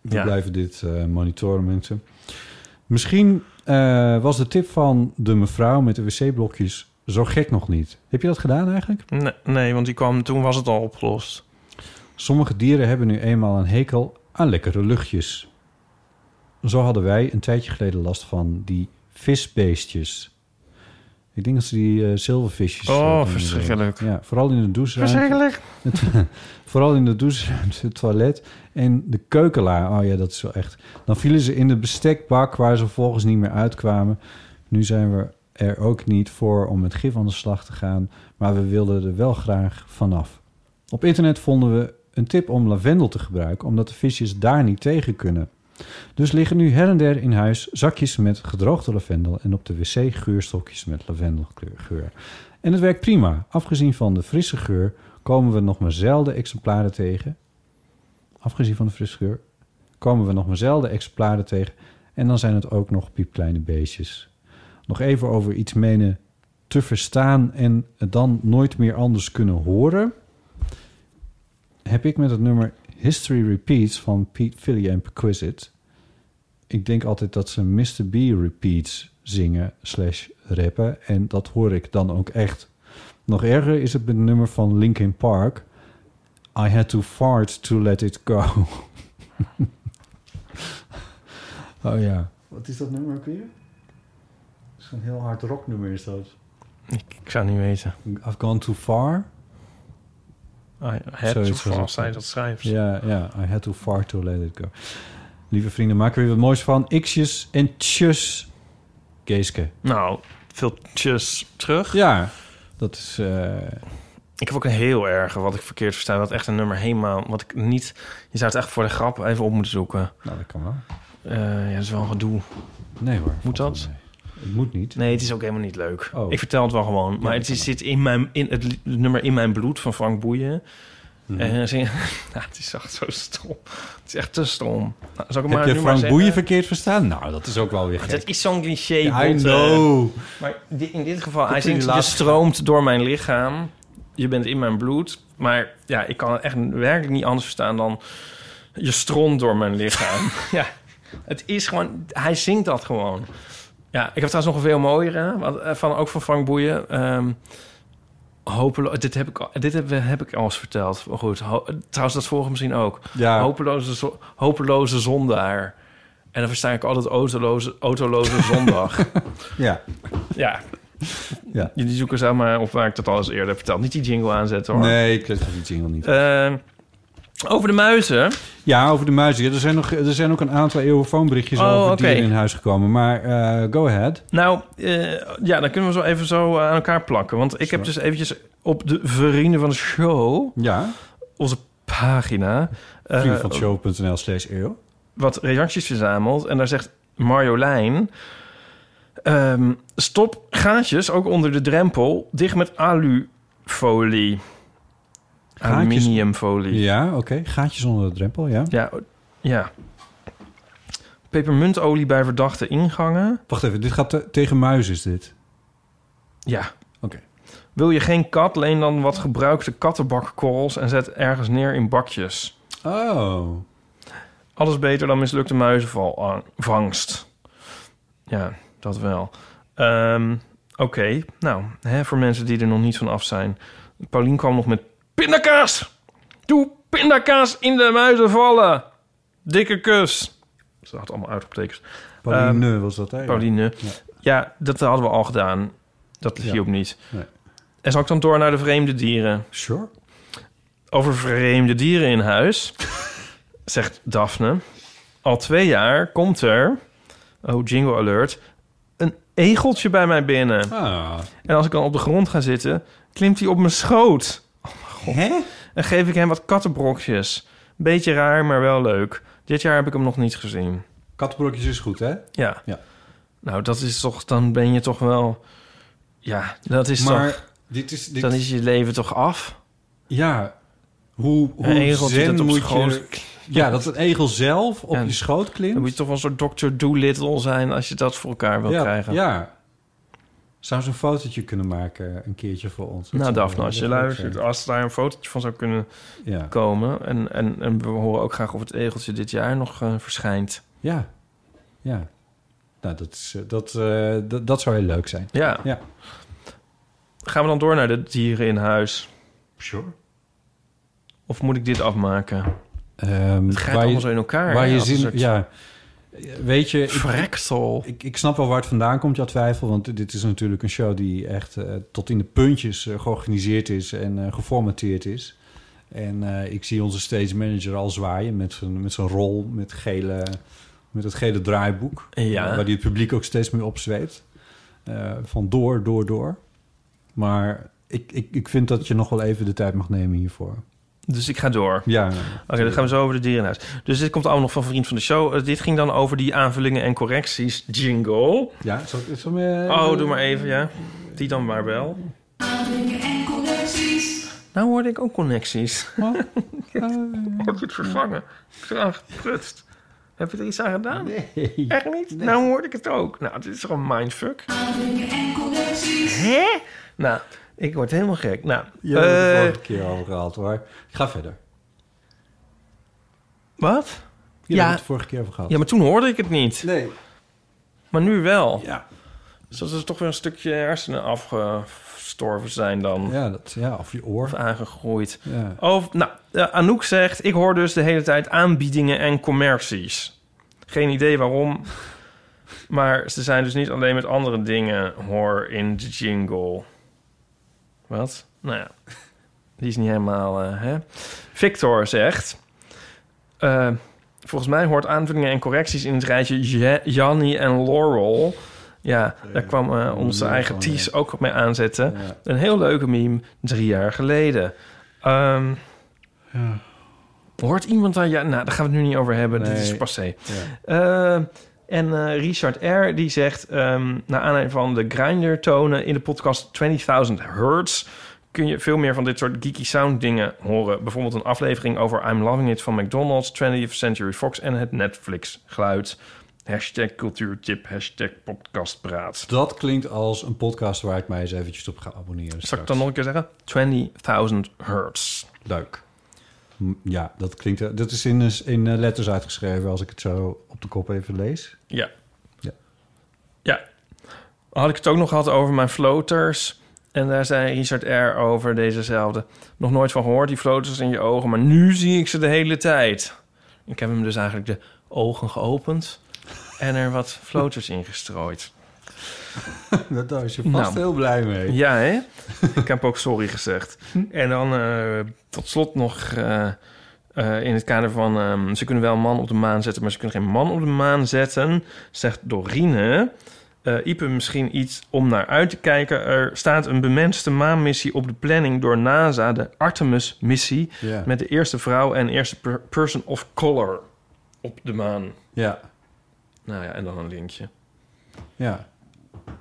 [SPEAKER 2] We
[SPEAKER 1] Ja.
[SPEAKER 2] blijven dit eh, monitoren, mensen. Misschien eh, was de tip van de mevrouw met de wc-blokjes zo gek nog niet. Heb je dat gedaan eigenlijk?
[SPEAKER 1] Nee, nee, want die kwam, toen was het al opgelost.
[SPEAKER 2] Sommige dieren hebben nu eenmaal een hekel aan lekkere luchtjes. Zo hadden wij een tijdje geleden last van die visbeestjes. Ik denk dat ze die eh, zilvervisjes... eh,
[SPEAKER 1] Oh,
[SPEAKER 2] noemen.
[SPEAKER 1] verschrikkelijk.
[SPEAKER 2] Ja, vooral in de doucheruimte. Het- vooral in de doucheruimte, het toilet en de keukenlaar. Oh ja, dat is wel echt. Dan vielen ze in de bestekbak waar ze volgens niet meer uitkwamen. Nu zijn we er ook niet voor om met gif aan de slag te gaan, maar we wilden er wel graag vanaf. Op internet vonden we een tip om lavendel te gebruiken, omdat de visjes daar niet tegen kunnen. Dus liggen nu her en der in huis zakjes met gedroogde lavendel en op de wc geurstokjes met lavendelgeur. En het werkt prima. Afgezien van de frisse geur komen we nog maar zelden exemplaren tegen. Afgezien van de frisse geur komen we nog maar zelden exemplaren tegen. En dan zijn het ook nog piepkleine beestjes. Nog even over iets menen te verstaan en het dan nooit meer anders kunnen horen. Heb ik met het nummer History Repeats van Pete Philly en Perquisite. Ik denk altijd dat ze Mr. B repeats zingen slash rappen. En dat hoor ik dan ook echt. Nog erger is het met het nummer van Linkin Park. I had to fart to let it go. oh ja. Wat is dat nummer ook weer? Zo'n heel hard rocknummer is dat.
[SPEAKER 1] Ik, ik zou niet weten.
[SPEAKER 2] I've gone too far.
[SPEAKER 1] Ah, het
[SPEAKER 2] Zoiets
[SPEAKER 1] toeval,
[SPEAKER 2] was het.
[SPEAKER 1] als zij dat schrijft.
[SPEAKER 2] Ja, ja. I had to far to let it go. Lieve vrienden, maak er weer wat moois van. X'jes en tjus. Geeske.
[SPEAKER 1] Nou, veel tjus terug.
[SPEAKER 2] Ja, dat is... eh,
[SPEAKER 1] Ik heb ook een heel erge, wat ik verkeerd versta. Wat echt een nummer helemaal, wat ik niet... Je zou het echt voor de grap even op moeten zoeken.
[SPEAKER 2] nou, dat kan wel.
[SPEAKER 1] Eh, ja, dat is wel een gedoe.
[SPEAKER 2] Nee hoor. valt
[SPEAKER 1] dat?
[SPEAKER 2] wel mee. Het moet niet.
[SPEAKER 1] Nee, het is ook helemaal niet leuk.
[SPEAKER 2] Oh.
[SPEAKER 1] Ik vertel het wel gewoon. Maar het is- zit in mijn, in het li- nummer In Mijn Bloed van Frank Boeien.
[SPEAKER 2] Mhm.
[SPEAKER 1] En zing, nou, het is echt zo stom. Het is echt te stom. Nou, zal ik maar
[SPEAKER 2] Heb
[SPEAKER 1] nu
[SPEAKER 2] je
[SPEAKER 1] maar
[SPEAKER 2] Frank
[SPEAKER 1] zeggen?
[SPEAKER 2] Boeien verkeerd verstaan? Nou, dat is ook wel weer
[SPEAKER 1] Het eh,
[SPEAKER 2] gek.
[SPEAKER 1] is zo'n cliché.
[SPEAKER 2] I
[SPEAKER 1] botte.
[SPEAKER 2] know.
[SPEAKER 1] Maar di- in dit geval, hij
[SPEAKER 2] jullie
[SPEAKER 1] zingt, je
[SPEAKER 2] laatst-
[SPEAKER 1] stroomt door mijn lichaam. Je bent in mijn bloed. Maar ja, ik kan het echt werkelijk niet anders verstaan dan... Je stroomt door mijn lichaam. ja, het is gewoon... Hij zingt dat gewoon. Ja, ik heb trouwens nog een veel mooiere. want, eh, Van, ook van Frank Boeien. Ehm hopeloos... Dit heb ik al, dit heb, heb ik al eens verteld. Maar goed, ho- trouwens dat vorige misschien ook.
[SPEAKER 2] Ja.
[SPEAKER 1] Hopeloze, zo- hopeloze zondaar. En dan versta ik altijd autoloze, autoloze zondag.
[SPEAKER 2] Ja.
[SPEAKER 1] Ja.
[SPEAKER 2] Ja.
[SPEAKER 1] Jullie zoeken zelf maar op waar ik dat al eens eerder heb verteld. Niet die jingle aanzetten hoor.
[SPEAKER 2] Nee, ik weet het niet.
[SPEAKER 1] Ehm, Over de muizen.
[SPEAKER 2] Ja, over de muizen. Ja, Er zijn, nog, er zijn ook een aantal eeuwenfoonberichtjes
[SPEAKER 1] Oh,
[SPEAKER 2] over
[SPEAKER 1] oké.
[SPEAKER 2] dieren in huis gekomen. Maar eh, go ahead.
[SPEAKER 1] Nou, eh, ja, dan kunnen we zo even zo eh, aan elkaar plakken. Want ik heb dus eventjes op de Vrienden van de Show,
[SPEAKER 2] Ja,
[SPEAKER 1] onze pagina, eh,
[SPEAKER 2] vriendenvanshow.nl slash eeuw.
[SPEAKER 1] wat reacties verzameld. En daar zegt Marjolein... ehm, stop gaatjes, ook onder de drempel, dicht met alufolie.
[SPEAKER 2] Gaatjes?
[SPEAKER 1] Aluminiumfolie.
[SPEAKER 2] Ja, oké. Gaatjes onder de drempel, ja.
[SPEAKER 1] Ja, o- ja. Pepermuntolie bij verdachte ingangen.
[SPEAKER 2] Wacht even, dit gaat te- tegen muizen is dit.
[SPEAKER 1] Ja.
[SPEAKER 2] Oké.
[SPEAKER 1] Wil je geen kat, leen dan wat gebruikte kattenbakkorrels en zet ergens neer in bakjes.
[SPEAKER 2] Oh.
[SPEAKER 1] Alles beter dan mislukte muizenvalvangst. Ja, dat wel. Ehm, Oké, nou, hè, voor mensen die er nog niet van af zijn. Paulien kwam nog met pindakaas! Doe pindakaas in de muizen vallen! Dikke kus! Ze had allemaal uitroeptekens.
[SPEAKER 2] Pauline was dat eigenlijk.
[SPEAKER 1] Pauline.
[SPEAKER 2] Ja.
[SPEAKER 1] Ja. dat hadden we al gedaan. Dat
[SPEAKER 2] Ja.
[SPEAKER 1] hielp niet.
[SPEAKER 2] Nee.
[SPEAKER 1] En zal ik dan door naar de vreemde dieren?
[SPEAKER 2] Sure.
[SPEAKER 1] Over vreemde dieren in huis, zegt Daphne. Al twee jaar komt er, oh jingle alert, een egeltje bij mij binnen.
[SPEAKER 2] Ah.
[SPEAKER 1] En als ik dan op de grond ga zitten, klimt hij op mijn schoot.
[SPEAKER 2] Hè?
[SPEAKER 1] En geef ik hem wat kattenbrokjes. Beetje raar, maar wel leuk. Dit jaar heb ik hem nog niet gezien.
[SPEAKER 2] Kattenbrokjes is goed, hè?
[SPEAKER 1] Ja.
[SPEAKER 2] Ja.
[SPEAKER 1] Nou, dat is toch, dan ben je toch wel. Ja, dat is
[SPEAKER 2] maar
[SPEAKER 1] toch.
[SPEAKER 2] dit is... Dit,
[SPEAKER 1] Dan is je leven toch af?
[SPEAKER 2] Ja. Hoe, hoe
[SPEAKER 1] Een egeltje
[SPEAKER 2] zen
[SPEAKER 1] dat op
[SPEAKER 2] moet
[SPEAKER 1] schoot
[SPEAKER 2] je... Ja, dat een egel zelf op
[SPEAKER 1] Ja.
[SPEAKER 2] je schoot klimt.
[SPEAKER 1] Dan moet je toch wel een soort Dr. Doolittle zijn als je dat voor elkaar wil
[SPEAKER 2] ja,
[SPEAKER 1] krijgen.
[SPEAKER 2] Ja. Zou ze een fotootje kunnen maken een keertje voor ons? Dat
[SPEAKER 1] Nou,
[SPEAKER 2] zou-
[SPEAKER 1] Daphne, als je
[SPEAKER 2] dat zou leuk
[SPEAKER 1] luistert,
[SPEAKER 2] zijn.
[SPEAKER 1] als daar een fotootje van zou kunnen
[SPEAKER 2] Ja.
[SPEAKER 1] komen. En, en, en we horen ook graag of het egeltje dit jaar nog eh, verschijnt.
[SPEAKER 2] Ja. Ja. Nou, dat, is, eh, dat, eh, dat, dat zou heel leuk zijn.
[SPEAKER 1] Ja.
[SPEAKER 2] Ja.
[SPEAKER 1] Gaan we dan door naar de dieren in huis?
[SPEAKER 2] Sure.
[SPEAKER 1] Of moet ik dit afmaken?
[SPEAKER 2] Ehm
[SPEAKER 1] Het gaat
[SPEAKER 2] waar je,
[SPEAKER 1] allemaal zo in elkaar.
[SPEAKER 2] waar
[SPEAKER 1] hè,
[SPEAKER 2] je
[SPEAKER 1] als een
[SPEAKER 2] zin...
[SPEAKER 1] soort
[SPEAKER 2] Ja. Weet je... ik-
[SPEAKER 1] Verreksel.
[SPEAKER 2] Ik, ik snap wel waar het vandaan komt, jouw twijfel. Want dit is natuurlijk een show die echt eh, tot in de puntjes eh, georganiseerd is en eh, geformateerd is. En eh, ik zie onze stage manager al zwaaien met zijn, met zijn rol, met, gele, met het gele draaiboek.
[SPEAKER 1] Ja.
[SPEAKER 2] Waar die het publiek ook steeds mee opzweept. Eh, van door, door, door. Maar ik, ik, ik vind dat je nog wel even de tijd mag nemen hiervoor.
[SPEAKER 1] Dus ik ga door.
[SPEAKER 2] Ja,
[SPEAKER 1] Oké, dan gaan we zo over de dierenhuis. Dus dit komt allemaal nog van Vriend van de Show. Eh, dit ging dan over die aanvullingen en correcties jingle.
[SPEAKER 2] ja zal, ik- zal ik hem, eh,
[SPEAKER 1] Oh, doe maar even, ja. Die dan maar wel. Nou hoorde ik ook connecties.
[SPEAKER 2] Oh.
[SPEAKER 1] Heb je het vervangen? Ik ben eraan geprutst. Heb je er iets aan gedaan?
[SPEAKER 2] Nee.
[SPEAKER 1] Echt niet? Nou hoorde ik het ook. Nou, dit is toch een mindfuck? Hè? Nou, ik word helemaal gek. Nou,
[SPEAKER 2] Je hebt het de
[SPEAKER 1] eh,
[SPEAKER 2] vorige keer al gehaald hoor. Ik ga verder.
[SPEAKER 1] wat?
[SPEAKER 2] Je
[SPEAKER 1] Ja.
[SPEAKER 2] hebt het vorige keer over gehad.
[SPEAKER 1] Ja, maar toen hoorde ik het niet.
[SPEAKER 2] Nee.
[SPEAKER 1] Maar nu wel.
[SPEAKER 2] Ja.
[SPEAKER 1] Dus dat is toch weer een stukje hersenen afgestorven zijn dan.
[SPEAKER 2] Ja, dat, ja, of je
[SPEAKER 1] Of
[SPEAKER 2] oor.
[SPEAKER 1] aangegroeid.
[SPEAKER 2] Ja.
[SPEAKER 1] Of, nou, eh, Anouk zegt... ik hoor dus de hele tijd aanbiedingen en commercies. Geen idee waarom. Maar ze zijn dus niet alleen met andere dingen... hoor in de jingle. Wat? Nou ja, die is niet helemaal... eh, hè? Victor zegt... eh, volgens mij hoort aanvullingen en correcties... in het rijtje Ja- Jannie en Laurel... Ja, daar kwam eh, onze
[SPEAKER 2] Ja,
[SPEAKER 1] eigen
[SPEAKER 2] gewoon,
[SPEAKER 1] Ties ook mee aanzetten.
[SPEAKER 2] Ja.
[SPEAKER 1] Een heel leuke meme drie jaar geleden. Ehm, Hoort iemand aan... Ja, nou, daar gaan we het nu niet over hebben. Dit is
[SPEAKER 2] Nee.
[SPEAKER 1] passé.
[SPEAKER 2] Ja.
[SPEAKER 1] Eh, en eh, Richard R. die zegt... ehm naar aanleiding van de Grindr-tonen in de podcast 20.000 Hertz... kun je veel meer van dit soort geeky sound dingen horen. Bijvoorbeeld een aflevering over I'm Loving It van McDonald's... 20th Century Fox en het Netflix-geluid. Hashtag cultuurtip, hashtag podcastpraat.
[SPEAKER 2] Dat klinkt als een podcast waar ik mij eens eventjes op ga abonneren.
[SPEAKER 1] Zal ik
[SPEAKER 2] straks.
[SPEAKER 1] dan nog een keer zeggen? 20.000 Hertz.
[SPEAKER 2] Leuk. Hm, Ja, dat klinkt... Dat is in, in eh, letters uitgeschreven als ik het zo op de kop even lees.
[SPEAKER 1] Ja.
[SPEAKER 2] Ja.
[SPEAKER 1] Ja. Had ik het ook nog gehad over mijn floaters. En daar zei Richard R. over dezezelfde. Nog nooit van gehoord, die floaters in je ogen. Maar nu zie ik ze de hele tijd. Ik heb hem dus eigenlijk de ogen geopend. En er wat floaters in gestrooid.
[SPEAKER 2] Dat- Daar is je vast
[SPEAKER 1] Nou.
[SPEAKER 2] heel blij mee.
[SPEAKER 1] Ja, hè? Ik heb ook sorry gezegd. En dan eh, tot slot nog eh, eh, in het kader van... ehm, ze kunnen wel een man op de maan zetten, maar ze kunnen geen man op de maan zetten, zegt Dorine. Eh Ipe misschien iets om naar uit te kijken. Er staat een bemenste maanmissie op de planning door NASA, de Artemis-missie,
[SPEAKER 2] Ja.
[SPEAKER 1] met de eerste vrouw en eerste per- person of color op de maan.
[SPEAKER 2] Ja,
[SPEAKER 1] Nou ja, en dan een linkje.
[SPEAKER 2] ja,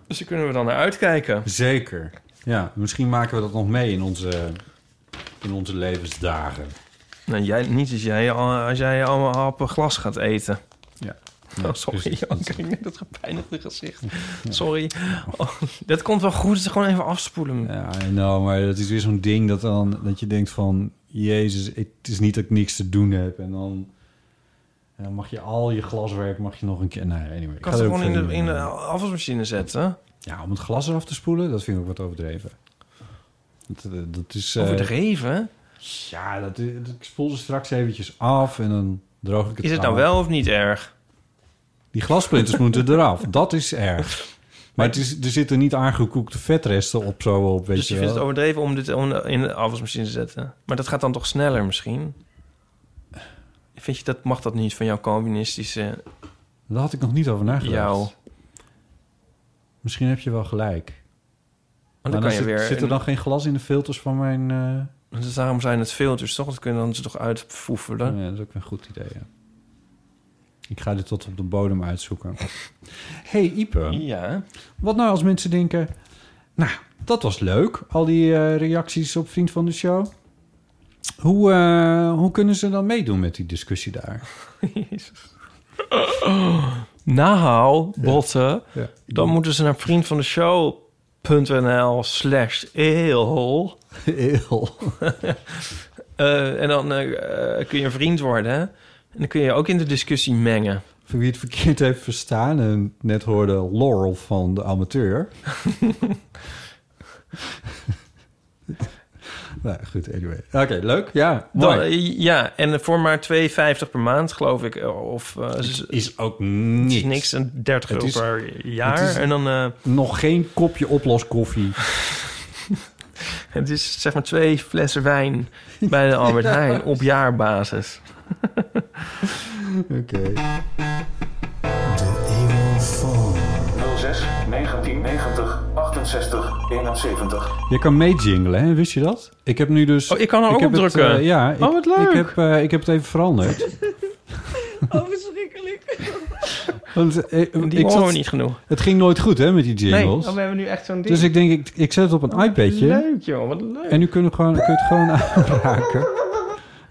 [SPEAKER 1] Dus daar kunnen we dan naar uitkijken.
[SPEAKER 2] zeker. Ja, misschien maken we dat nog mee in onze, in onze levensdagen.
[SPEAKER 1] Nou, jij, niet als jij, al- als jij allemaal happen glas gaat eten.
[SPEAKER 2] Ja.
[SPEAKER 1] Oh, sorry,
[SPEAKER 2] precies.
[SPEAKER 1] Jan, kijk, dat gepijnigde gezicht. Sorry. Oh, dat komt wel goed, dat is gewoon even afspoelen.
[SPEAKER 2] Ja, nou, maar dat is weer zo'n ding dat, dan, dat je denkt van... Jezus, het is niet dat ik niks te doen heb. En dan, en dan mag je al je glaswerk mag je nog een keer... Nee, anyway.
[SPEAKER 1] Ik kan het gewoon in de, in de
[SPEAKER 2] eh,
[SPEAKER 1] afwasmachine zetten.
[SPEAKER 2] Ja, om het glas eraf te spoelen, dat vind ik ook wat overdreven. Dat, eh, dat is... eh,
[SPEAKER 1] Overdreven.
[SPEAKER 2] Ja, dat, dat- ik spoel ze straks eventjes af en dan droog ik het
[SPEAKER 1] Is het nou
[SPEAKER 2] af.
[SPEAKER 1] wel of niet erg?
[SPEAKER 2] Die glasplinters moeten eraf. Dat is erg. Maar het is, er zitten niet aangekoekte vetresten op zo op, weet
[SPEAKER 1] dus je
[SPEAKER 2] je
[SPEAKER 1] vindt
[SPEAKER 2] wel.
[SPEAKER 1] het overdreven om dit om- in de afwasmachine te zetten. Maar dat gaat dan toch sneller misschien? Vind je dat, mag dat niet van jouw Calvinistische
[SPEAKER 2] Daar had ik nog niet over nagedacht.
[SPEAKER 1] jou?
[SPEAKER 2] Misschien heb je wel gelijk.
[SPEAKER 1] Want
[SPEAKER 2] Maar
[SPEAKER 1] dan kan je
[SPEAKER 2] zit,
[SPEAKER 1] weer...
[SPEAKER 2] zit er dan geen glas in de filters van mijn... eh,
[SPEAKER 1] Dus daarom zijn het filters, toch? Dat kunnen dan ze toch uitvoefelen.
[SPEAKER 2] Oh Ja, dat is ook een goed idee, ja. Ik ga dit tot op de bodem uitzoeken. hey, Ipe.
[SPEAKER 1] Ja.
[SPEAKER 2] Wat nou als mensen denken... Nou, dat was leuk. Al die eh, reacties op Vriend van de Show. Hoe, eh, hoe kunnen ze dan meedoen met die discussie daar?
[SPEAKER 1] Nou, botten,
[SPEAKER 2] Ja.
[SPEAKER 1] dan moeten ze naar vriendvandeshow.nl slash eeuw.
[SPEAKER 2] Heel.
[SPEAKER 1] Eh, en dan eh, eh, kun je vriend worden. En dan kun je ook in de discussie mengen.
[SPEAKER 2] Voor wie het verkeerd heeft verstaan en net hoorde Laurel van de amateur. nou, goed, anyway. Oké, leuk. Ja,
[SPEAKER 1] Dan,
[SPEAKER 2] mooi.
[SPEAKER 1] eh, ja, en voor maar 2,50 per maand, geloof ik. Of eh, is- het
[SPEAKER 2] is ook
[SPEAKER 1] is
[SPEAKER 2] niks.
[SPEAKER 1] niks, een 30
[SPEAKER 2] Het
[SPEAKER 1] euro
[SPEAKER 2] is-
[SPEAKER 1] per jaar.
[SPEAKER 2] het is-
[SPEAKER 1] en dan, eh,
[SPEAKER 2] Nog geen kopje oploskoffie.
[SPEAKER 1] het is zeg maar twee flessen wijn bij de Albert Heijn op jaarbasis.
[SPEAKER 2] Oké.
[SPEAKER 3] 06 1990 68 71.
[SPEAKER 2] Je kan meejinglen, hè? Wist je dat? Ik heb nu dus...
[SPEAKER 1] Oh, ik kan er ook
[SPEAKER 2] heb
[SPEAKER 1] op
[SPEAKER 2] het,
[SPEAKER 1] drukken.
[SPEAKER 2] eh, ja, ik,
[SPEAKER 1] Oh, wat leuk.
[SPEAKER 2] Ik heb, eh, ik heb het even veranderd.
[SPEAKER 4] Oh, verschrikkelijk.
[SPEAKER 2] Want, eh,
[SPEAKER 1] Die
[SPEAKER 2] ik
[SPEAKER 1] horen
[SPEAKER 2] zat-
[SPEAKER 1] we niet genoeg.
[SPEAKER 2] Het ging nooit goed, hè, met die jingles.
[SPEAKER 1] Oh, we hebben nu echt zo'n
[SPEAKER 2] dus ik denk, ik, ik zet het op een iPadje.
[SPEAKER 1] Leuk joh, wat leuk.
[SPEAKER 2] En nu kunnen we gewoon, kun je het gewoon aanraken.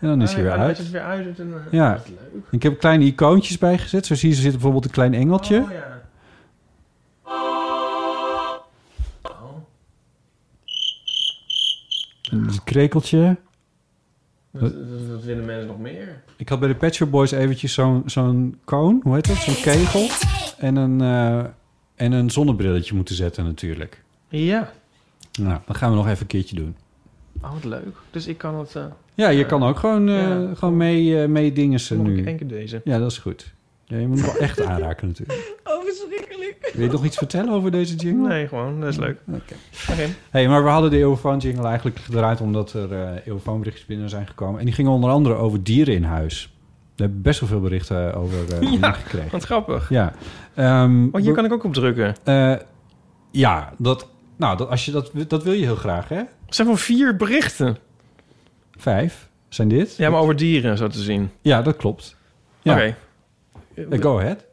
[SPEAKER 2] En dan is hij weer uit.
[SPEAKER 1] weer uit. eh,
[SPEAKER 2] Ja. Ik heb kleine icoontjes bijgezet. Zo zie je, er zit bijvoorbeeld een klein engeltje.
[SPEAKER 1] Oh, Oh.
[SPEAKER 2] Een krekeltje.
[SPEAKER 1] Wat vinden mensen nog meer?
[SPEAKER 2] Ik had bij de Pet Shop Boys eventjes zo'n zo'n koon, hoe heet dat? Zo'n kegel. En een, eh, en een zonnebrilletje moeten zetten natuurlijk.
[SPEAKER 1] Ja.
[SPEAKER 2] Nou, dat gaan we nog even een keertje doen.
[SPEAKER 1] Oh, wat leuk. Dus ik kan het... eh,
[SPEAKER 2] Ja, je kan ook gewoon, eh,
[SPEAKER 1] Ja.
[SPEAKER 2] gewoon mee, eh, mee dingen
[SPEAKER 1] nog een
[SPEAKER 2] nu.
[SPEAKER 1] keer- één keer deze.
[SPEAKER 2] Ja, dat is goed. Ja, je moet hem wel echt aanraken natuurlijk.
[SPEAKER 4] Oh, verschrikkelijk.
[SPEAKER 2] Wil je nog iets vertellen over deze jingle?
[SPEAKER 1] Nee, gewoon. Dat is leuk. Oké.
[SPEAKER 2] Hey, maar we hadden de eeuwfoon jingle eigenlijk gedraaid omdat er eh eeuwfoonberichtjes binnen zijn gekomen. En die gingen onder andere over dieren in huis. We hebben best wel veel berichten over eh, dieren
[SPEAKER 1] Ja.
[SPEAKER 2] gekregen.
[SPEAKER 1] Wat grappig.
[SPEAKER 2] Ja. Ehm,
[SPEAKER 1] Oh, hier kan ik ook op drukken.
[SPEAKER 2] eh, ja, dat, nou, dat, als je dat, dat wil je heel graag, hè?
[SPEAKER 1] Er zijn wel vier berichten.
[SPEAKER 2] Vijf zijn dit.
[SPEAKER 1] Ja, maar over dieren zo te zien.
[SPEAKER 2] Ja, dat klopt. Ja.
[SPEAKER 1] Oké.
[SPEAKER 2] Eh, go ahead.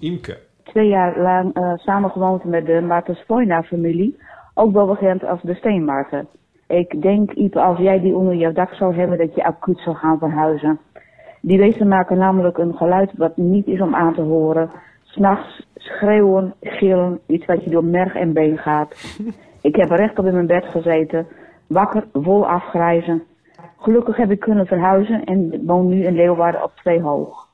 [SPEAKER 2] Imke.
[SPEAKER 5] twee jaar lang eh, samen gewoond met de Martens familie ook wel bekend als de Steenmarten. Ik denk, Ipe, als jij die onder jouw dak zou hebben, dat je acuut zou gaan verhuizen. Die beesten maken namelijk een geluid wat niet is om aan te horen. S'nachts schreeuwen, gillen, iets wat je door merg en been gaat. Ik heb rechtop in mijn bed gezeten, wakker, wol afgrijzen. Gelukkig heb ik kunnen verhuizen en woon nu in Leeuwarden op twee hoog.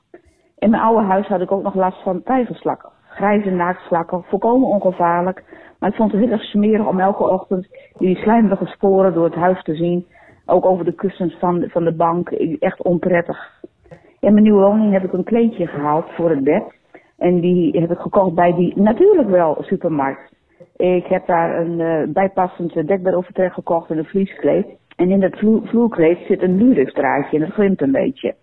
[SPEAKER 5] In mijn oude huis had ik ook nog last van tijgerslakken. Grijze naaktslakken, volkomen ongevaarlijk. Maar ik vond het heel erg smerig om elke ochtend die slijmerige sporen door het huis te zien. Ook over de kussens van, van de bank. Ik- Echt onprettig. In mijn nieuwe woning heb ik een kleedje gehaald voor het bed. En die heb ik gekocht bij die natuurlijk wel supermarkt. Ik heb daar een eh, bijpassend eh, dekbedovertrek gekocht en een vlieskleed.
[SPEAKER 6] En in dat vloer, vloerkleed zit een lurikdraadje en dat glimt een beetje.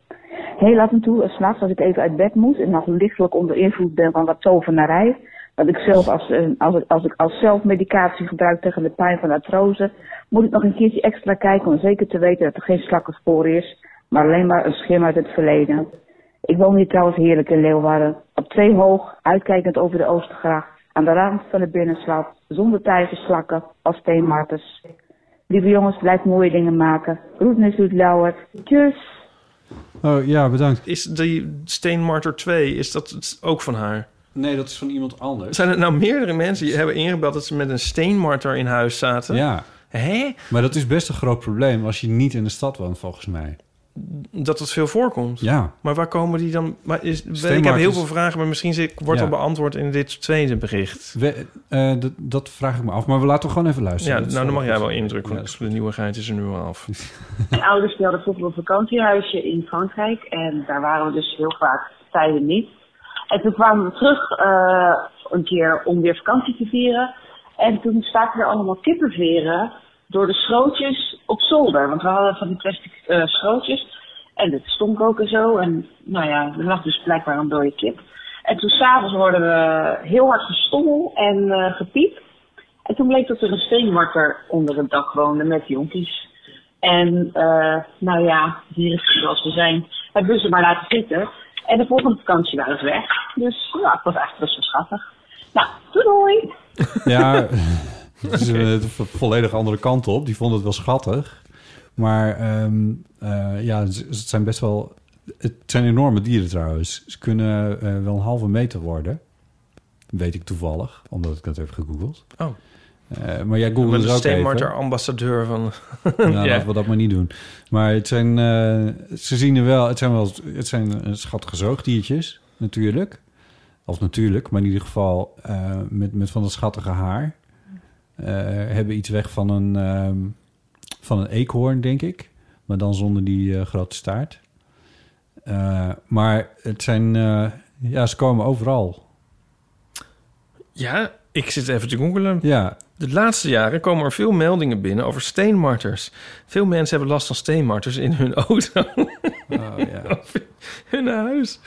[SPEAKER 6] Heel af en toe, eh, 's nachts als ik even uit bed moet en nog lichtelijk onder invloed ben van wat tovenarij. Want ik zelf als, eh, als, ik- als ik als zelfmedicatie gebruik tegen de pijn van artrose, moet ik nog een keertje extra kijken om zeker te weten dat er geen slakkensporen is, maar alleen maar een schim uit het verleden. Ik woon hier trouwens heerlijk in Leeuwarden. Op twee hoog, uitkijkend over de Oostergracht, aan de rand van de binnenslap, zonder tijgers, slakken of steenmarters. Lieve jongens, blijf mooie dingen maken. Groetnis doet Lauwert. Tjus!
[SPEAKER 2] Oh ja, bedankt.
[SPEAKER 1] Is die Steenmarter 2, is dat het ook van haar?
[SPEAKER 2] Nee, dat is van iemand anders.
[SPEAKER 1] Zijn er nou meerdere mensen die hebben ingebeld dat ze met een steenmarter in huis zaten?
[SPEAKER 2] Ja,
[SPEAKER 1] Hé?
[SPEAKER 2] maar dat is best een groot probleem als je niet in de stad woont, volgens mij.
[SPEAKER 1] Dat dat veel voorkomt.
[SPEAKER 2] Ja.
[SPEAKER 1] Maar waar komen die dan? Maar is, ik heb
[SPEAKER 2] Steenmarters-
[SPEAKER 1] heel veel vragen, maar misschien zit- wordt
[SPEAKER 2] Ja.
[SPEAKER 1] al beantwoord in dit tweede bericht.
[SPEAKER 2] We, eh, d- dat vraag ik me af, maar we laten we gewoon even luisteren.
[SPEAKER 1] Ja,
[SPEAKER 2] Dat is
[SPEAKER 1] nou dan mag jij wel
[SPEAKER 2] goed.
[SPEAKER 1] indruk, want de nieuwigheid is er nu al af.
[SPEAKER 5] Mijn ouders die hadden vroeger een vakantiehuisje in Frankrijk. En daar waren we dus heel vaak tijden niet. En toen kwamen we terug eh, een keer om weer vakantie te vieren. En toen staken er allemaal kippenveren door de schrootjes op zolder. Want we hadden van die plastic eh, schrootjes. En dat stonk ook en zo. En nou ja, er lag dus blijkbaar een dode kip. En toen s'avonds hoorden we heel hard gestommel en eh, gepiep. En toen bleek dat er een steenmarter onder het dak woonde met jonkies. En eh, nou ja, hier is zoals we zijn, hebben we ze maar laten zitten. En de volgende vakantie waren ze weg. Dus ja, het was eigenlijk best wel schattig. Nou, doei doei!
[SPEAKER 2] Ja, het is een vo- volledig andere kant op. Die vonden het wel schattig. Maar ehm, eh, ja, ze- het zijn best wel... Het zijn enorme dieren trouwens. Ze kunnen eh, wel een halve meter worden. Weet ik toevallig, omdat ik dat heb gegoogeld.
[SPEAKER 1] Oh.
[SPEAKER 2] Eh, maar jij googelde
[SPEAKER 1] Met
[SPEAKER 2] ze
[SPEAKER 1] een
[SPEAKER 2] ook even.
[SPEAKER 1] steenmarter ambassadeur van...
[SPEAKER 2] Nou, laten we dat maar niet doen. Maar het zijn, eh, ze zien er wel, het zijn wel, het zijn eh, schattige zoogdiertjes, natuurlijk. Of natuurlijk, maar in ieder geval eh, met, met van dat schattige haar. Eh, hebben iets weg van een, ehm, van een eekhoorn, denk ik. Maar dan zonder die eh, grote staart. Eh, maar het zijn, eh, ja, ze komen overal.
[SPEAKER 1] Ja, ik zit even te googelen.
[SPEAKER 2] Ja.
[SPEAKER 1] De laatste jaren komen er veel meldingen binnen over steenmarters. Veel mensen hebben last van steenmarters in hun auto. Of in hun huis.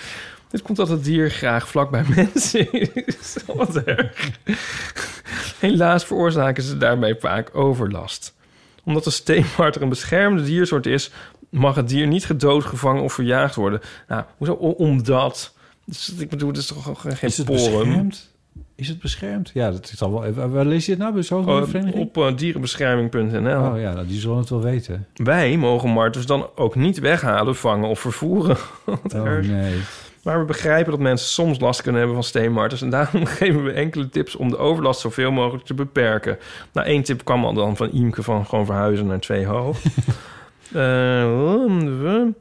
[SPEAKER 1] Dit komt dat het dier graag vlak bij mensen is. Wat erg. Helaas veroorzaken ze daarmee vaak overlast. Omdat de steenmarter een beschermde diersoort is... mag het dier niet gedood, gevangen of verjaagd worden. Nou, hoezo o- omdat? Dus, ik bedoel, het is toch gewoon geen
[SPEAKER 2] Is het
[SPEAKER 1] porum?
[SPEAKER 2] beschermd? Is het beschermd? Ja, dat is al wel. even- Waar lees je het nou bij zo'n
[SPEAKER 1] Oh,
[SPEAKER 2] vereniging?
[SPEAKER 1] op eh, dierenbescherming.nl.
[SPEAKER 2] Oh ja, nou, die zullen het wel weten.
[SPEAKER 1] Wij mogen marters dan ook niet weghalen, vangen of vervoeren. Wat
[SPEAKER 2] Oh
[SPEAKER 1] erg.
[SPEAKER 2] nee.
[SPEAKER 1] Maar we begrijpen dat mensen soms last kunnen hebben van steenmarters... en daarom geven we enkele tips om de overlast zoveel mogelijk te beperken. Nou, één tip kwam al dan van Iemke van gewoon verhuizen naar twee hoog. Eh, we,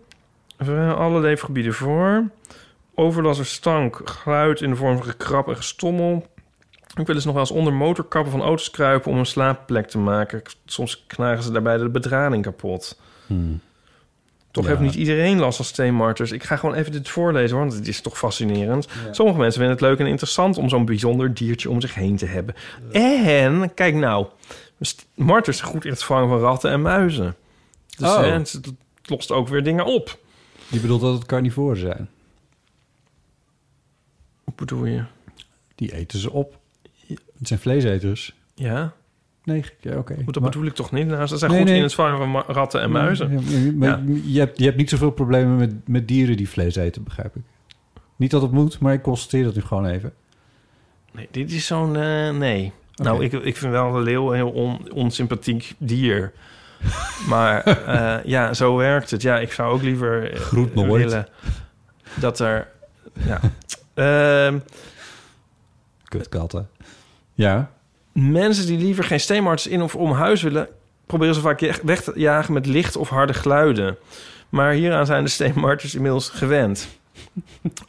[SPEAKER 1] we alle leefgebieden voor. Overlast door stank, geluid in de vorm van gekrap en gestommel... Ik wil eens nog wel eens onder motorkappen van auto's kruipen om een slaapplek te maken. Soms knagen ze daarbij de bedrading kapot. Toch heeft niet iedereen last van steenmarters. Ik ga gewoon even dit voorlezen, hoor, want het is toch fascinerend. Sommige mensen vinden het leuk en interessant om zo'n bijzonder diertje om zich heen te hebben. En, kijk nou, st- marters zijn goed in het vangen van ratten en muizen. Dus
[SPEAKER 2] Oh.
[SPEAKER 1] hè, het lost ook weer dingen op.
[SPEAKER 2] Je bedoelt dat het carnivoren zijn.
[SPEAKER 1] Hoe bedoel je?
[SPEAKER 2] Die eten ze op. Het zijn vleeseters.
[SPEAKER 1] Ja,
[SPEAKER 2] Nee, ja, oké.
[SPEAKER 1] goed, dat
[SPEAKER 2] Maar-
[SPEAKER 1] bedoel ik toch niet? Nou, ze zijn
[SPEAKER 2] Nee,
[SPEAKER 1] goed
[SPEAKER 2] nee.
[SPEAKER 1] in het vangen van ma- ratten en muizen.
[SPEAKER 2] Ja, ja, maar Je, hebt, je hebt niet zoveel problemen met, met dieren die vlees eten, begrijp ik. Niet dat het moet, maar ik constateer dat nu gewoon even.
[SPEAKER 1] Nee, dit is zo'n... eh, nee. Nou, ik, ik vind wel de leeuw een heel on, onsympathiek dier. Maar eh, ja, zo werkt het. Ja, ik zou ook liever eh,
[SPEAKER 2] Groet nooit.
[SPEAKER 1] willen dat er... Ja. Ehm,
[SPEAKER 2] Kutkatten. Ja,
[SPEAKER 1] mensen die liever geen steenmarters in of om huis willen... proberen ze vaak je- weg te jagen met licht of harde geluiden. Maar hieraan zijn de steenmarters inmiddels gewend.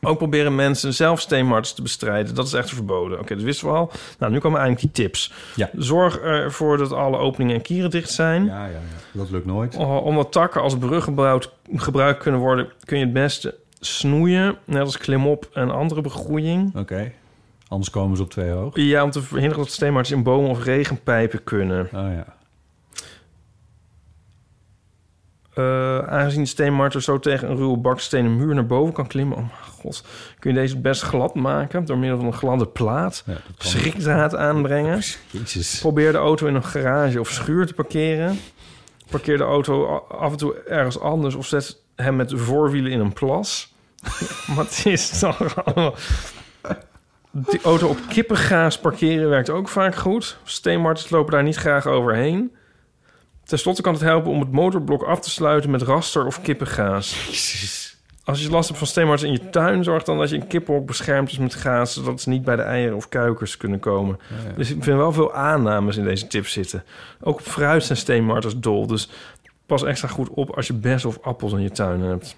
[SPEAKER 1] Ook proberen mensen zelf steenmarters te bestrijden. Dat is echt verboden. Oké, dat wisten we al. Nou, nu komen eigenlijk die tips.
[SPEAKER 2] Ja.
[SPEAKER 1] Zorg ervoor dat alle openingen en kieren dicht zijn.
[SPEAKER 2] ja, ja, ja. dat lukt nooit.
[SPEAKER 1] O- Omdat takken als brug gebruikt, gebruikt kunnen worden... kun je het beste snoeien. Net als klimop en andere begroeiing.
[SPEAKER 2] Oké, anders komen ze op twee hoog. Oh
[SPEAKER 1] Ja, om te
[SPEAKER 2] Oh
[SPEAKER 1] verhinderen dat steenmarters in bomen of regenpijpen kunnen.
[SPEAKER 2] ja.
[SPEAKER 1] Eh, aangezien de steenmarter zo tegen een ruwe bakstenen muur naar boven kan klimmen... Oh mijn god, kun je deze best glad maken door middel van een gladde plaat. Schrikdraad aanbrengen. Probeer de auto in een garage of schuur te parkeren. Parkeer de auto a- af en toe ergens anders... of zet hem met de voorwielen in een plas. Wat is toch allemaal... De auto op kippengaas parkeren werkt ook vaak goed. Steenmartens lopen daar niet graag overheen. Ten slotte kan het helpen om het motorblok af te sluiten met raster of kippengaas. Als je last hebt van steenmartens in je tuin, zorg dan dat je een kippenhok beschermd is met gaas, zodat ze niet bij de eieren of kuikens kunnen komen.
[SPEAKER 7] Ja, ja.
[SPEAKER 1] Dus ik vind wel veel aannames in deze tip zitten. Ook op fruit zijn steenmartens dol, dus pas extra goed op als je bessen of appels in je tuin hebt.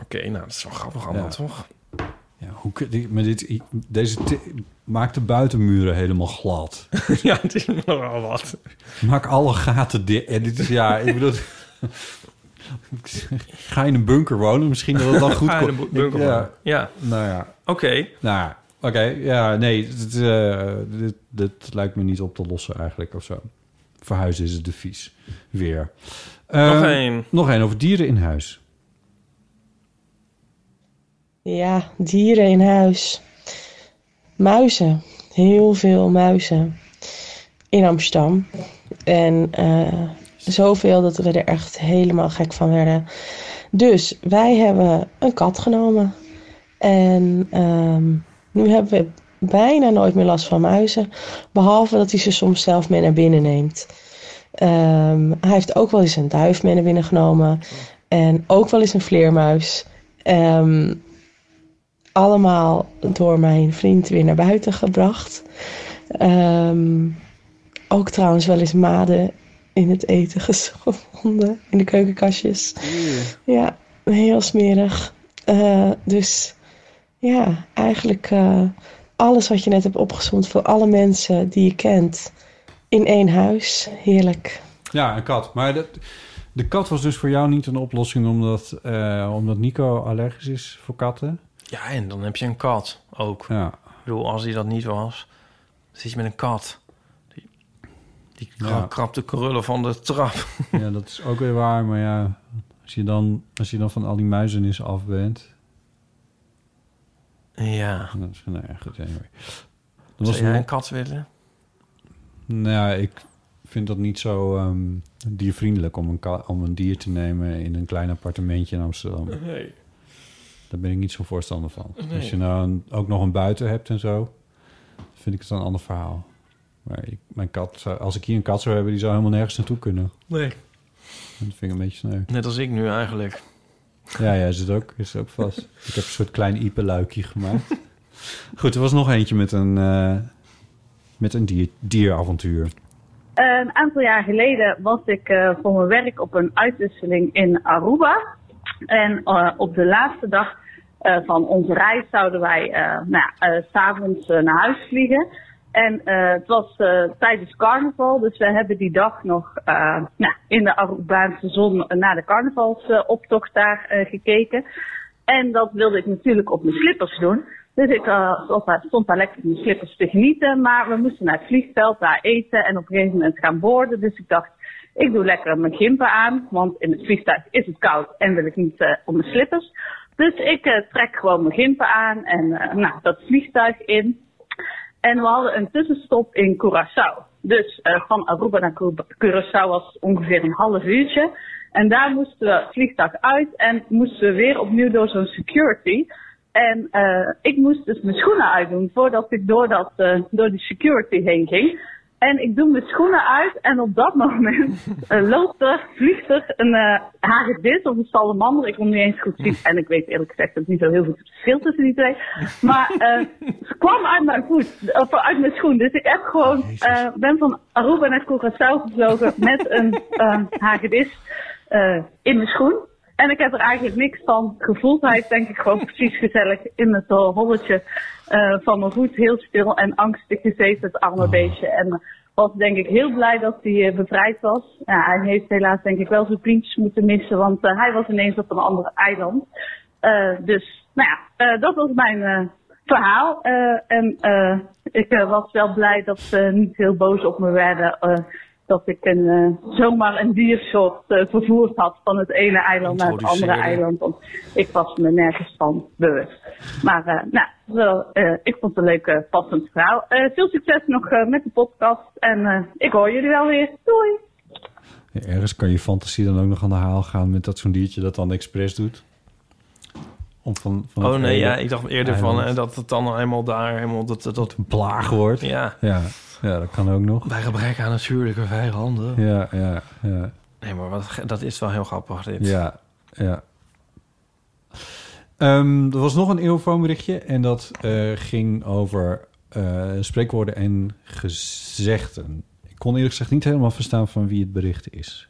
[SPEAKER 1] Oké, nou dat is wel grappig allemaal,
[SPEAKER 2] Ja.
[SPEAKER 1] toch?
[SPEAKER 2] Ja, hoe, kun- die- maar dit, deze ti- maakt de buitenmuren helemaal glad.
[SPEAKER 1] ja, het is nogal wat.
[SPEAKER 2] Maak alle gaten dicht. En dit is, ja, ik bedoel... Ga in een bunker wonen, misschien dat het dan goed
[SPEAKER 1] Ga in
[SPEAKER 2] komt.
[SPEAKER 1] een bu- bunker
[SPEAKER 2] Ik-
[SPEAKER 1] wonen. Ja.
[SPEAKER 2] Nou ja.
[SPEAKER 1] Oké.
[SPEAKER 2] Nou ja, oké. Ja, nee, dit, eh, dit, dit lijkt me niet op te lossen eigenlijk of zo. Verhuizen is het de vies. Weer.
[SPEAKER 1] Nog
[SPEAKER 2] Eh,
[SPEAKER 1] één.
[SPEAKER 2] Nog één over dieren in huis.
[SPEAKER 4] Ja, dieren in huis. Muizen. Heel veel muizen. In Amsterdam. En eh, zoveel dat we er echt helemaal gek van werden. Dus wij hebben een kat genomen. En ehm, nu hebben we bijna nooit meer last van muizen. Behalve dat hij ze soms zelf mee naar binnen neemt. Ehm, hij heeft ook wel eens een duif mee naar binnen genomen. En ook wel eens een vleermuis. Ehm, allemaal door mijn vriend weer naar buiten gebracht. Ehm, ook trouwens wel eens maden in het eten gevonden. In de keukenkastjes. Ja, heel smerig. Eh, dus ja, eigenlijk eh, alles wat je net hebt opgezond voor alle mensen die je kent in één huis. Heerlijk.
[SPEAKER 2] Ja, een kat. Maar dat, de kat was dus voor jou niet een oplossing omdat, eh, omdat Nico allergisch is voor katten.
[SPEAKER 1] Ja, en dan heb je een kat ook. Ik bedoel, als hij dat niet was, zit je met een kat. Die, die
[SPEAKER 2] Ja.
[SPEAKER 1] krapt de krullen van de trap.
[SPEAKER 2] Ja, dat is ook weer waar. Maar ja, als je dan, als je dan van al die muizenissen af bent.
[SPEAKER 1] Ja.
[SPEAKER 2] Dat is, nou ja, goed, anyway. Er
[SPEAKER 1] Zou
[SPEAKER 2] was
[SPEAKER 1] jij
[SPEAKER 2] nog-
[SPEAKER 1] een kat willen?
[SPEAKER 2] Nou, ja, ik vind dat niet zo ehm, diervriendelijk om een, ka- om een dier te nemen in een klein appartementje in Amsterdam.
[SPEAKER 1] Nee.
[SPEAKER 2] Daar ben ik niet zo voorstander van.
[SPEAKER 1] Nee.
[SPEAKER 2] Als je nou een- ook nog een buiten hebt en zo, vind ik het een ander verhaal. Maar ik, mijn kat, zou- als ik hier een kat zou hebben, die zou helemaal nergens naartoe kunnen.
[SPEAKER 1] Nee.
[SPEAKER 2] Dat vind ik een beetje sneu.
[SPEAKER 1] Net als ik nu eigenlijk.
[SPEAKER 2] Ja, ja, is het ook, is het ook vast. ik heb een soort klein iepenluikje gemaakt. Goed, er was nog eentje met een, eh, met een dier, dieravontuur.
[SPEAKER 5] Ehm, Een aantal jaar geleden was ik eh, voor mijn werk op een uitwisseling in Aruba. En eh, op de laatste dag eh, van onze reis zouden wij eh nou, ja, eh, s s'avonds naar huis vliegen. En eh, het was eh, tijdens carnaval, dus we hebben die dag nog eh, nou, in de Arubaanse zon naar de carnavalsoptocht daar eh, gekeken. En dat wilde ik natuurlijk op mijn slippers doen. Dus ik eh, stond daar- stond daar lekker op mijn slippers te genieten. Maar we moesten naar het vliegveld, daar eten en op een gegeven moment gaan boorden. Dus ik dacht, ik doe lekker mijn gimpen aan. Want in het vliegtuig is het koud en wil ik niet eh, op mijn slippers. Dus ik eh, trek gewoon mijn gimpen aan en eh, nou, dat vliegtuig in. En we hadden een tussenstop in Curaçao. Dus eh, van Aruba naar Cura- Curaçao was ongeveer een half uurtje. En daar moesten we het vliegtuig uit en moesten we weer opnieuw door zo'n security. En eh, ik moest dus mijn schoenen uitdoen voordat ik door, dat, eh, door die security heen ging. En ik doe mijn schoenen uit en op dat moment eh, loopt er, vliegt er een eh hagedis of een salamander. Ik kon het niet eens goed zien en ik weet eerlijk gezegd ook niet zo heel goed het verschil tussen die twee. Maar eh, ze kwam uit mijn voet, of uit mijn schoen. Dus ik heb gewoon, eh, ben van Aruba naar Curaçao gevlogen met een eh, hagedis eh, in mijn schoen. En ik heb er eigenlijk niks van gevoeld. Hij is denk ik gewoon precies gezellig in het eh, holletje eh, van mijn voet. Heel stil en angstig gezeten, het arme beestje. En eh, was denk ik heel blij dat hij eh, bevrijd was. Ja, hij heeft helaas denk ik wel zijn vriendjes moeten missen. Want eh, hij was ineens op een ander eiland. Eh, dus, nou ja, eh, dat was mijn eh, verhaal. Eh, en eh, ik eh, was wel blij dat ze niet heel boos op me werden... eh, dat ik een, eh, zomaar een diersoort eh, vervoerd had van het ene eiland naar het andere
[SPEAKER 7] Introduceren.
[SPEAKER 5] eiland. Want ik was me nergens van bewust. Maar eh, nou, wel, eh, ik vond het een leuke, passend verhaal. Eh, veel succes nog eh, met de podcast en eh, ik hoor jullie wel weer. Doei!
[SPEAKER 2] Ja, ergens kan je fantasie dan ook nog aan de haal gaan met dat zo'n diertje dat dan expres doet. Om van, van
[SPEAKER 1] Oh
[SPEAKER 2] het
[SPEAKER 1] nee,
[SPEAKER 2] hele
[SPEAKER 1] ja, ik dacht eerder van
[SPEAKER 2] eiland-
[SPEAKER 1] eh, dat het dan helemaal daar helemaal dat dat, dat
[SPEAKER 2] plaag wordt.
[SPEAKER 1] Ja.
[SPEAKER 2] ja. Ja, dat kan ook nog.
[SPEAKER 1] Bij gebrek aan natuurlijke vijanden.
[SPEAKER 2] Ja, ja, ja.
[SPEAKER 1] Nee, maar wat, ge- dat is wel heel grappig dit.
[SPEAKER 2] Ja, ja. Ehm, er was nog een eeuwfoonberichtje en dat eh, ging over eh, spreekwoorden en gezegden. Ik kon eerlijk gezegd niet helemaal verstaan van wie het bericht is.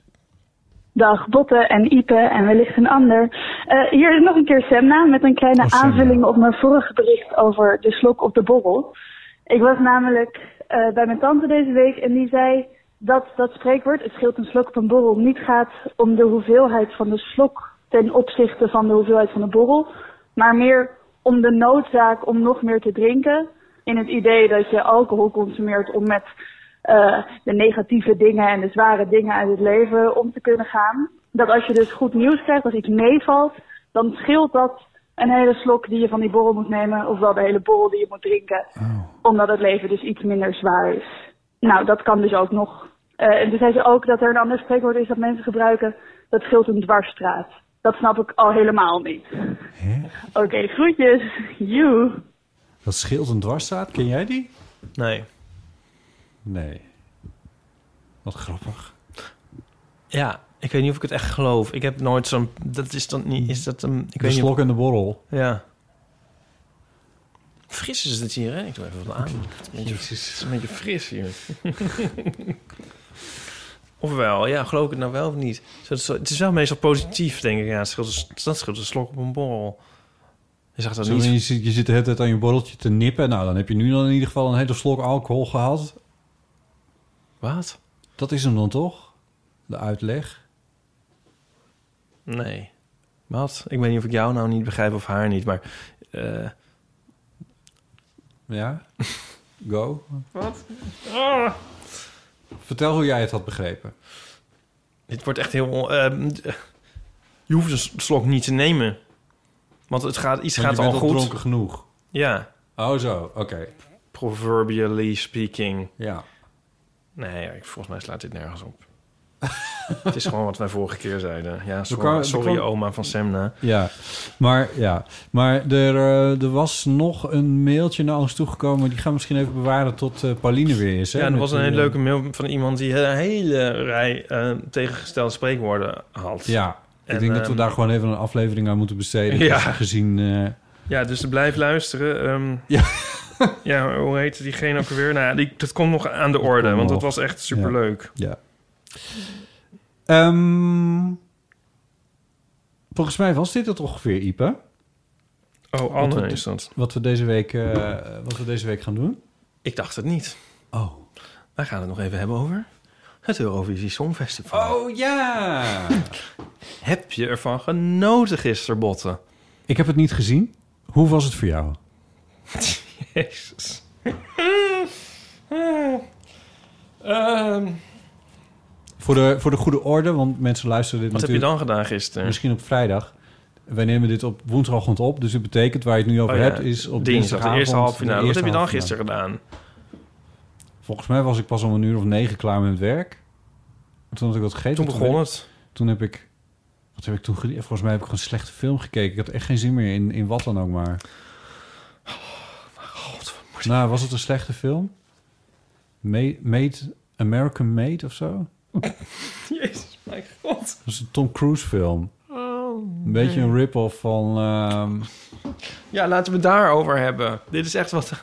[SPEAKER 8] Dag Botte en Ipe en wellicht een ander. Eh, hier is nog een keer Semna met een kleine
[SPEAKER 2] Semna.
[SPEAKER 8] aanvulling op mijn vorige bericht over de slok op de borrel. Ik was namelijk eh, bij mijn tante deze week en die zei dat dat spreekwoord, het scheelt een slok op een borrel, niet gaat om de hoeveelheid van de slok ten opzichte van de hoeveelheid van de borrel, maar meer om de noodzaak om nog meer te drinken. In het idee dat je alcohol consumeert om met eh, de negatieve dingen en de zware dingen uit het leven om te kunnen gaan. Dat als je dus goed nieuws krijgt, als iets meevalt, dan scheelt dat een hele slok die je van die borrel moet nemen, ofwel de hele borrel die je moet drinken, omdat het leven dus iets minder zwaar is. Nou, dat kan dus ook nog. Eh, en toen zei ze ook dat er een ander spreekwoord is dat mensen gebruiken, dat scheelt een dwarsstraat. Dat snap ik al helemaal niet. Oké, groetjes. Joe.
[SPEAKER 2] Dat scheelt een dwarsstraat, ken jij die?
[SPEAKER 1] Nee.
[SPEAKER 2] Nee. Wat grappig.
[SPEAKER 1] Ja, ik weet niet of ik het echt geloof. Ik heb nooit zo'n... Dat is dan niet... Is dat een... Ik
[SPEAKER 2] de
[SPEAKER 1] weet niet of-
[SPEAKER 2] slok en de borrel.
[SPEAKER 1] Ja. Fris is het hier, hè? Ik doe even wat aan. Het is een beetje, het is een beetje fris hier. Ofwel, ja, geloof ik het nou wel of niet? Zo- zo- Het is wel meestal positief, denk ik. Ja, het scheelt, een- dat scheelt een slok op een borrel. Je zegt dat
[SPEAKER 2] Zo, je,
[SPEAKER 1] niet.
[SPEAKER 2] zit, je zit de hele tijd aan je borreltje te nippen. Nou, dan heb je nu dan in ieder geval een hele slok alcohol gehad.
[SPEAKER 1] Wat?
[SPEAKER 2] Dat is hem dan toch? De uitleg.
[SPEAKER 1] Nee. Wat? Ik weet niet of ik jou nou niet begrijp of haar niet, maar... eh,
[SPEAKER 2] Ja? Go.
[SPEAKER 1] Wat?
[SPEAKER 2] Vertel hoe jij Ah. het had begrepen.
[SPEAKER 1] Dit wordt echt heel... on- ehm, d- je hoeft een s- slok niet te nemen. Want het gaat, iets
[SPEAKER 2] Want
[SPEAKER 1] gaat
[SPEAKER 2] je
[SPEAKER 1] al
[SPEAKER 2] bent al
[SPEAKER 1] goed.
[SPEAKER 2] dronken genoeg.
[SPEAKER 1] Ja.
[SPEAKER 2] Oh zo, oké.
[SPEAKER 1] Proverbially speaking.
[SPEAKER 2] Ja.
[SPEAKER 1] Nee, ik- volgens mij slaat dit nergens op. het is gewoon wat wij vorige keer zeiden. Ja, sorry,
[SPEAKER 2] kwam- er
[SPEAKER 1] sorry
[SPEAKER 2] kwam-
[SPEAKER 1] oma van Semna.
[SPEAKER 2] Ja, maar, ja. maar er, eh, er was nog een mailtje naar ons toegekomen. Die gaan we misschien even bewaren tot eh, Pauline weer is. Hè?
[SPEAKER 1] Ja, er
[SPEAKER 2] Met
[SPEAKER 1] was een hele
[SPEAKER 2] die,
[SPEAKER 1] leuke mail van iemand die een hele rij eh, tegengestelde spreekwoorden had.
[SPEAKER 2] Ja, ik
[SPEAKER 1] En,
[SPEAKER 2] denk dat we
[SPEAKER 1] ehm,
[SPEAKER 2] daar gewoon even een aflevering aan moeten besteden.
[SPEAKER 1] Ja.
[SPEAKER 2] Gezien... eh,
[SPEAKER 1] Ja, dus blijf luisteren. ehm. ja. hoe heet diegene ook weer? Nou, ja, die, dat komt nog aan de orde,
[SPEAKER 2] komt
[SPEAKER 1] want
[SPEAKER 2] nog.
[SPEAKER 1] dat was echt superleuk.
[SPEAKER 2] Ja. Ehm, volgens mij was dit het ongeveer, Ipe.
[SPEAKER 1] Oh, Anne
[SPEAKER 2] Wat we-
[SPEAKER 1] is dat.
[SPEAKER 2] Wat we, deze week, eh, wat we deze week gaan doen.
[SPEAKER 1] Ik dacht het niet.
[SPEAKER 2] Oh.
[SPEAKER 1] Wij gaan het nog even hebben over het Eurovisie Songfestival.
[SPEAKER 2] Oh ja!
[SPEAKER 1] Heb je ervan genoten gisteren, Botten?
[SPEAKER 2] Ik heb het niet gezien. Hoe was het voor jou?
[SPEAKER 1] Jezus. Ehm,
[SPEAKER 2] Voor de, voor de goede orde, want mensen luisteren dit
[SPEAKER 1] Wat heb je
[SPEAKER 2] natuurlijk...
[SPEAKER 1] dan gedaan gisteren?
[SPEAKER 2] Misschien op vrijdag. Wij nemen dit op woensdagochtend op, dus het betekent waar je het nu over
[SPEAKER 1] oh ja,
[SPEAKER 2] hebt is op
[SPEAKER 1] dinsdag de eerste
[SPEAKER 2] dinsdagavond,
[SPEAKER 1] halffinale.
[SPEAKER 2] de
[SPEAKER 1] Wat heb je
[SPEAKER 2] eerste
[SPEAKER 1] dan
[SPEAKER 2] halffinale.
[SPEAKER 1] gisteren gedaan?
[SPEAKER 2] Volgens mij was ik pas om een uur of negen klaar met werk. Toen had ik wat gegeten.
[SPEAKER 1] Toen begon
[SPEAKER 2] ben-
[SPEAKER 1] het.
[SPEAKER 2] Toen heb ik... Wat heb ik toen gedaan? Volgens mij heb ik gewoon een slechte film gekeken. Ik had echt geen zin meer in, in wat dan ook maar.
[SPEAKER 1] Oh,
[SPEAKER 2] nou, was het een slechte film? Made, made American Made of zo?
[SPEAKER 1] Jezus, mijn god.
[SPEAKER 2] Dat was een Tom Cruise film.
[SPEAKER 1] Oh,
[SPEAKER 2] Een beetje
[SPEAKER 1] nee. Oh,
[SPEAKER 2] een rip-off van... ehm,
[SPEAKER 1] Ja, laten we het daarover hebben. Dit is echt wat...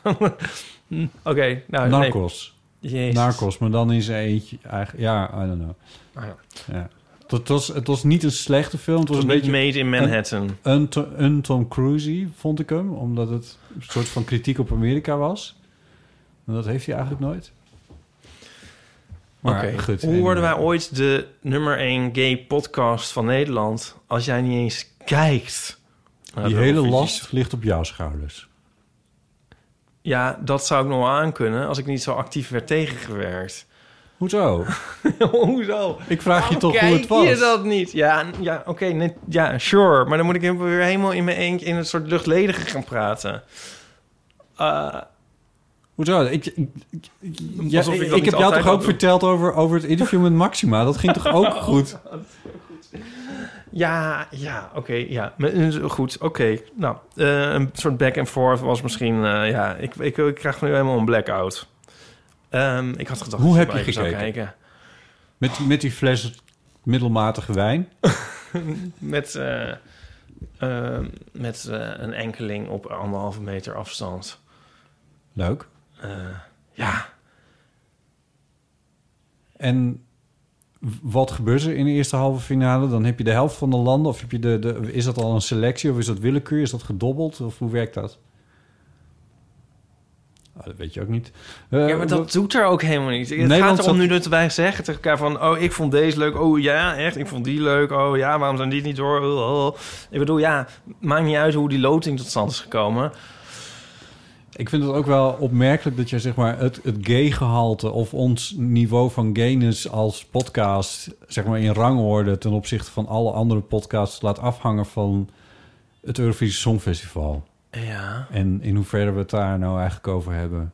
[SPEAKER 1] Hm, Oké, nou... nee.
[SPEAKER 2] Narcos.
[SPEAKER 1] Jezus.
[SPEAKER 2] Narcos, maar dan is er eentje eigenlijk... Ja, I don't know.
[SPEAKER 1] Ah, ja.
[SPEAKER 2] Ja. Het, was, het was niet een slechte film. Het was,
[SPEAKER 1] was
[SPEAKER 2] een
[SPEAKER 1] niet
[SPEAKER 2] beetje
[SPEAKER 1] Made in Manhattan.
[SPEAKER 2] Een, een, To- een Tom Cruise vond ik hem, omdat het een soort van kritiek op Amerika was. En dat heeft hij eigenlijk nooit. Maar
[SPEAKER 1] Oké,
[SPEAKER 2] goed. eh,
[SPEAKER 1] hoe worden wij ooit de nummer 1 gay podcast van Nederland... als jij niet eens kijkt? naar
[SPEAKER 2] Die
[SPEAKER 1] de
[SPEAKER 2] hele
[SPEAKER 1] Eurovisie?
[SPEAKER 2] last ligt op jouw schouders.
[SPEAKER 1] Ja, dat zou ik nog wel aankunnen als ik niet zo actief werd tegengewerkt.
[SPEAKER 2] Hoezo?
[SPEAKER 1] Hoezo?
[SPEAKER 2] Ik vraag je toch
[SPEAKER 1] Kijk
[SPEAKER 2] hoe het was.
[SPEAKER 1] je dat niet? Ja, n- ja oké, nee, ja, sure. Maar dan moet ik hem weer helemaal in mijn eentje in een soort luchtledige gaan praten. Eh,
[SPEAKER 2] Hoezo? Ik, ik, ja,
[SPEAKER 1] Alsof
[SPEAKER 2] ik,
[SPEAKER 1] ik dat
[SPEAKER 2] heb
[SPEAKER 1] niet
[SPEAKER 2] jou
[SPEAKER 1] altijd
[SPEAKER 2] toch
[SPEAKER 1] al
[SPEAKER 2] ook
[SPEAKER 1] doe.
[SPEAKER 2] verteld over, over het interview met Maxima? Dat ging toch ook goed?
[SPEAKER 1] ja, ja, oké, ja. Maar, eh, Goed, oké. Nou, eh, een soort back and forth was misschien... eh, ja, ik, ik, ik krijg nu helemaal een blackout. Ehm, ik had gedacht...
[SPEAKER 2] Hoe
[SPEAKER 1] dat
[SPEAKER 2] heb je
[SPEAKER 1] maar even zou
[SPEAKER 2] gekeken?
[SPEAKER 1] kijken.
[SPEAKER 2] Met, met die fles middelmatige wijn?
[SPEAKER 1] Met, eh, eh, met eh, een enkeling op anderhalve meter afstand.
[SPEAKER 2] Leuk.
[SPEAKER 1] Eh, ja.
[SPEAKER 2] En wat gebeurt er in de eerste halve finale? Dan heb je de helft van de landen. Of heb je de, de, is dat al een selectie? Of is dat willekeur? Is dat gedobbeld? Of hoe werkt dat? Ah, dat weet je ook niet. Eh,
[SPEAKER 1] ja, maar dat
[SPEAKER 2] wat-
[SPEAKER 1] doet er ook helemaal niet. Het
[SPEAKER 2] Nee,
[SPEAKER 1] gaat
[SPEAKER 2] want
[SPEAKER 1] erom
[SPEAKER 2] dat-
[SPEAKER 1] nu dat wij zeggen tegen elkaar van... oh, ik vond deze leuk. Oh ja, echt, ik vond die leuk. Oh ja, waarom zijn die niet door? Oh, oh. Ik bedoel, ja, maakt niet uit hoe die loting tot stand is gekomen.
[SPEAKER 2] Ik vind het ook wel opmerkelijk dat je zeg maar, het, het gay-gehalte of ons niveau van gayness als podcast zeg maar, in rangorde ten opzichte van alle andere podcasts laat afhangen van het Eurovisie Songfestival.
[SPEAKER 1] Ja.
[SPEAKER 2] En in hoeverre we het daar nou eigenlijk over hebben.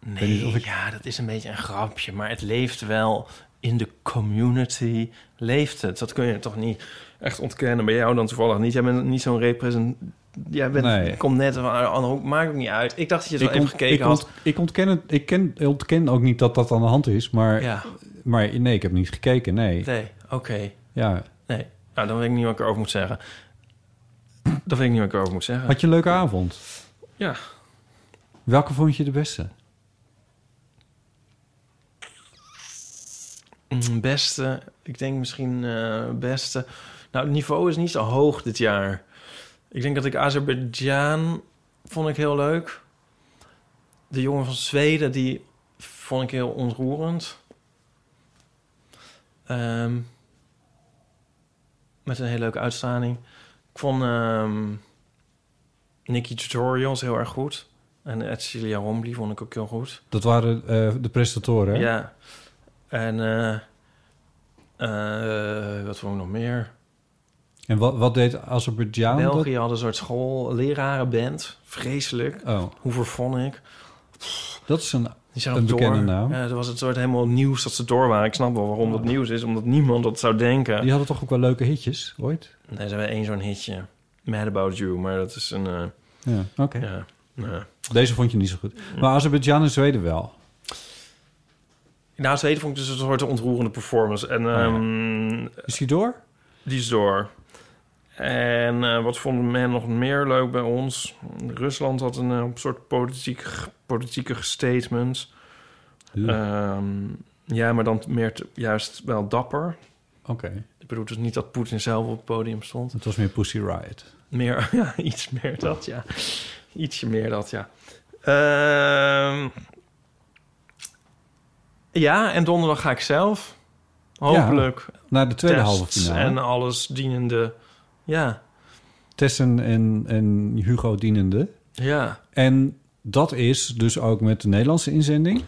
[SPEAKER 2] Ik weet niet
[SPEAKER 1] Nee,
[SPEAKER 2] of ik-
[SPEAKER 1] ja, dat is een beetje een grapje. Maar het leeft wel in de community. Leeft het. Dat kun je toch niet echt ontkennen. Bij jou dan toevallig niet. Jij bent niet zo'n represent... Jij bent,
[SPEAKER 2] Nee.
[SPEAKER 1] komt net van... ah, oh, Maakt ook niet uit. Ik dacht dat je het wel
[SPEAKER 2] ont-
[SPEAKER 1] even gekeken
[SPEAKER 2] ik
[SPEAKER 1] had.
[SPEAKER 2] ont- ik ontken, het, ik, ken, ik ontken ook niet dat dat aan de hand is, maar,
[SPEAKER 1] Ja.
[SPEAKER 2] maar nee, ik heb niet gekeken, nee.
[SPEAKER 1] Nee, oké.
[SPEAKER 2] Ja.
[SPEAKER 1] Nee. Nou, dan weet ik niet wat ik erover moet zeggen. Dan weet ik niet wat ik erover moet zeggen.
[SPEAKER 2] Had je een leuke avond?
[SPEAKER 1] Ja.
[SPEAKER 2] Welke vond je de beste?
[SPEAKER 1] Mm, Beste, ik denk misschien eh, beste. Nou, het niveau is niet zo hoog dit jaar. Ik denk dat ik Azerbeidzjan vond ik heel leuk. De jongen van Zweden, die vond ik heel ontroerend. Ehm, met een hele leuke uitstraling. Ik vond ehm Nicky Tutorials heel erg goed. En Ed Cilia Rombly vond ik ook heel goed.
[SPEAKER 2] Dat waren eh, de presentatoren, hè?
[SPEAKER 1] Ja. En eh, eh, wat vond ik nog meer?
[SPEAKER 2] En wat, wat deed Azerbeidzjan? dat?
[SPEAKER 1] België had een soort school, lerarenband. Vreselijk.
[SPEAKER 2] Oh.
[SPEAKER 1] Hoe vervond ik?
[SPEAKER 2] Dat is een,
[SPEAKER 1] Die zijn
[SPEAKER 2] een
[SPEAKER 1] nog
[SPEAKER 2] bekende
[SPEAKER 1] door.
[SPEAKER 2] naam.
[SPEAKER 1] Ja, er was het soort helemaal nieuws dat ze door waren. Ik snap wel waarom dat nieuws is, omdat niemand dat zou denken.
[SPEAKER 2] Die hadden toch ook wel leuke hitjes, ooit?
[SPEAKER 1] Nee, ze hebben één zo'n hitje. Mad About You, maar dat is een... eh,
[SPEAKER 2] Ja, oké.
[SPEAKER 1] ja, Mm. ja.
[SPEAKER 2] Deze vond je niet zo goed. Maar Azerbeidzjan en Zweden wel.
[SPEAKER 1] Nou, tweede vond ik dus een soort ontroerende performance. En,
[SPEAKER 2] Oh, ja.
[SPEAKER 1] ehm,
[SPEAKER 2] Is die door?
[SPEAKER 1] Die is door. En eh, wat vond men nog meer leuk bij ons? Rusland had een eh, soort politiek, politieke statement. Ehm, ja, maar dan meer te- juist wel dapper.
[SPEAKER 2] Oké.
[SPEAKER 1] Ik bedoel dus niet dat Poetin zelf op het podium stond.
[SPEAKER 2] Het was meer Pussy Riot.
[SPEAKER 1] Meer, ja, iets meer dat, ja. Ietsje meer dat, ja. Ehm, ja, en donderdag ga ik zelf. Hopelijk.
[SPEAKER 2] Ja, naar de tweede
[SPEAKER 1] tests
[SPEAKER 2] halve finale.
[SPEAKER 1] En alles dienende. Ja,
[SPEAKER 2] Tess en, en, en Hugo Dienende.
[SPEAKER 1] ja,
[SPEAKER 2] En dat is dus ook met de Nederlandse inzending.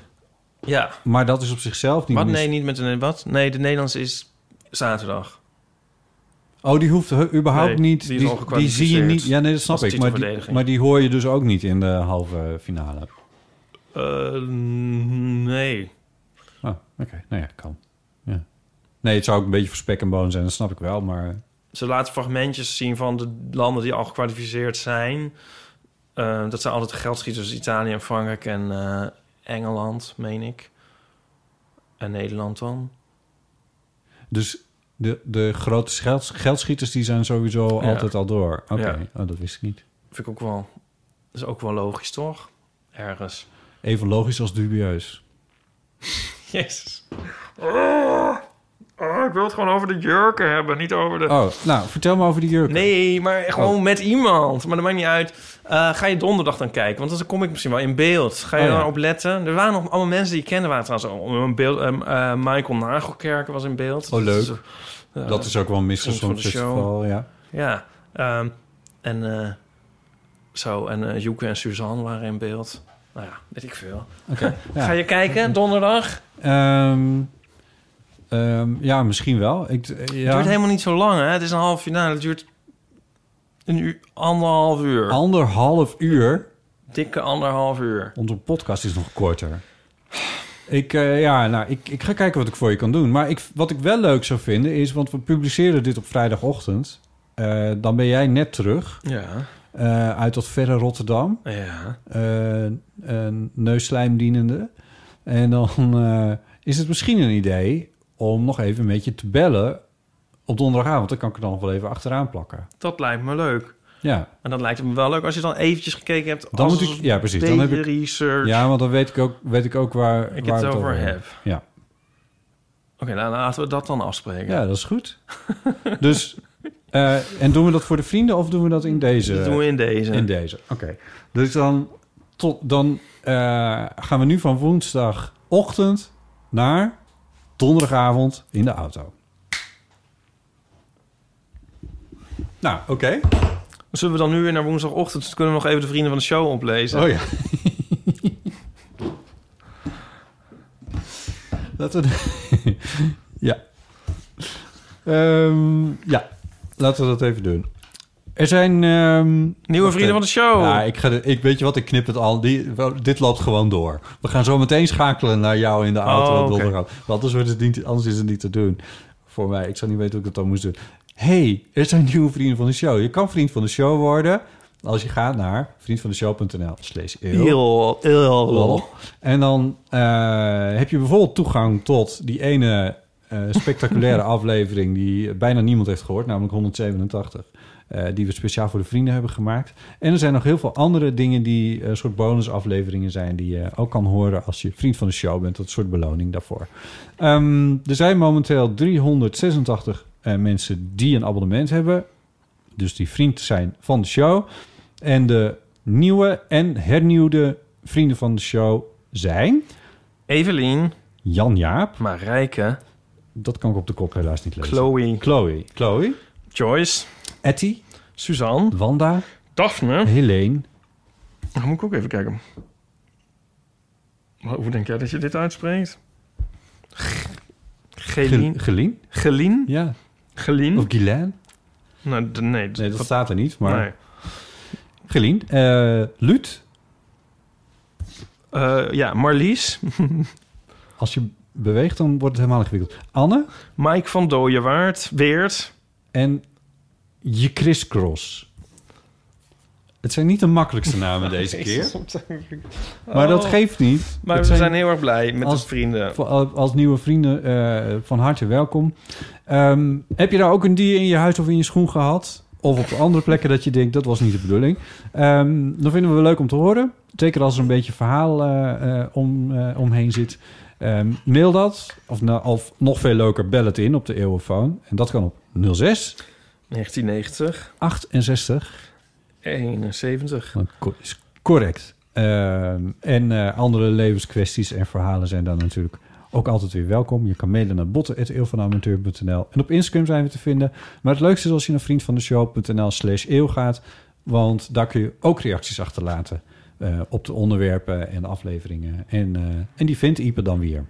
[SPEAKER 1] ja.
[SPEAKER 2] Maar dat is op zichzelf niet
[SPEAKER 1] Wat?
[SPEAKER 2] mis-
[SPEAKER 1] Nee, niet met een wat? Nee, de Nederlandse is zaterdag.
[SPEAKER 2] Oh, die hoeft hu- überhaupt
[SPEAKER 1] Nee,
[SPEAKER 2] niet.
[SPEAKER 1] die is al
[SPEAKER 2] zie je niet. Ja, nee, dat
[SPEAKER 1] als
[SPEAKER 2] snap ik. Maar die,
[SPEAKER 1] titelverdediging.
[SPEAKER 2] maar die hoor je dus ook niet in de halve finale.
[SPEAKER 1] Eh, nee.
[SPEAKER 2] Oh, oké. Nou ja, kan. Ja. Nee, het zou ook een beetje voor spek en boon zijn. Dat snap ik wel, maar...
[SPEAKER 1] Ze laten fragmentjes zien van de landen die al gekwalificeerd zijn. Eh, dat zijn altijd geldschieters, Italië en Frankrijk en eh, Engeland, meen ik. En Nederland dan.
[SPEAKER 2] Dus de, de grote scheld- geldschieters die zijn sowieso
[SPEAKER 1] Ja.
[SPEAKER 2] altijd al door. Oké,
[SPEAKER 1] Ja.
[SPEAKER 2] oh, dat wist ik niet.
[SPEAKER 1] Vind ik ook wel... Dat is ook wel logisch, toch? Ergens.
[SPEAKER 2] Even logisch als dubieus.
[SPEAKER 1] Jezus. Oh, oh, ik wil het gewoon over de jurken hebben, niet over de...
[SPEAKER 2] Oh, nou, vertel me over die jurk.
[SPEAKER 1] Nee, maar gewoon
[SPEAKER 2] Oh.
[SPEAKER 1] met iemand. Maar dat maakt niet uit. Eh, ga je donderdag dan kijken? Want dan kom ik misschien wel in beeld. Ga je
[SPEAKER 2] Oh, ja.
[SPEAKER 1] daarop letten? Er waren nog allemaal mensen die ik kende. Waren trouwens al in beeld. Ehm, eh, Michael Nagelkerken was in beeld.
[SPEAKER 2] Oh, leuk.
[SPEAKER 1] Dat is, eh,
[SPEAKER 2] dat is ook wel een
[SPEAKER 1] vriend van de show.
[SPEAKER 2] misverstand. Ja.
[SPEAKER 1] Ja. ehm, en eh, zo. En eh Joeke en Suzanne waren in beeld. Nou ja, weet ik veel.
[SPEAKER 2] Oké, ja.
[SPEAKER 1] Ga je kijken donderdag?
[SPEAKER 2] Ehm, ehm, ja, misschien wel. Ik, eh,
[SPEAKER 1] Het
[SPEAKER 2] ja.
[SPEAKER 1] duurt helemaal niet zo lang, hè? Het is een half finale. Het duurt een uur, anderhalf uur.
[SPEAKER 2] Anderhalf uur.
[SPEAKER 1] Dikke anderhalf uur.
[SPEAKER 2] Onze podcast is nog korter. Ik, eh, ja, nou, ik, ik ga kijken wat ik voor je kan doen. Maar ik, wat ik wel leuk zou vinden is... want we publiceren dit op vrijdagochtend. Eh, dan ben jij net terug.
[SPEAKER 1] Ja.
[SPEAKER 2] Eh, uit dat verre Rotterdam.
[SPEAKER 1] Ja.
[SPEAKER 2] Eh, een neuslijm dienende. En dan eh, is het misschien een idee... om nog even met je te bellen op donderdagavond. Dan kan ik er dan nog wel even achteraan plakken.
[SPEAKER 1] Dat lijkt me leuk.
[SPEAKER 2] Ja.
[SPEAKER 1] En dat lijkt me wel leuk als je dan eventjes gekeken hebt.
[SPEAKER 2] Dan
[SPEAKER 1] als
[SPEAKER 2] moet ik,
[SPEAKER 1] een
[SPEAKER 2] ja, precies. Dan
[SPEAKER 1] beetje
[SPEAKER 2] heb ik
[SPEAKER 1] research.
[SPEAKER 2] Ja, want dan weet ik ook, weet ik ook waar
[SPEAKER 1] Ik
[SPEAKER 2] waar
[SPEAKER 1] het
[SPEAKER 2] we
[SPEAKER 1] over
[SPEAKER 2] hebben.
[SPEAKER 1] heb.
[SPEAKER 2] Ja.
[SPEAKER 1] Oké, nou, laten we dat dan afspreken.
[SPEAKER 2] ja, dat is goed. dus, eh, en doen we dat voor de vrienden of doen we dat in deze?
[SPEAKER 1] Dat doen we in deze.
[SPEAKER 2] dus, eh, In deze, oké. Dus dan, tot, dan eh, gaan we nu van woensdagochtend naar donderdagavond in de auto. Nou, oké.
[SPEAKER 1] Zullen we dan nu weer naar woensdagochtend? Dan kunnen we nog even de vrienden van de show oplezen.
[SPEAKER 2] Oh ja. Laten we... ja. Ehm, ja, laten we dat even doen. Er zijn... ehm,
[SPEAKER 1] Nieuwe vrienden van de show.
[SPEAKER 2] Ja, ik ga de, ik, weet je wat, ik knip het al. Die, wel, dit loopt gewoon door. We gaan zo meteen schakelen naar jou in de auto.
[SPEAKER 1] Oh,
[SPEAKER 2] op
[SPEAKER 1] oké.
[SPEAKER 2] donderdagavond. Want anders, wordt het niet, anders is het niet te doen. Voor mij. Ik zou niet weten hoe ik dat dan moest doen. hey, er zijn nieuwe vrienden van de show. Je kan vriend van de show worden... als je gaat naar vriendvandeshow.nl slash eeuw.
[SPEAKER 1] Eeuw, eeuw.
[SPEAKER 2] Lol. En dan eh, heb je bijvoorbeeld toegang tot die ene eh, spectaculaire aflevering die bijna niemand heeft gehoord, namelijk 187. eh, die we speciaal voor de vrienden hebben gemaakt. En er zijn nog heel veel andere dingen die een soort bonusafleveringen zijn... die je ook kan horen als je vriend van de show bent. Dat is een soort beloning daarvoor. Ehm, er zijn momenteel 386 eh, mensen die een abonnement hebben. Dus die vriend zijn van de show. En de nieuwe en hernieuwde vrienden van de show zijn...
[SPEAKER 1] Evelien.
[SPEAKER 2] Jan-Jaap.
[SPEAKER 1] Marijke.
[SPEAKER 2] Dat kan ik op de kop helaas niet lezen.
[SPEAKER 1] Chloe.
[SPEAKER 2] Chloe. Chloe.
[SPEAKER 1] Joyce.
[SPEAKER 2] Etty.
[SPEAKER 1] Suzanne.
[SPEAKER 2] Wanda.
[SPEAKER 1] Daphne.
[SPEAKER 2] Helene.
[SPEAKER 1] Dan moet ik ook even kijken. Maar Hoe denk jij dat je dit uitspreekt? G- Gelien.
[SPEAKER 2] Gel- Gelien?
[SPEAKER 1] Gelien?
[SPEAKER 2] Ja.
[SPEAKER 1] Gelien?
[SPEAKER 2] Of Guylaine?
[SPEAKER 1] Nou, d- nee, d-
[SPEAKER 2] Nee, dat staat er niet, maar...
[SPEAKER 1] Nee.
[SPEAKER 2] Gelien. Eh Luut.
[SPEAKER 1] Eh, ja, Marlies.
[SPEAKER 2] Als je beweegt, dan wordt het helemaal ingewikkeld. Anne.
[SPEAKER 1] Mike van Dooyewaard. Weert.
[SPEAKER 2] En je crisscross. Het zijn niet de makkelijkste namen deze keer. Maar dat geeft niet.
[SPEAKER 1] Oh, Maar
[SPEAKER 2] Het
[SPEAKER 1] we
[SPEAKER 2] zijn-
[SPEAKER 1] zijn heel erg blij met
[SPEAKER 2] als-
[SPEAKER 1] de vrienden.
[SPEAKER 2] Voor- Als nieuwe vrienden eh, van harte welkom. Ehm, heb je daar ook een dier in je huis of in je schoen gehad? Of op andere plekken dat je denkt, dat was niet de bedoeling. Ehm dan vinden we het leuk om te horen. Zeker als er een beetje verhaal eh, eh, om, eh, omheen zit. Ehm, mail dat. Of, nou, of nog veel leuker, bel het in op de eeuwenfoon. En dat kan op 06
[SPEAKER 1] 1990.
[SPEAKER 2] 68
[SPEAKER 1] 71.
[SPEAKER 2] Want co- is Correct. Ehm, en eh, andere levenskwesties en verhalen zijn dan natuurlijk ook altijd weer welkom. Je kan mailen naar botten.eeuwvanamateur.nl. En op Instagram zijn we te vinden. Maar het leukste is als je naar vriendvandeshow.nl slash eeuw gaat. Want daar kun je ook reacties achterlaten eh, op de onderwerpen en de afleveringen. En, eh, en die vindt Ipe dan weer.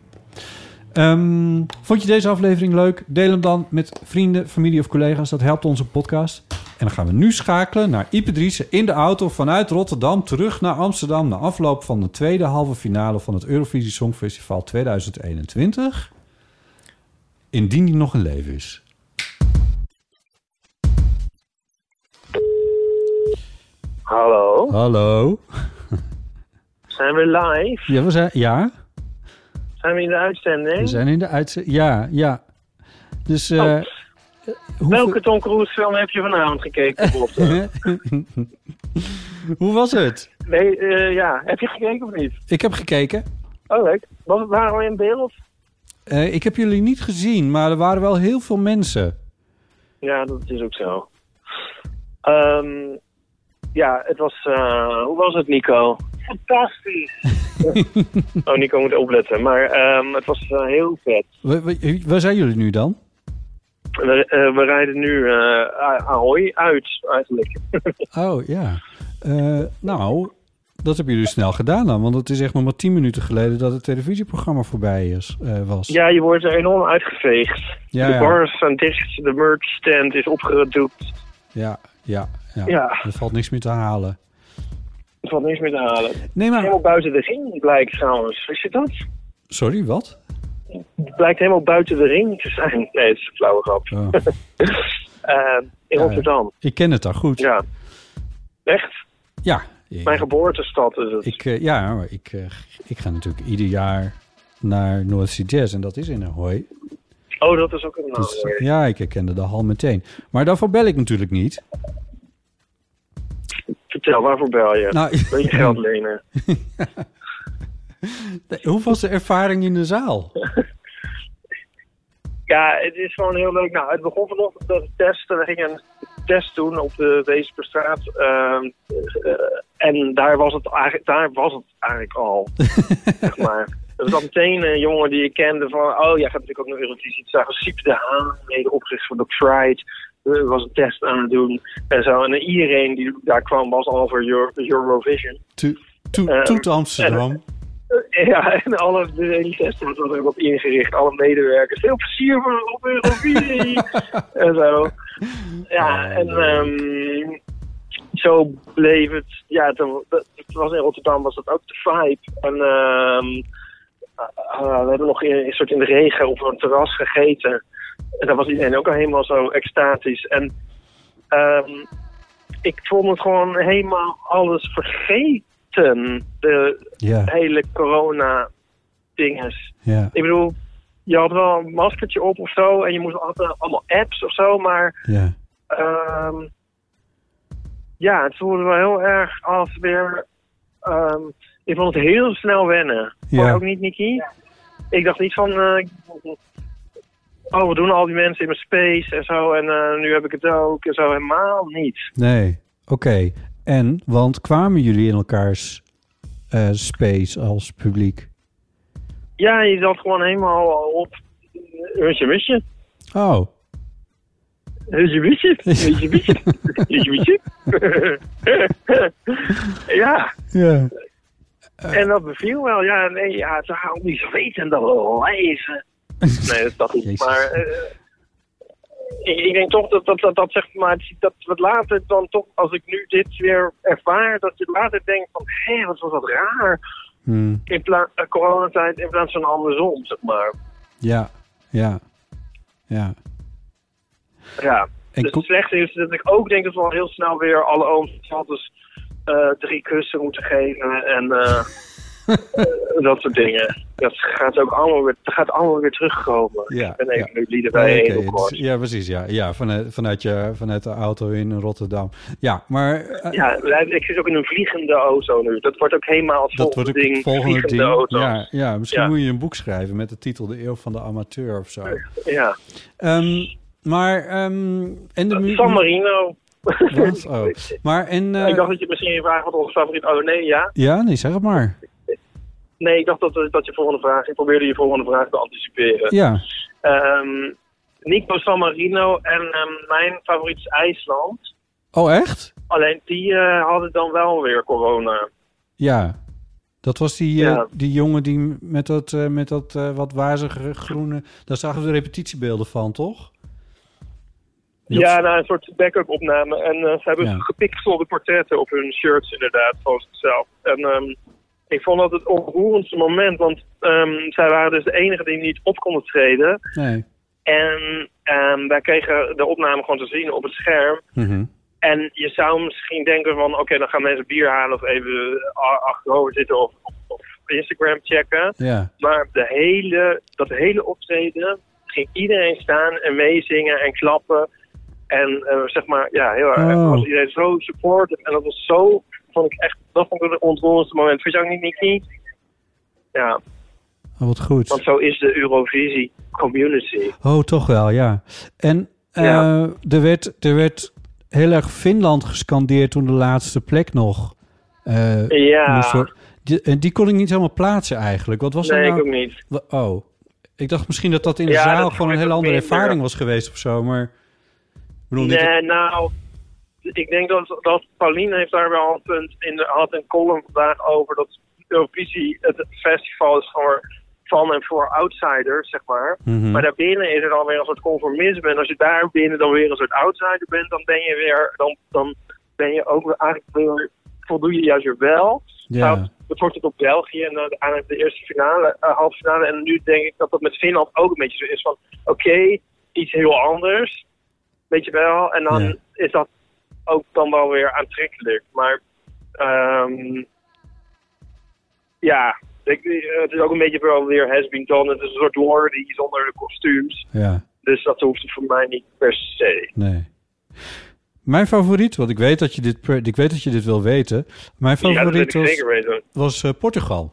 [SPEAKER 2] Ehm, vond je deze aflevering leuk? Deel hem dan met vrienden, familie of collega's. Dat helpt onze podcast. En dan gaan we nu schakelen naar Ipe Driessen in de auto vanuit Rotterdam terug naar Amsterdam. Na afloop van de tweede halve finale van het Eurovisie Songfestival 2021. Indien die nog in leven is.
[SPEAKER 7] Hallo,
[SPEAKER 2] Hallo.
[SPEAKER 7] zijn we live?
[SPEAKER 2] Ja, we zijn, ja
[SPEAKER 7] Zijn we in de uitzending?
[SPEAKER 2] we zijn in de uitzending. Ja, ja. Dus... eh,
[SPEAKER 7] Oh. Welke Tom Cruise film heb je vanavond gekeken, Bob?
[SPEAKER 2] Hoe was het?
[SPEAKER 7] nee, eh, ja. Heb je gekeken of niet?
[SPEAKER 2] Ik heb gekeken.
[SPEAKER 7] Oh, leuk. Was, waren we in beeld?
[SPEAKER 2] Eh, ik heb jullie niet gezien, maar er waren wel heel veel mensen.
[SPEAKER 7] Ja, dat is ook zo. Ehm, ja, het was... eh, hoe was het, Nico? Fantastisch. oh, Nico moet opletten. Maar ehm, het was eh, heel vet.
[SPEAKER 2] Wa- wa- Waar zijn jullie nu dan?
[SPEAKER 7] We, eh, we rijden nu eh Ahoy uit, eigenlijk.
[SPEAKER 2] Oh ja. Eh, nou, Dat heb je dus snel gedaan dan, want het is echt nog maar tien minuten geleden dat het televisieprogramma voorbij is, eh, was.
[SPEAKER 7] Ja, je wordt er enorm uitgeveegd.
[SPEAKER 2] Ja,
[SPEAKER 7] de
[SPEAKER 2] ja.
[SPEAKER 7] bars zijn dicht, de merch stand is opgedoekt.
[SPEAKER 2] Ja, ja, ja.
[SPEAKER 7] Ja.
[SPEAKER 2] Er valt niks meer te halen.
[SPEAKER 7] Er valt niks meer te halen.
[SPEAKER 2] Nee, maar...
[SPEAKER 7] Helemaal buiten de ring blijkt trouwens. Wist je dat?
[SPEAKER 2] Sorry, wat?
[SPEAKER 7] Het blijkt helemaal buiten de ring te zijn. Nee, het is een flauwe grap.
[SPEAKER 2] Oh.
[SPEAKER 7] Eh, in
[SPEAKER 2] Ja,
[SPEAKER 7] Rotterdam.
[SPEAKER 2] Ik ken het daar goed.
[SPEAKER 7] Ja. Echt?
[SPEAKER 2] Ja,
[SPEAKER 7] Mijn geboortestad is het.
[SPEAKER 2] ik, eh, ja maar ik, eh, ik ga natuurlijk ieder jaar naar North Sea Jazz en dat is in Ahoy.
[SPEAKER 7] Oh, dat is ook een naam.
[SPEAKER 2] Dus, ja, ik herkende de hal meteen. Maar daarvoor bel ik natuurlijk niet.
[SPEAKER 7] Vertel, waarvoor bel je?
[SPEAKER 2] Nou,
[SPEAKER 7] Wil je geld lenen?
[SPEAKER 2] Nee, Hoe was de ervaring in de zaal?
[SPEAKER 7] Ja, het is gewoon heel leuk. Nou, het begon vanochtend met een test. We gingen een test doen op de Weesperstraat. Ehm, eh, en daar was, het eigenlijk, daar was het eigenlijk al. zeg maar. Er was meteen een jongen die ik kende van... Oh, jij gaat natuurlijk ook naar Eurovisie. Toen zagen we Siep de Haan, mede oprichter van Doc Fried. eh, was een test aan het doen. En zo. En iedereen die daar kwam was al voor Euro- Eurovision.
[SPEAKER 2] To, to,
[SPEAKER 7] Ehm,
[SPEAKER 2] toet Amsterdam.
[SPEAKER 7] Ja, en alle de hele testen was er ook op ingericht. Alle medewerkers. Veel plezier voor op Eurovisie. en zo. Ja, en ehm, zo bleef het. Ja, het, het was in Rotterdam was dat ook de vibe. En ehm, eh, eh, we hebben nog in, een soort in de regen op een terras gegeten. En daar was iedereen ook al helemaal zo extatisch. En ehm, ik vond het gewoon helemaal alles vergeten. De
[SPEAKER 2] Ja.
[SPEAKER 7] hele corona-dinges.
[SPEAKER 2] Ja.
[SPEAKER 7] Ik bedoel, je had wel een maskertje op of zo. En je moest altijd allemaal apps of zo. Maar
[SPEAKER 2] Ja.
[SPEAKER 7] ehm, ja, het voelde wel heel erg als weer... ehm, ik vond het heel snel wennen.
[SPEAKER 2] Ja.
[SPEAKER 7] Maar ook niet, Nicky? Ik dacht niet van... eh, oh, we doen al die mensen in mijn space en zo. En eh, nu heb ik het ook. En zo helemaal niet.
[SPEAKER 2] Nee, oké. En, want kwamen jullie in elkaars eh, space als publiek?
[SPEAKER 7] Ja, je zat gewoon helemaal op. eh, Hutje, misje.
[SPEAKER 2] Oh,
[SPEAKER 7] Hutje, misje. Hutje, misje. Hutje, misje. ja,
[SPEAKER 2] ja.
[SPEAKER 7] en dat beviel wel. Ja, nee, ja, het zou ook niet weten en dat wel lezen. Nee, dat dacht ik. Maar eh, ik, ik denk toch dat dat, dat, dat zeg maar, dat we later dan toch, als ik nu dit weer ervaar, dat je later denkt van, hé, wat was dat raar.
[SPEAKER 2] hmm,
[SPEAKER 7] In plaats coronatijd in plaats van andersom, zeg maar.
[SPEAKER 2] Ja, ja, ja.
[SPEAKER 7] Ja,
[SPEAKER 2] En
[SPEAKER 7] dus het slechte is dat ik ook denk dat we al heel snel weer alle ooms en tantes eh, drie kussen moeten geven en eh, eh, dat soort dingen. Dat gaat ook allemaal weer, dat gaat allemaal weer terugkomen.
[SPEAKER 2] Ja,
[SPEAKER 7] ik ben even nu lieden
[SPEAKER 2] Oké,
[SPEAKER 7] bij
[SPEAKER 2] het
[SPEAKER 7] heel
[SPEAKER 2] is-
[SPEAKER 7] kort.
[SPEAKER 2] ja, precies. Ja, ja vanuit, vanuit, je, vanuit de auto in Rotterdam. Ja, maar eh,
[SPEAKER 7] Ja, wij- ik zit ook in een vliegende auto nu. Dat wordt ook helemaal het
[SPEAKER 2] dat wordt
[SPEAKER 7] volgende
[SPEAKER 2] ook het
[SPEAKER 7] ding,
[SPEAKER 2] volgende
[SPEAKER 7] vliegende
[SPEAKER 2] ding.
[SPEAKER 7] auto.
[SPEAKER 2] Ja, ja, misschien
[SPEAKER 7] Ja.
[SPEAKER 2] moet je een boek schrijven met de titel De Eeuw van de Amateur of zo.
[SPEAKER 7] Ja.
[SPEAKER 2] Ehm, maar, ehm, en de mu-
[SPEAKER 7] San Marino.
[SPEAKER 2] Wat? Oh. Maar en, eh,
[SPEAKER 7] Ik dacht dat je misschien vraagt wat onze favoriet... Oh nee, ja?
[SPEAKER 2] Ja, nee, zeg het maar.
[SPEAKER 7] Nee, ik dacht dat, dat je volgende vraag... Ik probeerde je volgende vraag te anticiperen.
[SPEAKER 2] Ja.
[SPEAKER 7] Ehm, Nico San Marino en ehm, mijn favoriet is IJsland.
[SPEAKER 2] Oh, echt?
[SPEAKER 7] Alleen die eh, hadden dan wel weer corona.
[SPEAKER 2] Ja. Dat was die, eh,
[SPEAKER 7] Ja.
[SPEAKER 2] die jongen die m- met dat, eh, met dat eh, wat wazige groene... Daar zagen we de repetitiebeelden van, toch? Jops.
[SPEAKER 7] Ja, nou, een soort backup opname. En eh, ze hebben
[SPEAKER 2] Ja.
[SPEAKER 7] gepixelde portretten op hun shirts inderdaad, van zichzelf. En ehm, ik vond dat het onroerendste moment, want ehm, zij waren dus de enige die niet op konden treden.
[SPEAKER 2] Nee.
[SPEAKER 7] En ehm, wij kregen de opname gewoon te zien op het scherm.
[SPEAKER 2] Mhm.
[SPEAKER 7] En je zou misschien denken van, oké, dan gaan mensen bier halen of even eh, a- achterover zitten of, of, of Instagram checken.
[SPEAKER 2] Ja.
[SPEAKER 7] Maar de hele, dat hele optreden ging iedereen staan en meezingen en klappen. En eh, zeg maar, ja, heel erg.
[SPEAKER 2] Oh.
[SPEAKER 7] was iedereen zo supportive. En dat was zo, vond ik echt, dat vond ik het ontroerendste moment. Vind je ook niet, Nicky? Ja,
[SPEAKER 2] Oh, wat goed.
[SPEAKER 7] want zo is de Eurovisie community.
[SPEAKER 2] Oh, toch wel, ja. En eh,
[SPEAKER 7] Ja.
[SPEAKER 2] er, werd, er werd heel erg Finland gescandeerd toen de laatste plek nog. eh,
[SPEAKER 7] Ja.
[SPEAKER 2] moest worden. Die, en die kon ik niet helemaal plaatsen eigenlijk. Wat was
[SPEAKER 7] nee,
[SPEAKER 2] dat nou?
[SPEAKER 7] ik ook niet.
[SPEAKER 2] Wa- Oh, ik dacht misschien dat dat in de
[SPEAKER 7] Ja,
[SPEAKER 2] zaal
[SPEAKER 7] dat
[SPEAKER 2] gewoon een hele
[SPEAKER 7] ook
[SPEAKER 2] andere
[SPEAKER 7] minder.
[SPEAKER 2] ervaring was geweest of zo. Maar ik bedoel, niet
[SPEAKER 7] nee, nou, ik denk dat, dat Pauline heeft daar wel een punt in. de- had een column vandaag over dat Eurovisie het festival is voor van en voor outsiders, zeg maar.
[SPEAKER 9] Mhm.
[SPEAKER 7] Maar daarbinnen is er dan weer een soort conformisme. En als je daar binnen dan weer een soort outsider bent, dan ben je weer, dan, dan ben je ook weer eigenlijk weer, voldoe je juist weer wel.
[SPEAKER 2] Ja.
[SPEAKER 7] Nou, dat wordt het op België en dan eigenlijk de eerste finale, eh, halve finale. En nu denk ik dat dat met Finland ook een beetje zo is van, oké, iets heel anders. Weet je wel? En dan is dat ook dan wel weer aantrekkelijk. Maar ehm, ja, ik, het is ook een beetje wel weer has been done. Het is een soort lore zonder de kostuums.
[SPEAKER 2] Ja,
[SPEAKER 7] Dus dat hoeft voor mij niet per se.
[SPEAKER 2] nee. Mijn favoriet, want ik weet dat je dit, per- ik weet dat je dit wil weten. Mijn
[SPEAKER 7] Ja, dat
[SPEAKER 2] favoriet
[SPEAKER 7] weet ik
[SPEAKER 2] was,
[SPEAKER 7] zeker weten.
[SPEAKER 2] was eh, Portugal.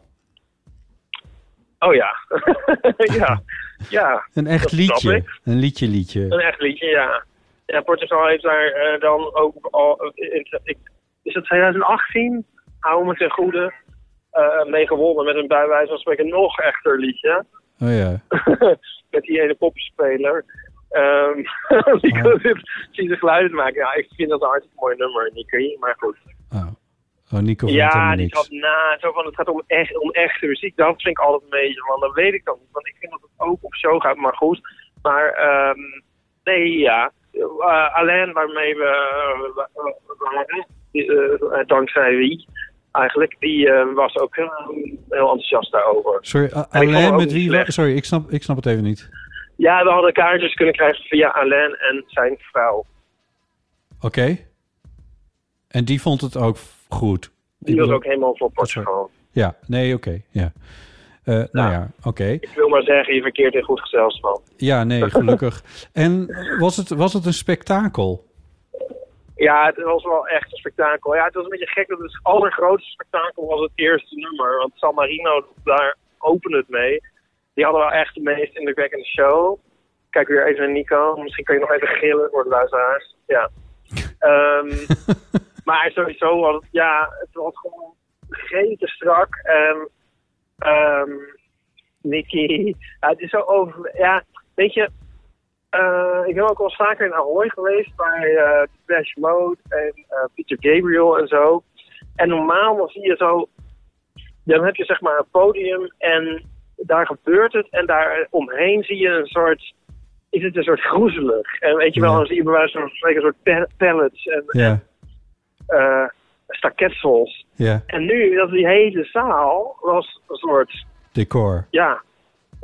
[SPEAKER 7] Oh ja. ja. ja.
[SPEAKER 2] Een echt
[SPEAKER 7] dat snap
[SPEAKER 2] liedje.
[SPEAKER 7] ik.
[SPEAKER 2] Een liedje liedje.
[SPEAKER 7] Een echt liedje, ja. Ja, Portugal heeft daar eh, dan ook al... in- ik- is het 2018? Hou me ten goede. eh, mee gewonnen met een bij wijze van spreken nog echter liedje.
[SPEAKER 2] Oh ja.
[SPEAKER 7] met die ene poppenspeler. Ehm Nico zit zit de geluiden te maken. Ja, ik vind dat een hartstikke mooi nummer, Nico. Maar goed.
[SPEAKER 2] Oh, Nico vindt
[SPEAKER 7] ja,
[SPEAKER 2] helemaal
[SPEAKER 7] die
[SPEAKER 2] niks.
[SPEAKER 7] zat na. Zo van, het gaat om, echt, om echte muziek. Dat vind ik altijd een beetje. Want dan weet ik dat niet. Want ik vind dat het ook op show gaat, maar goed. Maar ehm, nee, ja. Eh, alleen waarmee we eh, waren, die, eh, dankzij wie eigenlijk, die eh, was ook eh, heel enthousiast daarover.
[SPEAKER 2] Sorry, a-
[SPEAKER 7] En ik vond het
[SPEAKER 2] Alain
[SPEAKER 7] ook
[SPEAKER 2] met
[SPEAKER 7] niet
[SPEAKER 2] wie?
[SPEAKER 7] slecht.
[SPEAKER 2] Sorry, ik snap, ik snap het even niet.
[SPEAKER 7] Ja, we hadden kaartjes kunnen krijgen via Alain en zijn vrouw.
[SPEAKER 2] Oké. En die vond het ook f- goed.
[SPEAKER 7] Die was ook helemaal voor Portugal.
[SPEAKER 2] Ja, nee, oké. ja. Eh, nou ja, oké.
[SPEAKER 7] Ik wil maar zeggen, je verkeert in goed gezelschap.
[SPEAKER 2] Ja, nee, gelukkig. en was het, was het een spektakel?
[SPEAKER 7] Ja, het was wel echt een spektakel. Ja, het was een beetje gek. Dat het allergrootste spektakel was het eerste nummer. Want San Marino, daar opende het mee. Die hadden wel echt de meest indrukwekkende show. Kijk weer even naar Nico. Misschien kan je nog even gillen voor de luisteraars. Ja. Ehm, maar sowieso was het, ja, het was gewoon geen te strak. En ehm Nicky, ja, het is zo over... Ja, weet je, eh, ik ben ook al eens vaker in Ahoy geweest bij eh Flash Mode en eh, Peter Gabriel en zo. En normaal dan zie je zo, dan heb je zeg maar een podium en daar gebeurt het en daar omheen zie je een soort, is het een soort groezelig. En weet je wel, dan zie je bij wijze van spreken een soort pa- pallets en
[SPEAKER 2] Ja,
[SPEAKER 7] eh staketsels.
[SPEAKER 2] ja.
[SPEAKER 7] En nu, dat die hele zaal was een soort
[SPEAKER 2] Decor.
[SPEAKER 7] ja,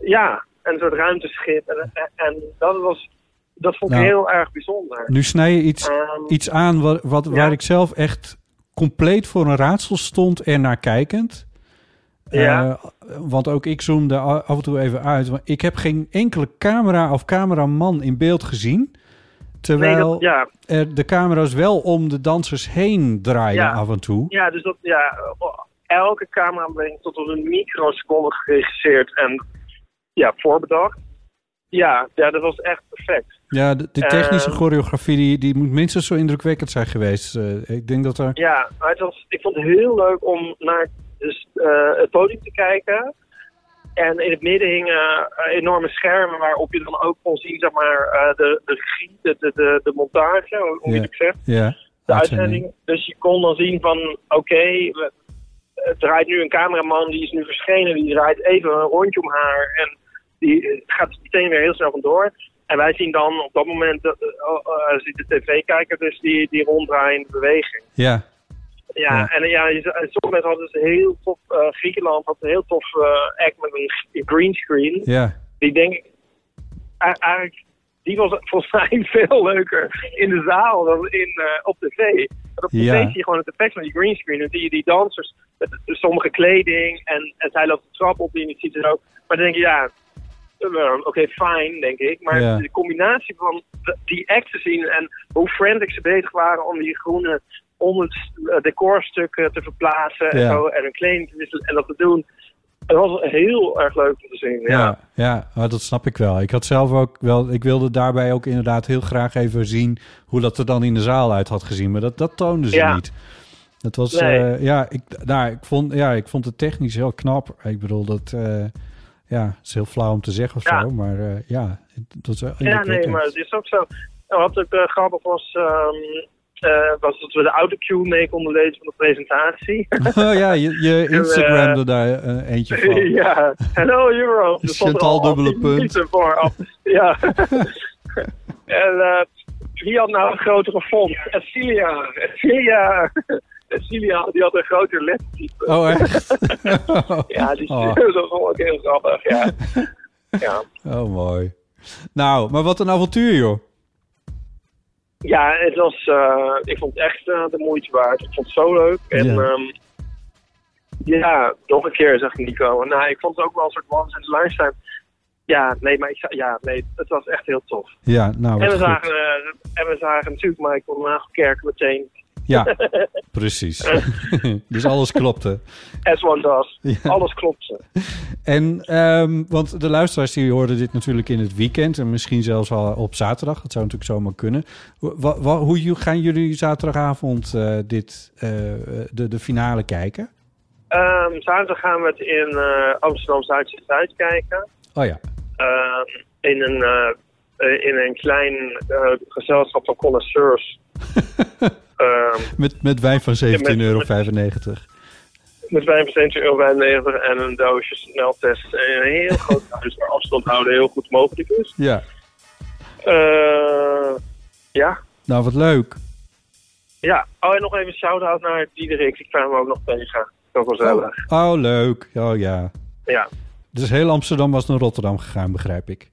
[SPEAKER 7] ja. En een soort ruimteschip. En, en, en dat, was, dat vond ik
[SPEAKER 2] Nou,
[SPEAKER 7] heel erg bijzonder.
[SPEAKER 2] Nu snij je iets,
[SPEAKER 7] Ehm,
[SPEAKER 2] iets aan wat, wat, waar ik zelf echt compleet voor een raadsel stond en naar kijkend.
[SPEAKER 7] Ja.
[SPEAKER 2] Eh, want ook ik zoomde a- af en toe even uit. Want ik heb geen enkele camera of cameraman in beeld gezien. Terwijl
[SPEAKER 7] Nee, dat- ja.
[SPEAKER 2] er de camera's wel om de dansers heen draaien
[SPEAKER 7] Ja.
[SPEAKER 2] af en toe.
[SPEAKER 7] Ja, dus dat, ja, elke camera ben ik tot op een microseconde geregisseerd en ja, voorbedacht. Ja, ja, dat was echt perfect.
[SPEAKER 2] Ja, de, de technische
[SPEAKER 7] Ehm.
[SPEAKER 2] choreografie die, die moet minstens zo indrukwekkend zijn geweest. Eh, ik denk dat er...
[SPEAKER 7] Ja, maar het was, ik vond het heel leuk om naar dus, eh, het podium te kijken. En in het midden hingen eh, enorme schermen waarop je dan ook kon zien, zeg maar, eh, de, de regie, de, de, de, de montage, hoe hoe je het zegt.
[SPEAKER 2] Ja,
[SPEAKER 7] de uitzending. Dus je kon dan zien van, oké, we- het draait nu een cameraman, die is nu verschenen, die draait even een rondje om haar en die eh, gaat meteen weer heel snel vandoor. En wij zien dan op dat moment, eh, eh, eh, ziet de tv-kijker dus die, die ronddraaiende beweging.
[SPEAKER 2] Ja,
[SPEAKER 7] Ja,
[SPEAKER 2] Ja.
[SPEAKER 7] en eh, ja, je z- eh, sommige mensen hadden dus een heel tof, eh, Griekenland had een heel tof eh, act met een g- een greenscreen.
[SPEAKER 2] ja.
[SPEAKER 7] Die denk ik, a- eigenlijk, die was volgens mij veel leuker in de zaal dan in, eh, op tv. Want op tv
[SPEAKER 2] Ja.
[SPEAKER 7] zie je gewoon het effect van die greenscreen. Dan zie je die dansers met sommige kleding en, en zij loopt de trap op die je niet ziet en ook. Maar dan denk je, ja, eh, oké, fijn, denk ik. Maar
[SPEAKER 9] Ja.
[SPEAKER 7] de combinatie van de- die act te zien en hoe frantic ze bezig waren om die groene onder het eh, decorstukken te verplaatsen en
[SPEAKER 2] Ja.
[SPEAKER 7] zo. En hun kleding te wisselen en dat te doen. Het was heel erg leuk om te zien, ja.
[SPEAKER 2] Ja, ja maar dat snap ik wel. Ik had zelf ook wel, ik wilde daarbij ook inderdaad heel graag even zien hoe dat er dan in de zaal uit had gezien, maar dat, dat toonden ze
[SPEAKER 7] Ja.
[SPEAKER 2] niet. Dat was,
[SPEAKER 7] Nee.
[SPEAKER 2] eh, ja, ik, nou, ik vond, ja, ik vond het technisch heel knap. Ik bedoel, dat, eh, ja, het is heel flauw om te zeggen of
[SPEAKER 7] Ja.
[SPEAKER 2] zo, maar eh, ja, het- dat is wel
[SPEAKER 7] Ja, nee,
[SPEAKER 2] indrukwekkend.
[SPEAKER 7] maar het is ook zo. En Wat ook eh, grappig was, ehm, eh, was dat we de autocue mee konden lezen van de presentatie.
[SPEAKER 2] Oh ja, je, je
[SPEAKER 7] eh,
[SPEAKER 2] Instagramde daar eh, eentje van.
[SPEAKER 7] ja, hello Euro. Er stond er al
[SPEAKER 2] Chantal dubbele
[SPEAKER 7] 10
[SPEAKER 2] punt.
[SPEAKER 7] minuten Voor af. Ja. en eh, wie had nou een grotere font? Celia. Celia. Celia, die had een groter lettertype.
[SPEAKER 2] Oh, echt?
[SPEAKER 7] ja, die
[SPEAKER 2] Oh.
[SPEAKER 7] dat vond ik heel grappig, ja. ja.
[SPEAKER 2] Oh, mooi. Nou, maar wat een avontuur, joh.
[SPEAKER 7] Ja, het was, eh, ik vond het echt eh, de moeite waard. Ik vond het zo leuk. En
[SPEAKER 2] Ja.
[SPEAKER 7] ehm, ja, nog een keer, zegt Nico. Nou, ik vond het ook wel een soort once in a lifetime. Ja, nee, maar ik, zou- ja, nee, het was echt heel tof.
[SPEAKER 2] Ja, nou,
[SPEAKER 7] en,
[SPEAKER 2] wat
[SPEAKER 7] we
[SPEAKER 2] goed.
[SPEAKER 7] zagen, eh, en we zagen natuurlijk Michael Nagelkerk meteen.
[SPEAKER 2] Ja, precies. dus alles klopte.
[SPEAKER 7] As one does.
[SPEAKER 2] Ja.
[SPEAKER 7] Alles klopte.
[SPEAKER 2] En, ehm, want de luisteraars die hoorden dit natuurlijk in het weekend en misschien zelfs al op zaterdag. Dat zou natuurlijk zomaar kunnen. Wa- wa- hoe ju- gaan jullie zaterdagavond eh, dit, eh, de, de finale kijken?
[SPEAKER 7] Ehm, zaterdag gaan we het in eh, Amsterdam Zuid-Zuid kijken.
[SPEAKER 2] Oh ja.
[SPEAKER 7] Ehm, in, een, eh, eh, in een klein eh, gezelschap van connoisseurs. Ehm,
[SPEAKER 2] Met, met wijn van 17,95 euro.
[SPEAKER 7] met 75 euro en een doosje sneltest. En een heel groot huis waar afstand houden heel goed mogelijk is.
[SPEAKER 2] Ja,
[SPEAKER 7] Eh, ja.
[SPEAKER 2] nou wat leuk.
[SPEAKER 7] ja. Oh, en nog even een shout-out naar Diederik. Ik kwam hem ook nog tegen. Zo gezellig.
[SPEAKER 2] Oh, leuk. Oh ja.
[SPEAKER 7] Ja.
[SPEAKER 2] Dus heel Amsterdam was naar Rotterdam gegaan, begrijp ik.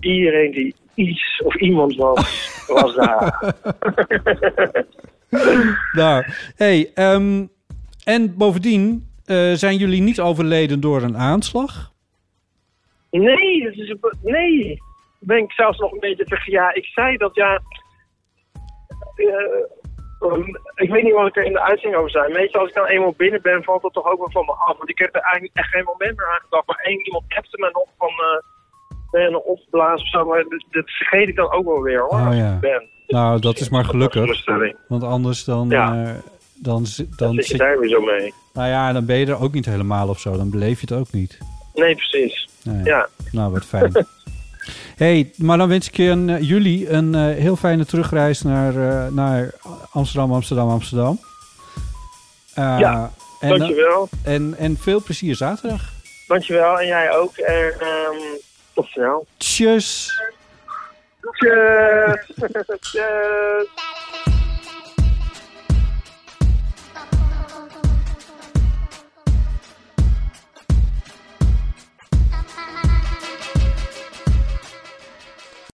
[SPEAKER 7] Iedereen die iets of iemand was, was daar.
[SPEAKER 2] Nou, hey, ehm, en bovendien eh, zijn jullie niet overleden door een aanslag.
[SPEAKER 7] Nee, dat is een, be- nee. Ben ik zelfs nog een beetje tegen. Ja, ik zei dat ja. eh, ehm, ik weet niet wat ik er in de uitzending over zei. Meestal als ik dan eenmaal binnen ben, valt dat toch ook wel van me af. Want ik heb er eigenlijk echt geen moment meer aan gedacht. Maar één iemand appte me nog van eh, ben je nog opgeblazen of zo. Maar dat, dat vergeet ik dan ook wel weer hoor.
[SPEAKER 2] Oh,
[SPEAKER 7] als ik
[SPEAKER 2] ja.
[SPEAKER 7] ben.
[SPEAKER 2] Nou, dat is maar gelukkig.
[SPEAKER 7] teleurstelling.
[SPEAKER 2] Want anders dan,
[SPEAKER 7] Ja.
[SPEAKER 2] eh, dan, zi- dan
[SPEAKER 7] Zit je daar weer zo mee?
[SPEAKER 2] Nou ja, dan ben je er ook niet helemaal of zo. Dan beleef je het ook niet.
[SPEAKER 7] Nee, precies.
[SPEAKER 2] Nou
[SPEAKER 7] Ja.
[SPEAKER 2] Nou, wat fijn. hey, maar dan wens ik je een, eh, jullie een eh, heel fijne terugreis naar, eh, naar Amsterdam, Amsterdam, Amsterdam. Eh,
[SPEAKER 7] Ja,
[SPEAKER 2] en,
[SPEAKER 7] dankjewel.
[SPEAKER 2] En, en veel plezier zaterdag.
[SPEAKER 7] Dankjewel en jij ook. En ehm, tot snel.
[SPEAKER 2] Tjus!
[SPEAKER 7] Tjus. Tjus.